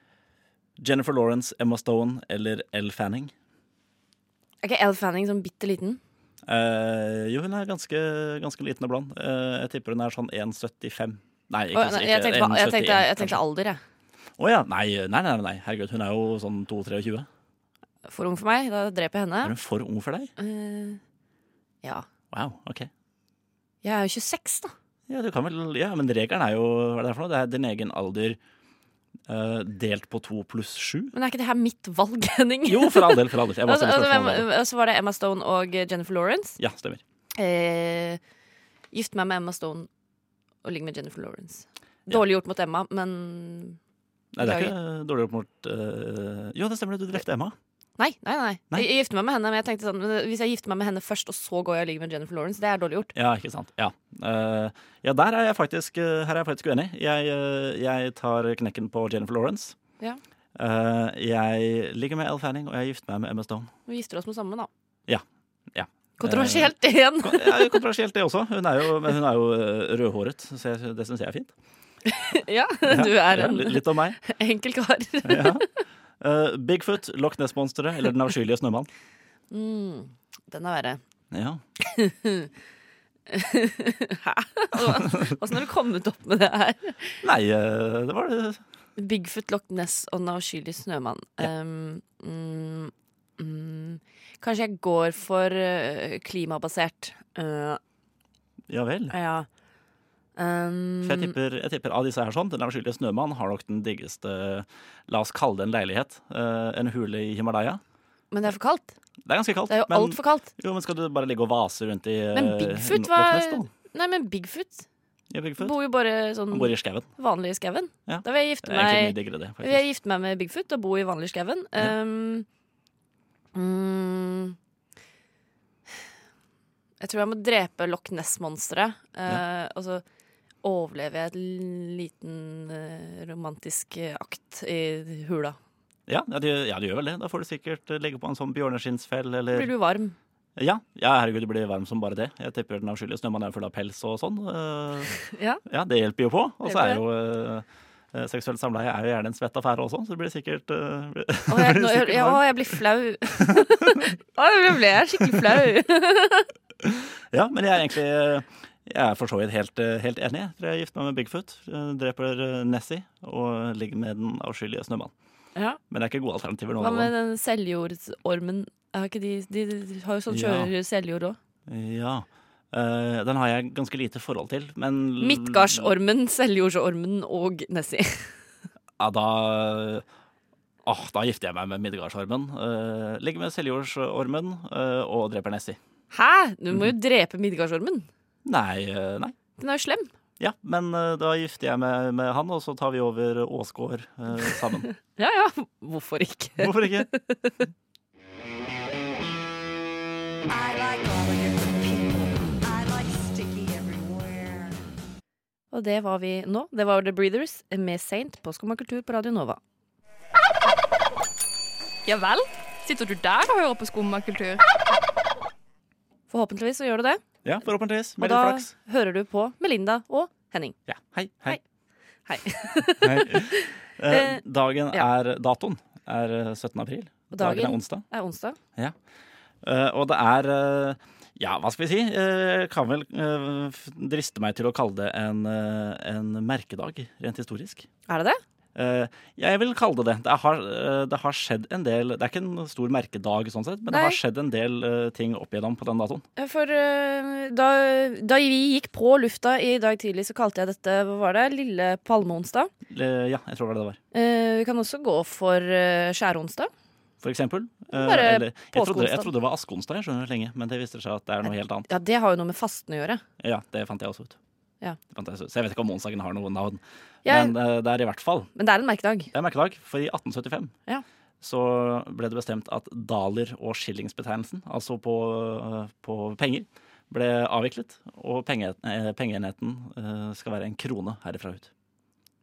Speaker 4: Jennifer Lawrence, Emma Stone eller Elle Fanning?
Speaker 3: Er ikke Elle Fanning sånn bitte liten?
Speaker 4: Eh, jo, hun er ganske, ganske liten og blond. Eh, jeg tipper hun er sånn 1,75. Nei, ikke,
Speaker 3: Å, nei, jeg, tenkte, på- jeg, tenkte, jeg tenkte alder, jeg.
Speaker 4: Å ja. Nei, nei, nei, nei, herregud. Hun er jo sånn 22-23.
Speaker 3: For ung for meg. Da dreper jeg
Speaker 4: Er
Speaker 3: henne.
Speaker 4: hun for ung for deg?
Speaker 3: Eh, ja.
Speaker 4: Wow, ok.
Speaker 3: Jeg er jo 26, da.
Speaker 4: Ja, du kan vel, ja, men regelen er jo Hva er det for noe? Det er din egen alder eh, delt på to pluss sju.
Speaker 3: Men er ikke det her mitt valg, Henning?
Speaker 4: Jo, for all del. For all del. Jeg bare
Speaker 3: Altså,
Speaker 4: stiller
Speaker 3: altså, hvem,
Speaker 4: spørsmål. om det.
Speaker 3: og så var det Emma Stone og eh, Jennifer Lawrence.
Speaker 4: Ja, stemmer.
Speaker 3: Eh, gift meg med Emma Stone og ligge med Jennifer Lawrence. Dårlig gjort mot Emma, men
Speaker 4: Nei, det er
Speaker 3: Beklager.
Speaker 4: ikke dårlig gjort mot eh, Jo, det stemmer, det, du drepte Emma.
Speaker 3: Nei, nei, nei. Jeg, jeg gifter meg med henne, men jeg tenkte sånn men Hvis jeg gifter meg med henne først, og så går jeg og ligger med Jennifer Lawrence, det er dårlig gjort.
Speaker 4: Ja, ikke sant. Ja, Eh, ja der er jeg faktisk, eh, her er jeg faktisk uenig. Jeg, eh, jeg tar knekken på Jennifer Lawrence.
Speaker 3: Ja.
Speaker 4: Eh, jeg ligger med Elle Fanning, og jeg er gift meg med Emma Stone.
Speaker 3: Vi gifter oss med samme, da.
Speaker 4: Ja. ja.
Speaker 3: Kontroversielt igjen.
Speaker 4: Eh, ja, kontroversielt det også. Hun er jo, men hun er jo eh, rødhåret, så jeg, det syns jeg er fint.
Speaker 3: ja, du er
Speaker 4: Ja,
Speaker 3: en
Speaker 4: litt- Litt om meg.
Speaker 3: enkel kar.
Speaker 4: Ja. Eh, Bigfoot, Loch Ness-monsteret eller Den avskyelige snømann?
Speaker 3: Mm, den er verre.
Speaker 4: Ja.
Speaker 3: Hæ? Åssen har du kommet opp med det her?
Speaker 4: Nei, eh, det var det
Speaker 3: Bigfoot, Loch Ness og Den avskyelige snømann. Um, mm, mm, kanskje jeg går for øh, klimabasert. Øh,
Speaker 4: Ja vel.
Speaker 3: ja. Um,
Speaker 4: For jeg tipper, jeg tipper av disse her sånn, Den avskyelige snømann har nok den diggeste eh, La oss kalle det en leilighet. eh, en hule i Himalaya.
Speaker 3: men det er for kaldt.
Speaker 4: Det er ganske kaldt.
Speaker 3: Det er jo
Speaker 4: men-
Speaker 3: altfor kaldt.
Speaker 4: Jo, men skal du bare ligge og vase rundt i eh,
Speaker 3: Men Bigfoot
Speaker 4: Loch
Speaker 3: var
Speaker 4: Ness, da?
Speaker 3: Nei, men Bigfoot
Speaker 4: Ja, Bigfoot.
Speaker 3: bor jo bare sånn
Speaker 4: Han bor i skauen.
Speaker 3: vanlig i skauen.
Speaker 4: Ja.
Speaker 3: Da vil jeg gifte
Speaker 4: Det er egentlig
Speaker 3: meg
Speaker 4: mye diggere, det, faktisk.
Speaker 3: vil jeg gifte meg med Bigfoot og bo i vanlig skauen. Um, mm, jeg tror jeg må drepe Loch Ness-monsteret. eh, Og så overlever jeg et l- liten eh, romantisk eh, akt i hula.
Speaker 4: Ja, ja, du, ja, du gjør vel det. Da får du sikkert eh, legge på en sånn bjørneskinnsfell eller
Speaker 3: Blir du varm?
Speaker 4: Ja, ja, herregud, det blir varm som bare det. Jeg tipper den avskyelige snømannen er full av pels og sånn. Eh,
Speaker 3: Ja.
Speaker 4: ja, det hjelper jo på. Og så er
Speaker 3: Hjelper
Speaker 4: jo eh, seksuelt samleie er jo gjerne en svett affære også, så det blir sikkert eh, blir-
Speaker 3: Å, jeg,
Speaker 4: blir
Speaker 3: nå,
Speaker 4: sikkert
Speaker 3: jeg, å,
Speaker 4: varm.
Speaker 3: jeg blir flau. Å, nå ble jeg skikkelig flau.
Speaker 4: Ja, men jeg er egentlig eh, jeg er for så vidt helt, eh, helt enig. Jeg tror jeg gifter meg med Bigfoot, eh, dreper eh, Nessie og ligger med den avskyelige snømannen.
Speaker 3: Ja.
Speaker 4: Men det er ikke gode alternativer nå.
Speaker 3: Hva med den seljordormen? Har ikke de, de, de har jo sånn kjører seljord òg.
Speaker 4: Ja. Eh, den har jeg ganske lite forhold til, men
Speaker 3: Midtgardsormen, seljordormen og Nessie.
Speaker 4: Ja, da Åh, da gifter jeg meg med Midgardsormen. Eh, ligger med Seljordsormen eh, og dreper Nessie.
Speaker 8: Mm.
Speaker 3: Hæ?! Du må jo drepe Midgardsormen.
Speaker 4: Nei, eh, nei.
Speaker 3: Den er jo slem.
Speaker 4: Ja, men eh, da gifter jeg meg med han, og så tar vi over Åsgård eh, sammen.
Speaker 3: Ja ja, hvorfor ikke?
Speaker 4: Hvorfor ikke?
Speaker 3: Og det var vi nå. Det var The Breathers med Saint på Skumma kultur på Radio Nova.
Speaker 8: Ja vel? Sitter du der og hører på skummakultur?
Speaker 3: Forhåpentligvis så gjør du det.
Speaker 4: Ja, forhåpentligvis.
Speaker 3: Og
Speaker 4: Med
Speaker 3: da
Speaker 4: litt flaks.
Speaker 3: hører du på Melinda og Henning.
Speaker 4: Ja, hei, hei.
Speaker 3: Hei.
Speaker 4: Eh,
Speaker 3: Eh,
Speaker 4: dagen
Speaker 3: ja.
Speaker 4: er Datoen er eh, 17. april.
Speaker 3: Og
Speaker 4: Dagen er onsdag.
Speaker 3: Er onsdag.
Speaker 4: Ja. Eh, og det er eh, Ja, hva skal vi si? Eh, kan vel eh, f- driste meg til å kalle det en, eh, en merkedag, rent historisk.
Speaker 3: Er det det?
Speaker 4: Eh, jeg vil kalle det det. Det har, eh, det har skjedd en del Det er ikke en stor merkedag, sånn sett, men det
Speaker 3: Nei.
Speaker 4: har skjedd en del eh, ting opp igjennom på den datoen.
Speaker 3: Ja, For eh, da, da vi gikk på lufta i dag tidlig, så kalte jeg dette hva var det, lille palmeonsdag.
Speaker 4: Eh, ja, jeg tror det var det det var.
Speaker 3: Eh, vi kan også gå for eh, skjæronsdag.
Speaker 4: For eksempel. Eh,
Speaker 3: Bare
Speaker 4: eller, jeg, trodde, jeg
Speaker 3: påskeonsdag.
Speaker 4: trodde det var askeonsdag jeg skjønner det lenge, men det viste seg at det er noe helt annet.
Speaker 3: Ja, det har jo noe med fasten å gjøre.
Speaker 4: Ja, det fant jeg også ut.
Speaker 3: Ja.
Speaker 4: Det fant jeg også ut. Så jeg vet ikke om onsdagen har noe navn.
Speaker 3: Jeg-
Speaker 4: Men eh, det er i hvert fall
Speaker 3: Men det er en merkedag.
Speaker 4: Det er merkedag, for i 1875
Speaker 3: Ja.
Speaker 4: så ble det bestemt at daler og skillingsbetegnelsen, altså på, eh, på penger, ble avviklet. Og penge, eh, pengeenheten eh, skal være en krone herifra ut.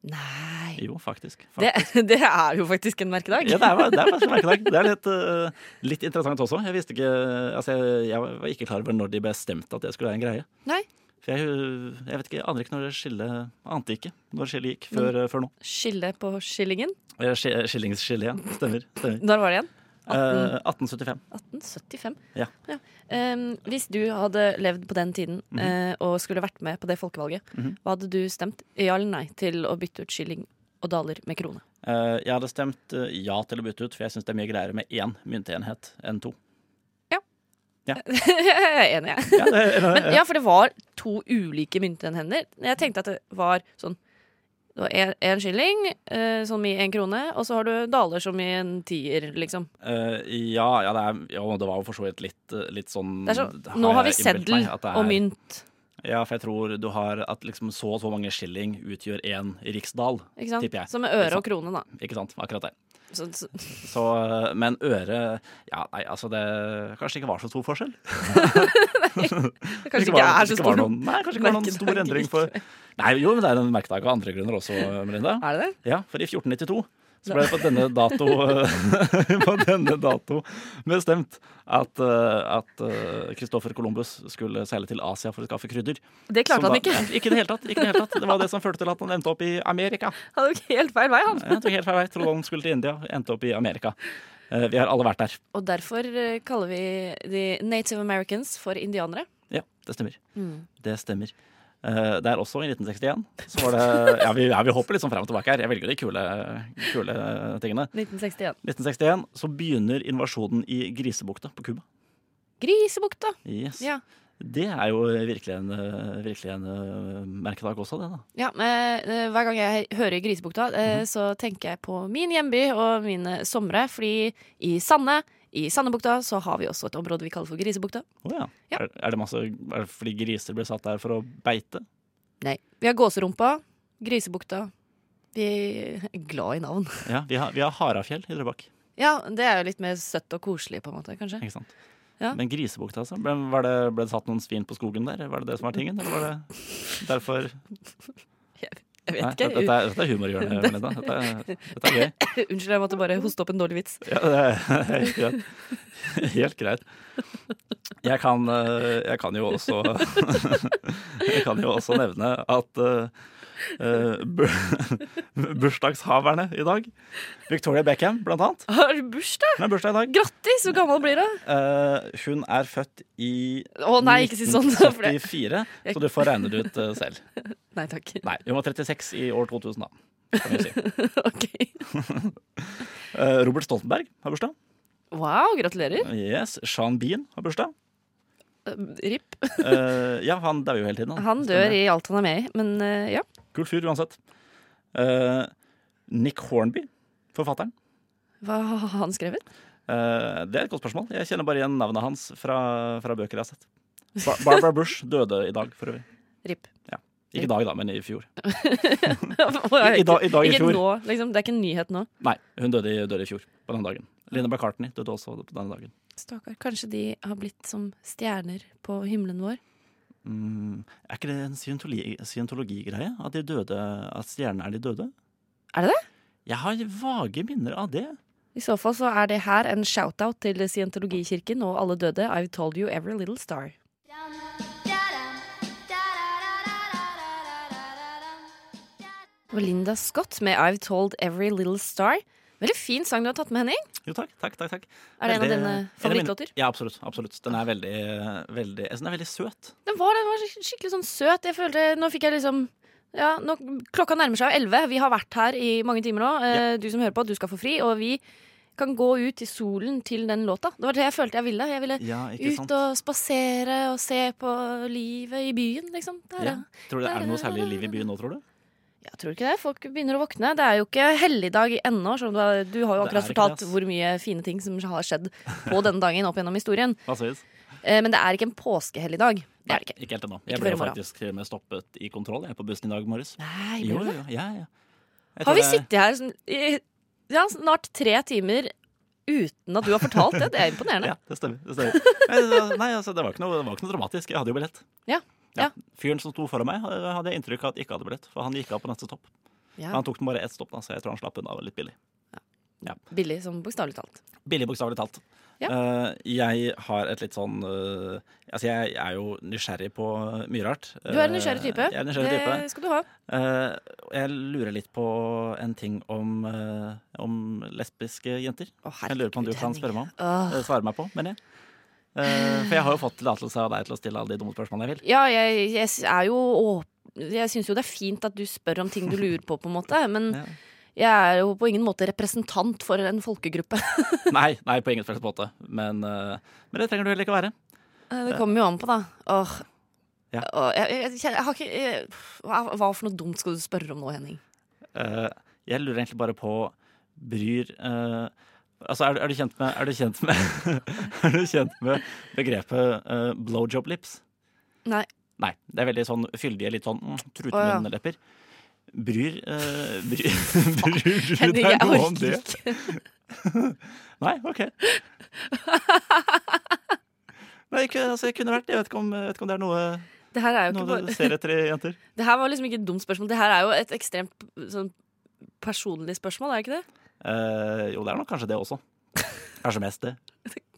Speaker 3: Nei
Speaker 4: Jo, faktisk.
Speaker 3: Det, det er jo faktisk en merkedag.
Speaker 4: Ja, det er, det er faktisk en merkedag. Det er litt, eh, litt interessant også. Jeg, visste ikke, altså jeg, jeg var ikke klar over når de bestemte at det skulle være en greie.
Speaker 3: Nei.
Speaker 4: For jeg, eh, jeg vet ikke, aner ikke når det skillet Ante ikke når skillet gikk før, eh, før nå.
Speaker 3: Skille på skillingen.
Speaker 4: Eh, sk- eh, Skillingsskillet, ja. Stemmer. stemmer.
Speaker 3: Når var det igjen?
Speaker 4: Eh, 1875.
Speaker 3: 1875.
Speaker 4: Ja.
Speaker 3: Ja. Em, hvis du hadde levd på den tiden
Speaker 4: Mhm.
Speaker 3: eh, og skulle vært med på det folkevalget,
Speaker 4: Mhm.
Speaker 3: hva hadde du stemt ja eller nei til å bytte ut skilling og daler med krone?
Speaker 4: Eh, jeg hadde stemt eh, ja til å bytte ut, for jeg syns det er mye greiere med én myntenhet enn to.
Speaker 3: jeg er enig, jeg.
Speaker 4: Ja, det er-
Speaker 3: Men, ja, for det var to ulike myntenhender. Jeg tenkte at det var sånn det var en, en skilling, eh, som i en krone, og så har du daler som i en tier, liksom.
Speaker 4: Eh, ja, ja, det er, jo, det var jo for så vidt litt, eh, litt sånn
Speaker 3: Det er sånn,
Speaker 4: det
Speaker 3: nå har vi
Speaker 4: jeg innbilt
Speaker 3: seddel
Speaker 4: meg at det
Speaker 3: og
Speaker 4: er-
Speaker 3: mynt.
Speaker 4: Ja, for jeg tror du har at liksom så og så mange skilling utgjør én riksdal,
Speaker 3: Ikke sant?
Speaker 4: tipper jeg.
Speaker 3: Som med øre
Speaker 4: Ikke
Speaker 3: og krone, da.
Speaker 4: sant? Ikke sant, akkurat det.
Speaker 3: Så, så,
Speaker 4: Så, eh, men øre Ja, nei, altså det kanskje ikke var så stor forskjell.
Speaker 3: kanskje
Speaker 4: var-
Speaker 3: ikke er så
Speaker 4: var
Speaker 3: stor
Speaker 4: Noen, nei, kanskje ikke var noen stor
Speaker 3: merkedag
Speaker 4: endring for Nei, jo, men det er en merkedag av andre grunner også, Melinda.
Speaker 3: Er det
Speaker 4: det? Ja, for i 1492 så ble det på denne dato, på denne dato bestemt at, eh, at eh, Christopher Columbus skulle seile til Asia for å skaffe krydder.
Speaker 3: Det klarte
Speaker 4: Som
Speaker 3: han
Speaker 4: da-
Speaker 3: ikke.
Speaker 4: Nei, Ikke i det hele tatt. Ikke i det hele tatt. Det var det som førte til at han endte opp i Amerika.
Speaker 3: Han tok helt feil vei, han.
Speaker 4: Jeg tok helt feil vei. Trodde han skulle til India, endte opp i Amerika. Eh, Vi har alle vært der.
Speaker 3: Og derfor eh, kaller vi de native americans for indianere.
Speaker 4: Ja, det stemmer.
Speaker 3: Mm.
Speaker 4: Det stemmer. Eh, Det er også i 1961. Så var det Ja, vi, ja, vi hopper litt sånn frem og tilbake her. Jeg velger de kule, kule eh, tingene.
Speaker 3: 1961.
Speaker 4: 1961 så begynner invasjonen i Grisebukta på Cuba.
Speaker 3: Grisebukta!
Speaker 4: Yes.
Speaker 3: Ja.
Speaker 4: Det er jo virkelig en, eh, virkelig en eh, merkedag også, det, da.
Speaker 3: Ja, men eh, Hver gang jeg hører Grisebukta,
Speaker 4: Mhm.
Speaker 3: eh, så tenker jeg på min hjemby og mine somre. Fordi i Sande, i Sandebukta, så har vi også et område vi kaller for Grisebukta.
Speaker 4: Å ja. Er, er, det masse, er det fordi griser ble satt der for å beite?
Speaker 3: Nei. Vi har Gåserumpa, Grisebukta Vi er glad i navn.
Speaker 4: Ja, Vi har, vi har Harafjell i Drøbak.
Speaker 3: Ja, det er jo litt mer søtt og koselig, på en måte, kanskje.
Speaker 4: Ikke sant?
Speaker 3: Ja.
Speaker 4: Men Grisebukta, altså? Ble, var det, ble det satt noen svin på skogen der? Var det det som var tingen? Eller var det derfor
Speaker 3: Jeg vet
Speaker 4: Nei,
Speaker 3: ikke.
Speaker 4: Dette, er- dette er humorhjørnet, Melinda. Dette, er- dette er gøy.
Speaker 3: Unnskyld, jeg måtte bare hoste opp en dårlig vits.
Speaker 4: Ja, det er helt greit. Helt greit. Jeg kan, eh, jeg kan jo også Jeg kan jo også nevne at eh, eh, bu- bursdagshaverne i dag Victoria Beckham, blant annet.
Speaker 3: Har du bursdag?
Speaker 4: Hun har bursdag i dag.
Speaker 3: Grattis! Hvor gammel blir du?
Speaker 4: Eh, hun er født i
Speaker 3: Å, nei, ikke si sånn, for det-
Speaker 4: 1974,
Speaker 3: Jeg-
Speaker 4: så du får regne det ut eh, selv.
Speaker 3: Nei takk.
Speaker 4: Nei, hun var 36 i år 2000, da. Kan vi si. Eh, Robert Stoltenberg har bursdag.
Speaker 3: Wow, gratulerer.
Speaker 4: Yes, Sean Bean har bursdag.
Speaker 3: Eh, Ripp.
Speaker 4: Eh, ja, han dauer jo hele tiden.
Speaker 3: Han dør i alt han er med i, men eh, ja.
Speaker 4: Kultur uansett. Eh, Nick Hornby, forfatteren.
Speaker 3: Hva har han skrevet?
Speaker 4: Eh, det er et godt spørsmål. Jeg kjenner bare igjen navnet hans fra, fra bøker jeg har sett. Bar Barbara Bush døde i dag, for øvrig.
Speaker 3: Rip.
Speaker 4: Ja. Ikke i dag, da, men i fjor.
Speaker 3: I,
Speaker 4: I dag- i dag i
Speaker 3: ikke
Speaker 4: fjor.
Speaker 3: Nå, liksom. Det er ikke en nyhet nå.
Speaker 4: Nei, hun døde, i- døde i fjor på denne dagen. Linda McCartney døde også på denne dagen.
Speaker 3: Stakkar. Kanskje de har blitt som stjerner på himmelen vår.
Speaker 4: Mm, er ikke det en scientologi- scientologigreie? At, de døde- at stjernene er de døde?
Speaker 3: Er det det?
Speaker 4: Jeg har vage minner av det.
Speaker 3: I så fall så er det her en shout-out til Scientologikirken og alle døde. I've told you every little star. Det var Linda Scott med I've told every little star. Veldig fin sang du har tatt med, Henning.
Speaker 4: Jo, takk. takk, takk, takk.
Speaker 3: Er det en av
Speaker 4: Veldig-
Speaker 3: dine
Speaker 4: en mine-
Speaker 3: favorittlåter?
Speaker 4: Ja, absolutt. absolutt. Den er veldig, veldig, jeg synes den er veldig søt.
Speaker 3: Den var, den var skik- skikkelig sånn søt. Jeg følte, nå fikk jeg liksom ja, nå, Klokka nærmer seg jo elleve. Vi har vært her i mange timer nå. Eh, Du som hører på, du skal få fri. Og vi kan gå ut i solen til den låta. Det var det jeg følte jeg ville. Jeg ville
Speaker 4: Ja, ikke
Speaker 3: ut
Speaker 4: sant?
Speaker 3: og spasere og se på livet i byen, liksom. Der,
Speaker 4: Ja.
Speaker 3: ja.
Speaker 4: Tror du det er noe særlig liv i byen nå, tror du?
Speaker 3: Jeg tror ikke det. Folk begynner å våkne. Det er jo ikke helligdag ennå. selv om Du har, du har jo
Speaker 4: Det er
Speaker 3: akkurat
Speaker 4: ikke
Speaker 3: fortalt
Speaker 4: det, ass.
Speaker 3: hvor mye fine ting som har skjedd på denne dagen opp gjennom historien.
Speaker 4: Hva sies?
Speaker 3: Eh, Men det er ikke en påskehelligdag. Det er det ikke.
Speaker 4: Ikke helt ennå. Jeg
Speaker 3: Ikke
Speaker 4: ble
Speaker 3: før i morgen.
Speaker 4: faktisk til og med stoppet i kontroll jeg, på bussen i dag morges.
Speaker 3: Nei,
Speaker 4: jo,
Speaker 3: ble du
Speaker 4: jo,
Speaker 3: det?
Speaker 4: jo, ja, ja.
Speaker 3: Har
Speaker 4: Jeg tror
Speaker 3: vi
Speaker 4: det er-
Speaker 3: sittet her sånn i ja, snart tre timer uten at du har fortalt det? Det er imponerende.
Speaker 4: Ja, det stemmer. Det, stemmer. Men, Nei, altså, det, var ikke noe, det var ikke noe dramatisk. Jeg hadde jo billett.
Speaker 3: Ja. Ja.
Speaker 4: Fyren som sto foran meg, eh, hadde jeg inntrykk av at ikke hadde billett. For han gikk av på neste stopp.
Speaker 3: Ja.
Speaker 4: Men han tok den bare ett stopp, da, så jeg tror han slapp unna litt billig. Ja.
Speaker 3: Billig som bokstavelig talt.
Speaker 4: Billig, bokstavelig talt. Eh, jeg har et litt sånn eh, Altså, jeg er jo nysgjerrig på mye rart.
Speaker 3: Du er en
Speaker 4: Eh,
Speaker 3: nysgjerrig type.
Speaker 4: Jeg er en nysgjerrig type.
Speaker 3: Det skal du ha.
Speaker 4: Eh, og jeg lurer litt på en ting om, eh, om lesbiske jenter. jeg lurer på om du kan spørre meg om.
Speaker 3: Åh.
Speaker 4: eh, svare meg på, mener jeg. Eh, for jeg har jo fått tillatelse av deg til å stille alle de dumme spørsmålene jeg vil.
Speaker 3: Ja, jeg, jeg s- er jo åp- Jeg syns jo det er fint at du spør om ting du lurer på, på en måte. Men jeg er jo på ingen måte representant for en folkegruppe.
Speaker 4: Nei, nei på ingen slags måte. Men, eh, men det trenger du heller ikke å være.
Speaker 3: Eh, Det kommer jo an på, da. Åh.
Speaker 4: Ja.
Speaker 3: Åh, jeg, jeg, jeg, jeg har ikke jeg, hva, hva for noe dumt skal du spørre om nå, Henning?
Speaker 4: Eh, jeg lurer egentlig bare på Bryr eh, Altså, er, du- er du kjent med Er du kjent med, er du kjent med begrepet eh, blowjob lips?
Speaker 3: Nei.
Speaker 4: Nei. Det er veldig sånn fyldige, litt sånn mm,
Speaker 3: Å, ja.
Speaker 4: trutmunnlepper. Bryr, eh, bryr, bryr du
Speaker 3: Henning, jeg
Speaker 4: deg noe om
Speaker 3: orker
Speaker 4: det? Nei, OK. Nei, ikke, altså, jeg kunne vært Jeg vet ikke om, jeg vet ikke om det er noe,
Speaker 3: Det her er jo
Speaker 4: noe
Speaker 3: ikke
Speaker 4: du
Speaker 3: bare
Speaker 4: ser etter i jenter.
Speaker 3: Det her var liksom ikke et dumt spørsmål. Det her er jo et ekstremt sånn, personlig spørsmål, er det ikke det?
Speaker 4: Eh, jo, det er nok kanskje det også. Kanskje mest det.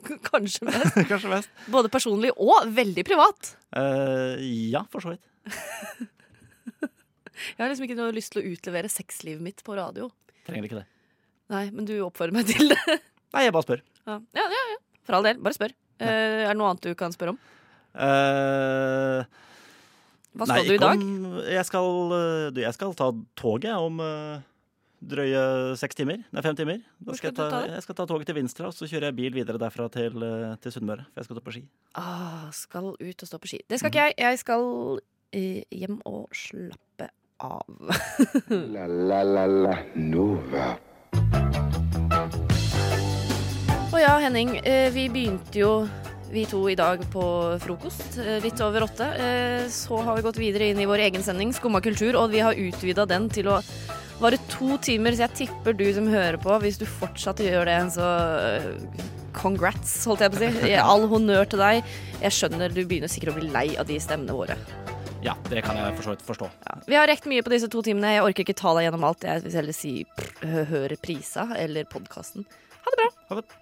Speaker 3: K- Kanskje mest.
Speaker 4: Kanskje mest.
Speaker 3: Både personlig og veldig privat.
Speaker 4: Eh, ja, for så vidt.
Speaker 3: Jeg har liksom ikke noe lyst til å utlevere sexlivet mitt på radio.
Speaker 4: Trenger ikke det.
Speaker 3: Nei, men du oppfordrer meg til det.
Speaker 4: Nei, jeg bare spør.
Speaker 3: Ja, ja, ja. ja. For all del. Bare spør. Eh, er det noe annet du kan spørre om?
Speaker 4: Eh,
Speaker 3: Hva
Speaker 4: nei,
Speaker 3: skal du i
Speaker 4: ikke
Speaker 3: dag?
Speaker 4: Om, jeg, skal, eh, du, jeg skal ta toget om eh, drøye seks timer. Nei, fem timer. Da
Speaker 3: Hvor
Speaker 4: skal jeg,
Speaker 3: skal
Speaker 4: ta,
Speaker 3: du ta det?
Speaker 4: jeg skal ta toget til Vinstra, og så kjører jeg bil videre derfra til, eh, til Sunnmøre. For jeg skal stå på ski.
Speaker 3: Ah, skal ut og stå på ski. Det skal ikke jeg. Jeg skal eh, hjem og slappe av.
Speaker 2: La la la la Nova.
Speaker 3: Og ja, Henning, eh, vi begynte jo vi to i dag på frokost, eh, litt over åtte. Eh, Så har vi gått videre inn i vår egen sending, Skumma kultur, og vi har utvida den til å vare to timer, så jeg tipper du som hører på, hvis du fortsatt gjør det, så eh, congrats, holdt jeg på å si. All honnør til deg. Jeg skjønner du begynner sikkert å bli lei av de stemmene våre.
Speaker 4: Ja, det kan jeg for så vidt forstå.
Speaker 3: Vi har rekt mye på disse to timene. Jeg orker ikke ta deg gjennom alt. Jeg vil heller si pff, hør reprisa eller podkasten. Ha det bra.
Speaker 4: Ha det.